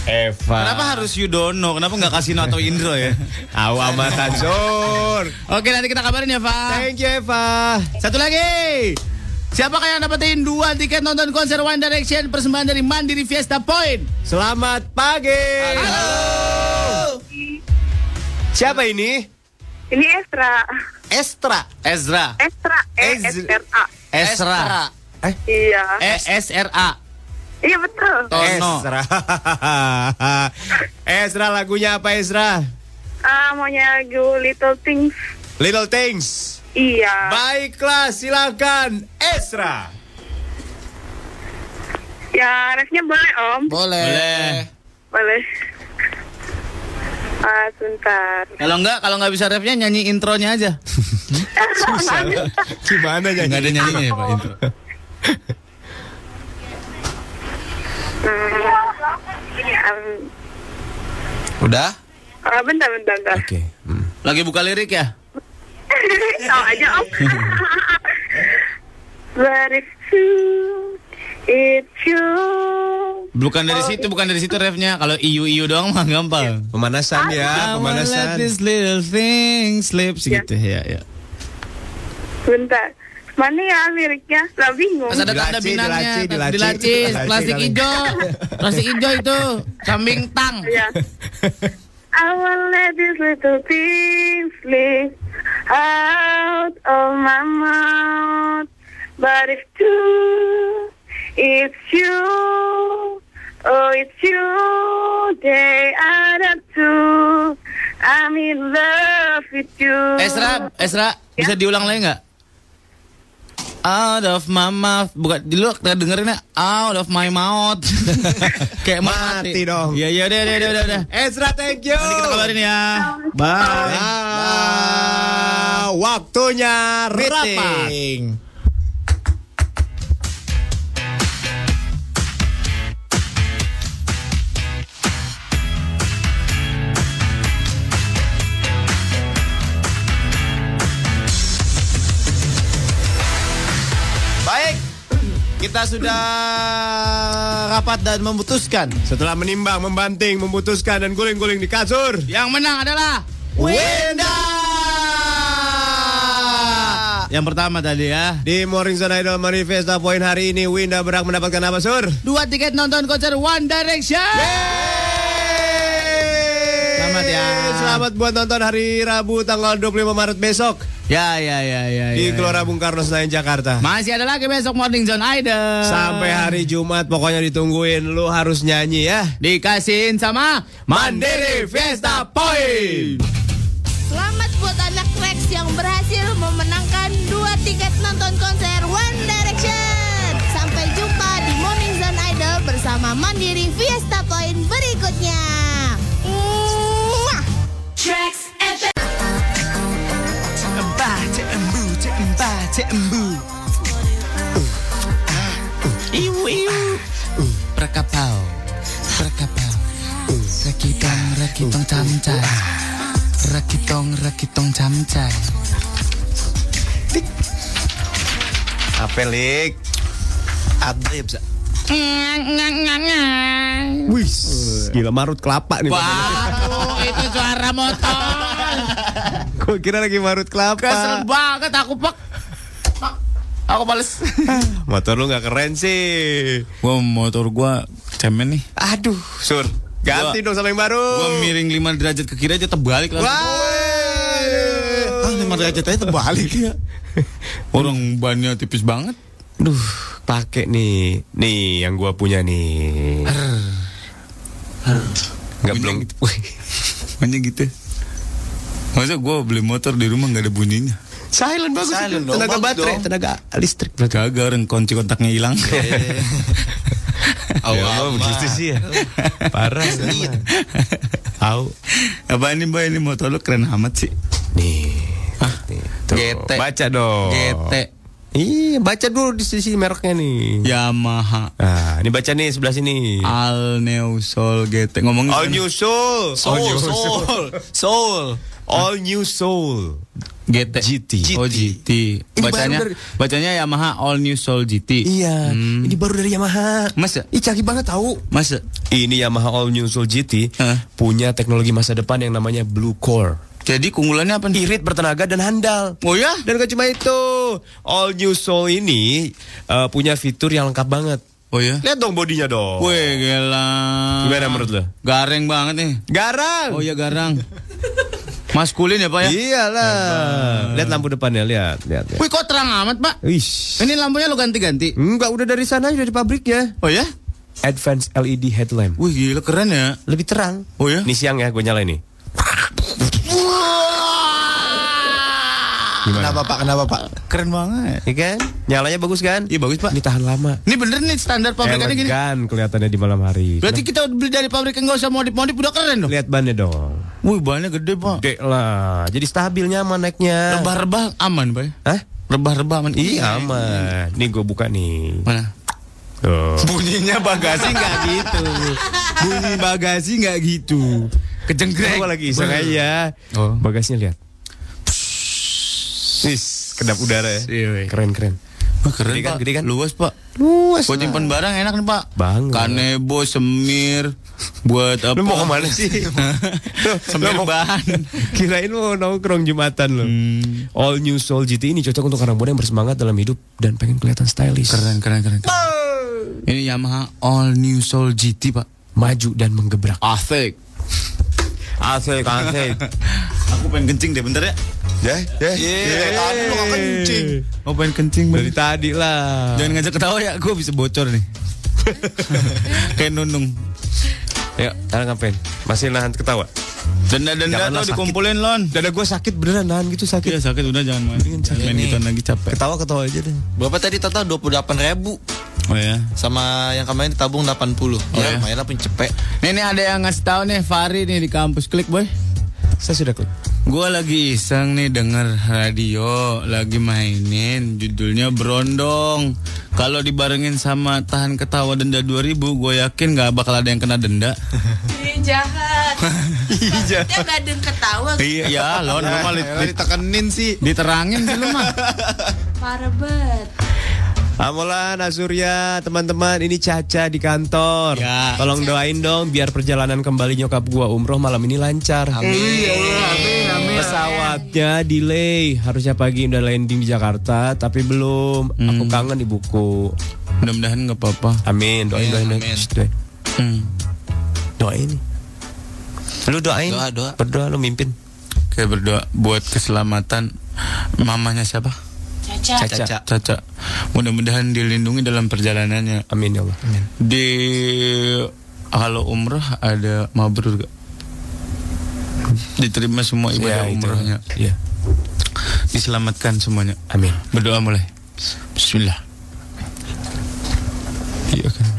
E: Eva. Kenapa harus Yudono? Kenapa nggak Kasino atau Indro ya? Tahu amat Azur. Oke nanti kita kabarin ya, Eva. Thank you Eva. Satu lagi. Siapakah yang dapetin dua tiket nonton konser One Direction persembahan dari Mandiri Fiesta Point? Selamat pagi. Halo.
D: Siapa ini?
K: Ini Estra.
E: Estra. Ezra.
K: Estra. E S R A.
E: Esra.
K: Eh? Iya.
E: E S R A.
K: Iya betul.
D: Ezra. Ezra lagunya apa Ezra?
K: Ah, maunya lagu Little Things.
D: Little Things.
K: Iya.
D: Baiklah, silakan Ezra.
K: Ya, refnya boleh Om.
E: Boleh.
K: Boleh. Ah, sebentar.
E: Kalau nggak kalau nggak bisa refnya nyanyi intronya aja.
K: Susah.
E: Gimana nyanyi? Nggak ada nyanyinya ya Pak intro.
K: Hmm.
E: Udah?
K: Ah, bentar, bentar, bentar.
E: Lagi buka lirik ya?
K: Tahu aja om. But it's true, it's true.
E: Bukan dari situ, bukan dari situ refnya. Kalau iu iu doang mah gampang. Iya. Ah, Pemanasan
D: ya, pemanasan.
E: Let this little thing slips gitu ya. ya.
K: Bentar. Mana ya liriknya? Lah bingung.
E: Terus ada tanda binatangnya, dilacis, plastik hijau, plastik hijau itu kambing tang.
K: I will let this little thing slip out of my mouth. But it's true, it's you. Oh, it's you. Day out of two. I'm in love with you.
E: Esra, Esra, bisa diulang lagi nggak? Out of my mouth, bukan dulu kita dengerinnya out of my mouth. Kayak mati. dong. Ya ya udah udah udah udah, udah. Ezra, thank you. Nanti kita kabarin ya. Bye.
D: Waktunya
E: ya.
D: rapat.
E: Baik, kita sudah rapat dan memutuskan.
D: Setelah menimbang, membanting, memutuskan dan guling-guling di kasur.
E: Yang menang adalah Winda. Yang pertama tadi ya.
D: Di Morning Zone Idol Manifesta Poin hari ini Winda berhak mendapatkan apa sur?
E: Dua tiket nonton konser One Direction. Selamat ya.
D: Eh, Selamat buat nonton hari Rabu tanggal 25 Maret besok
E: Ya ya ya ya.
D: di
E: ya,
D: Gelora Bung Karno Senayan Jakarta.
E: Masih ada lagi besok Morning Zone Idol.
D: Sampai hari Jumat pokoknya ditungguin lu harus nyanyi ya.
E: dikasihin sama Mandiri Fiesta Point.
I: Selamat buat anak Rex yang berhasil memenangkan dua tiket nonton konser One Direction. Sampai jumpa di Morning Zone Idol bersama Mandiri Fiesta Point berikutnya. Mwah!
M: Iu iu. Perkapau, perkapau. Rakitong, rakitong camcai. Rakitong, rakitong camcai.
F: Apa lik? Ada ya bisa.
D: Wis, gila marut kelapa nih.
E: Waduh, itu suara motor.
D: Gue kira lagi marut
E: Kesel
D: kelapa.
E: banget aku pak. Pak, Aku bales.
D: Motor lu nggak keren sih.
E: gua motor gua cemen nih.
D: Aduh, sur. Ganti dong sama yang baru.
E: Gua miring 5 derajat ke kiri aja terbalik lah.
D: Waduh.
E: Ah, 5 derajat aja terbalik ya. Orang bannya tipis banget.
D: Duh, pakai nih. Nih yang gua punya nih. Enggak belum.
E: Hanya gitu. Masa gua beli motor di rumah nggak ada bunyinya?
D: Silent bagus.
F: Silent
D: itu.
F: dong,
D: Tenaga
F: bagus
D: baterai,
F: dong.
D: tenaga listrik.
E: Kagak orang kunci kontaknya hilang. iya,
D: Oh, begitu sih ya. Parah. Tahu.
E: Apa ini boy ini motor lu keren amat sih.
D: Nih.
F: GT.
G: Oh.
D: Baca dong.
F: GT.
G: Iya, baca dulu di sisi
D: Ya.
G: mereknya nih.
E: Yamaha.
G: Nah, ini baca nih sebelah sini.
D: Ah.
E: All New Soul GT ngomongin
G: All New Soul.
E: Soul,
G: All new
E: Soul.
G: Soul. All New Soul.
E: GT. GT. Oh GT. Bacanya
G: baru
E: bacanya Yamaha All New Soul GT.
G: Iya,
E: Hmm.
G: ini baru dari Yamaha.
F: ya?
E: Masa?
G: Ih, canggih banget tahu.
E: Masa?
G: Ini Yamaha All New Soul GT punya teknologi masa depan yang namanya Blue Core.
E: Jadi keunggulannya apa?
G: Irit bertenaga dan handal.
E: Oh ya?
G: Dan gak cuma itu, All New Soul ini eh, punya fitur yang lengkap banget.
E: Oh ya?
G: Lihat dong bodinya dong.
E: Weh gila.
G: Gimana menurut lo?
E: Gareng banget nih.
G: Garang.
E: Oh iya garang. Maskulin ya Pak ya?
G: Iyalah. Lihat lampu depannya, lihat, lihat. lihat.
E: Wih kok terang amat Pak?
G: Wih.
E: Ini lampunya lo ganti-ganti?
G: Enggak, udah dari sana, udah di pabriknya.
E: Oh ya?
G: Advanced LED headlamp.
E: Wih gila keren ya.
G: Lebih terang.
E: Oh ya?
G: Ini siang ya, gue nyalain nih. Gimana?
N: Kenapa Pak? Kenapa Pak?
E: Keren banget.
G: Iya kan? Nyalanya bagus kan?
E: Iya bagus Pak.
G: Ini tahan lama.
E: Ini bener nih
G: Eh,
E: standar pabrikannya gini.
G: Elegan kelihatannya di malam hari.
E: Berarti kita beli dari pabrik yang nggak usah modif-modif udah keren dong.
G: Lihat bannya dong.
E: Wih bannya gede Pak.
G: Gede lah. Jadi stabil nyaman naiknya.
E: Rebah-rebah aman Pak. ya?
G: Hah?
E: Rebah-rebah aman.
G: Iya aman. Nih gue buka nih.
E: Mana?
G: Tuh.
E: Bunyinya bagasi nggak gitu. Bunyi bagasi nggak gitu. Kejenggrek.
G: Gue lagi iseng aja.
E: Oh.
G: Bagasinya lihat. Wis, kedap udara ya.
E: Iya, weh.
G: Keren keren.
E: Wah, keren
G: Gede kan,
E: Pak.
G: gede kan?
E: Luas Pak.
G: Luas.
E: Buat nyimpan barang enak nih Pak.
G: Banget.
E: Kanebo, semir, buat apa?
G: Lu mau kemana sih?
E: semir
G: Lu mau-
E: bahan.
G: Kirain mau nongkrong Jumatan lo.
E: Hmm.
G: All New Soul GT ini cocok untuk orang muda yang bersemangat dalam hidup dan pengen kelihatan stylish.
E: Keren, keren, keren. keren. Ini Yamaha All New Soul GT Pak.
G: Maju dan menggebrak.
E: Asik.
G: Asik, asik.
E: Aku pengen kencing deh bentar ya.
G: Ya, ya.
E: tadi lu nggak kencing. Mau pengen kencing
G: Dari tadi lah.
E: Jangan ngajak ketawa ya, gue bisa bocor nih. Kayak nunung.
G: Yuk, sekarang ngapain? Masih nahan ketawa?
E: Denda-denda tuh
G: Janganlah sakit.
E: dikumpulin lon.
G: Dada gue sakit beneran nahan gitu sakit.
E: Iya sakit udah jangan main. Main gitu lagi capek.
G: Ketawa ketawa aja deh.
D: Berapa tadi total 28 ribu
E: Oh
G: iya.
E: ya.
D: sama yang kemarin ditabung 80.
E: ya?
D: ya, lumayan lah punya cepek.
E: Nih, nih ada yang ngasih tahu nih Fari nih di kampus klik boy.
G: Saya sudah klik.
E: Gue lagi iseng nih denger radio lagi mainin judulnya Berondong. Kalau dibarengin sama tahan ketawa denda 2000, gue yakin nggak bakal ada yang kena denda.
B: Ih, jahat. Maksudnya gak ada yang ketawa.
E: Iya, ya, lon lu
H: Elah,
E: mah lit- lit-
H: ditekenin sih.
E: diterangin sih lu mah.
B: Parah banget.
G: Amolan, Asurya, teman-teman, ini Caca di kantor.
E: Ya.
G: Tolong doain dong biar perjalanan kembali nyokap gua umroh malam ini lancar. Pesawatnya delay, harusnya pagi udah landing di Jakarta, tapi belum. Aku kangen ibuku.
E: Mudah-mudahan nggak apa-apa.
G: Amin, doain,
E: Ya,
G: doain, doain.
E: amin.
G: Shh, doain.
E: Hmm.
G: Doain. Lu doain.
D: Doa, doa.
G: Berdoa lu mimpin.
E: Kayak berdoa buat keselamatan mamanya siapa?
B: Caca.
G: Caca.
E: Caca. Mudah-mudahan dilindungi dalam perjalanannya.
G: Amin ya Allah.
E: Di kalau umrah ada mabrur gak? Diterima semua ibadah
G: itu.
E: umrahnya.
G: Iya.
E: Ya, Diselamatkan semuanya.
G: Amin.
E: Berdoa mulai. Bismillah. Iya kan.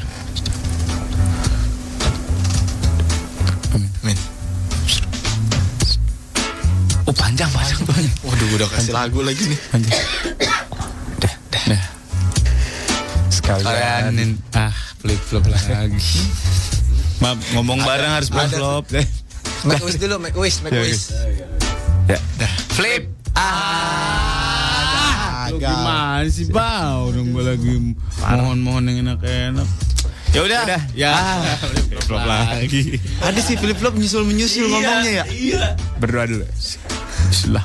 D: Min.
E: Oh panjang panjang panjang.
D: Waduh, udah kasih lagu lagi nih.
E: panjang. Dah.
G: Sekalian.
E: Kalianin. Ah, flip flop lagi. Maaf, ngomong bareng harus flip flop.
D: Make wish dulu, make wish, make wish.
E: Flip. Ah. Lu gimana sih bau dong gue lagi mohon-mohon yang enak-enak. Ya udah. Ya. Flip lagi.
H: Ada sih Philip Flop nyusul
D: Iya.
H: menyusul ngomongnya ya.
G: Berdoa dulu.
E: Bismillah.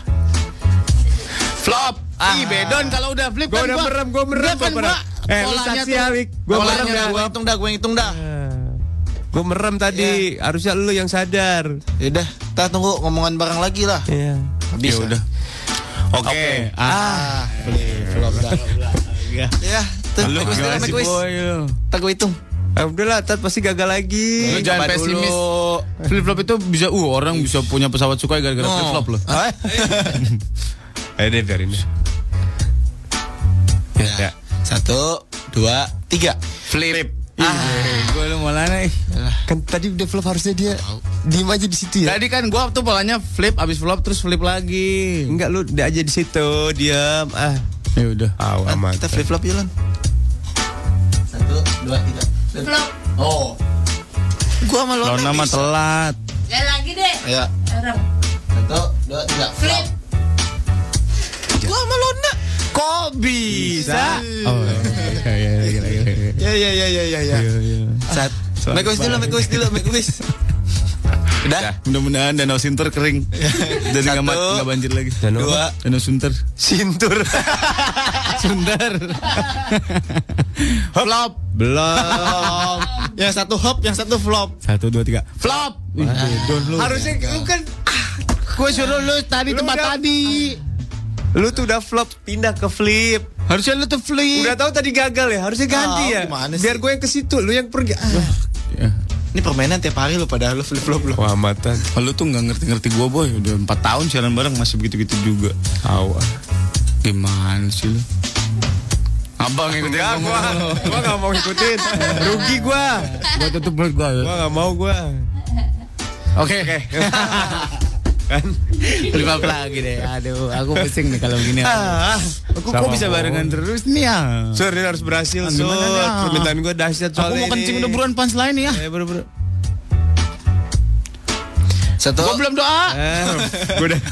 E: Flop. Ih, bedon kalau udah flip
G: Gue
E: kan
G: udah
E: Ah. gua-
G: merem, gue merem,
E: Gua
G: gue
E: kan
G: merem.
E: gua
G: Eh, lu
E: polanya
G: saksi
E: tuh-
G: Alik. Gue merem
D: Polanya,
G: dah.
D: Gua hitung dah, gue hitung dah.
G: Gue merem tadi.
E: Iya.
G: Harusnya lu yang sadar.
H: Yaudah,
D: Kita tunggu ngomongan bareng lagi lah.
G: Iya.
E: Ya udah. Oke. Ah.
D: Ya, tuh,
E: Lu
D: make wish dulu,
E: gimana sih
D: make wish.
E: boy lu?
D: Ntar gue hitung.
G: Ah, udahlah, tat pasti gagal lagi.
E: Lu jangan
D: coba
E: pesimis. Flip flop itu bisa uh orang bisa punya pesawat sukai gara-gara
D: Oh.
E: flip flop loh.
G: Eh, deh biarin deh.
D: Ya. Satu, dua, tiga.
E: Flip. Ah, gue lu malah nih.
N: Kan tadi udah flop harusnya dia diem aja di situ ya.
E: Tadi kan gua tuh polanya flip abis flop terus flip lagi.
G: Enggak lu udah aja di situ, diam. Ah,
E: Ya udah.
G: amat.
D: Kita flip flop jalan. Satu, dua, tiga. Flip flop. Oh. Gua sama Lona.
E: Lona mah
D: bisa.
E: telat.
B: Ya lagi deh.
D: Ayo.
B: Orang.
D: Satu, dua, tiga. Flip. Gua sama Lona. Kok bisa?
E: Oh, iya, iya, iya, iya, iya.
D: Ya ya ya ya ya ya. Saat. Make wish dulu, make wish dulu, make wish. Udah.
E: Mudah-mudahan danau Sinter kering. Jadi nggak ma- nggak banjir lagi. Danau
D: dua.
E: Danau Sunter.
D: Sintur.
E: Sunter.
D: Flop.
E: Belum.
F: yang satu hop, yang satu flop.
E: Satu dua tiga.
F: Flop.
G: Harusnya lu kan
E: Gue suruh lu tadi
G: tempat
E: tadi.
G: Lu tuh udah flop pindah ke flip.
E: Harusnya lu tuh flip.
G: Udah tahu tadi gagal ya, harusnya ganti
D: Tahu,
G: ya.
D: gimana sih?
G: Biar gue yang ke situ, lu yang pergi. Ah,
E: Iya.
D: Ini permainan tiap hari lu padahal lu flip flop lu.
G: Kelamatan.
E: Oh, Lu tuh nggak ngerti-ngerti gue boy. Udah empat tahun siaran bareng masih begitu-begitu juga.
G: Awal.
E: Gimana sih lu? Abang yang
G: Enggak, gua, gua gak mau ikutin. Rugi gua.
E: Gue tutup mulut gue.
G: Gua gak mau gua.
E: Oke. Lima lagi deh. Aduh, aku pusing nih kalau begini.
G: Ah,
E: Aku
G: Sama
E: kok bisa
G: Om.
E: barengan terus nih ya?
G: Sur, ini harus
E: Ah,
G: berhasil, Sur.
E: gimana nih, ah?
G: Permintaan gua dahsyat
E: Aku
G: soalnya
E: mau kencing udah buruan pants lain ya.
G: Ya, bro, bro.
D: Satu.
E: Gue belum doa.
G: Eh, gua udah.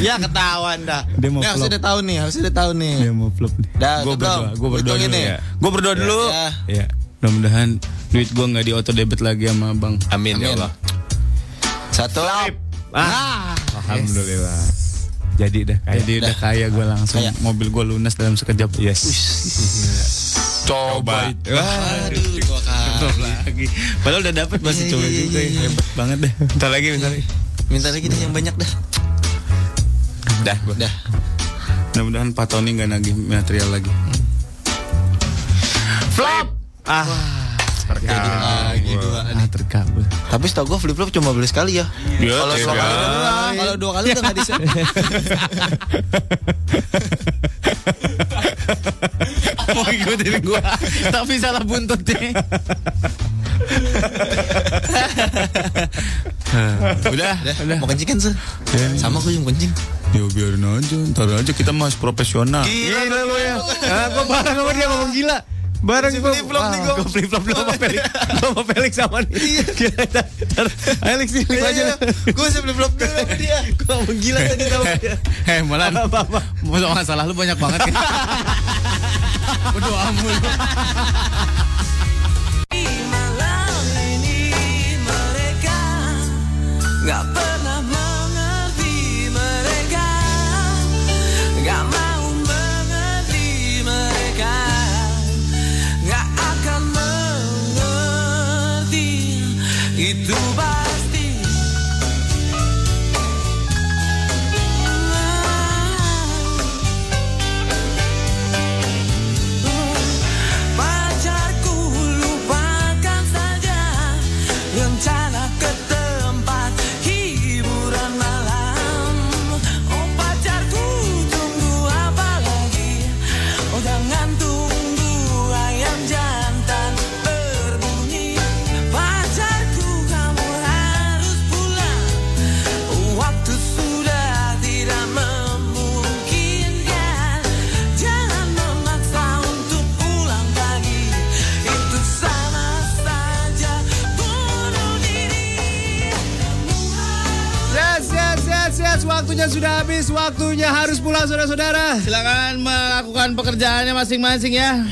D: Ya ketahuan dah.
E: Dia mau
D: Nih, harus
E: flop.
D: udah tahu nih, harus udah tahu nih.
E: Dia mau flop nih.
D: Dah,
E: Gue
D: tutup.
E: berdoa, gue berdoa
D: Hitung
E: dulu.
D: ini.
E: Gue berdoa dulu.
D: Ya.
G: Ya.
E: Mudah-mudahan duit gue nggak di auto debit lagi sama bang.
G: Amin, ya
D: Amin.
G: Allah.
D: Satu.
G: Ah. Alhamdulillah. Jadi dah kayak.
E: Jadi udah kaya gue langsung
D: Kaya.
E: mobil gue lunas dalam sekejap.
G: Yes.
E: Coba.
D: Aduh, dua kali.
E: Flop lagi. Padahal udah dapet masih
D: Iya,
E: coba
D: iya,
E: juga. ya.
D: iya, iya.
E: Hebat banget deh.
G: Bentar lagi, bentar lagi.
D: Minta lagi deh yang banyak dah.
G: Dah, gua.
D: Dah.
E: Mudah-mudahan Pak Tony nggak nagih material lagi.
G: Ah.
D: Jadi lagi dua nih.
E: Ya, Ah, terkabul.
D: Tapi setahu gua flip flop cuma beli sekali ya. Kalau dua kali
G: iya.
D: udah pulang, kalau dua kali udah nggak bisa.
E: Mau ikutin gue, tapi salah buntut deh.
D: Udah, udah. Mau kencing kan sih?
E: Iya,
D: Sama gua yang kencing.
E: Ya biarin aja, ntar aja kita mas profesional.
G: Gila lu ya. Ah, gua bareng sama dia ngomong gila. Bareng gua.
D: flip-flop nih gua.
G: Gua flip-flop dulu sama Felix. Gua sama Felix sama nih.
E: Iya.
G: Gila, tar- tar- Felix nih gua aja. lah.
D: Gue sebelum flip dulu sama dia.
G: Gua ngomong gila tadi sama dia.
E: Eh malah
G: Apa-apa.
E: masalah lu banyak banget. Berdoa mulu.
J: Oh, Oh,
G: Yes, yes, yes, yes. Waktunya sudah habis. Waktunya harus pulang saudara-saudara.
E: Silakan melakukan pekerjaannya masing-masing ya.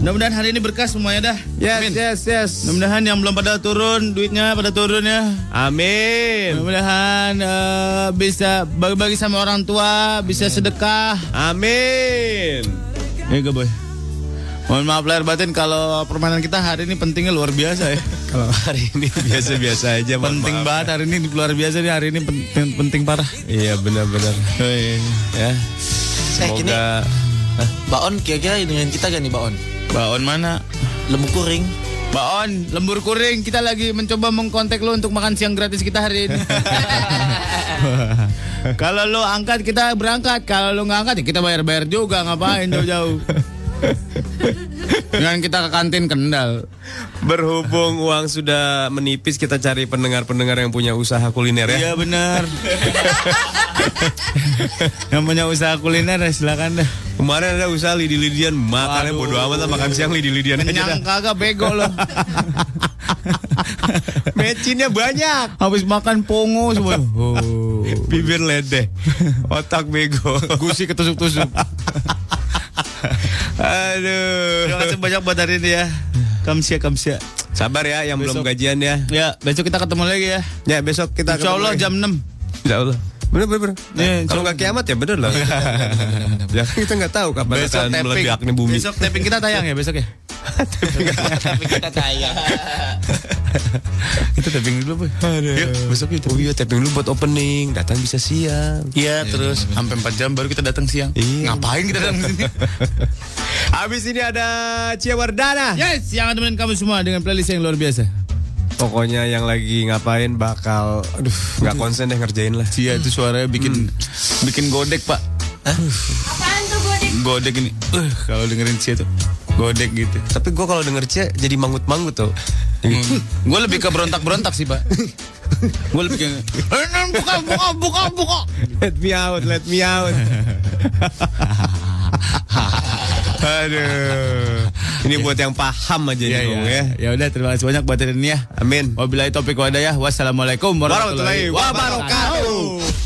E: Mudah-mudahan hari ini berkah semuanya dah.
G: Yes,
E: Amin.
G: yes, yes.
E: Mudah-mudahan yang belum pada turun duitnya pada turun ya.
G: Amin.
E: Mudah-mudahan eh, bisa bagi-bagi sama orang tua, bisa sedekah.
G: Amin.
E: Ya gak boy. Mohon maaf lahir batin kalau permainan kita hari ini pentingnya luar biasa ya.
G: Kalau hari ini biasa-biasa aja, mohon
E: penting
G: maaf. ya.
E: banget hari ini luar biasa nih hari ini penting, penting parah. Iya.
G: Iya, benar-benar.
D: gini.
G: Ya. Semoga
D: Baon kira-kira dengan kita gak nih Baon?
E: Baon mana?
D: Lemu kuring.
E: Baon, lembur kuring. Kita lagi mencoba mengkontak lo untuk makan siang gratis kita hari ini. Kalau lo angkat kita berangkat. Kalau lo nggak angkat ya kita bayar-bayar juga ngapain jauh-jauh. Dengan kita ke kantin Kendal.
G: Berhubung uang sudah menipis, kita cari pendengar-pendengar yang punya usaha kuliner ya.
E: Iya benar. yang punya usaha kuliner ya silakan dah.
G: Kemarin ada usaha lidi-lidian, makannya bodo amat lah makan siang lidi-lidian aja dah.
E: Kenyang kagak bego lo. Mecinnya banyak. Habis makan pongo semua. Oh.
G: Bibir ledeh, otak bego.
E: Gusi Oh, ketusuk-tusuk.
G: Aduh.
E: Terima kasih banyak buat hari ini ya. Kamsia kamsia.
G: Sabar ya yang belum
E: Besok.
G: gajian ya.
E: Ya, besok kita ketemu lagi ya.
G: Ya besok kita
E: Insya Allah jam 6.
G: Insya Allah. Bener bener. bener.
E: Ya, insya
G: Kalau
E: Allah. Iya.
G: nggak kiamat ya bener lah. ya kan kita nggak tahu kapan akan meledak nih bumi.
E: Besok tapping kita tayang ya besok ya.
J: Tapi kita tayang.
E: kita tapping dulu, Boy.
G: Yuk, besok kita. Oh iya, tapping dulu buat opening. Datang bisa siang.
E: Iya, terus sampai 4 jam baru kita datang siang.
G: Iya.
E: Ngapain kita datang sini?
G: Habis ini ada Cia Wardana.
E: yes, yang temenin kamu semua dengan playlist yang luar biasa.
G: Pokoknya yang lagi ngapain bakal, aduh, nggak konsen deh ngerjain lah.
E: Cia Iya, itu suaranya bikin
G: Hmm.
E: bikin godek, Pak.
B: Apaan tuh godek?
E: Godek ini. Eh, kalau dengerin Cia tuh godek gitu.
G: Tapi gue kalau denger Cia jadi mangut-mangut tuh.
E: Gue lebih ke berontak-berontak sih, Pak. Gue lebih ke "Eh, Nan, buka buka buka buka.
G: Let me out, let me out. Aduh. Ini buat yang paham aja
E: Ya,
G: nih,
E: ya.
G: Bung, ya.
E: ya udah terima kasih banyak buat hari ini ya.
G: Amin.
E: Wabillahi taufiq wadayah. Wassalamualaikum warahmatullahi
G: Warahmatullahi wabarakatuh.
E: wabarakatuh.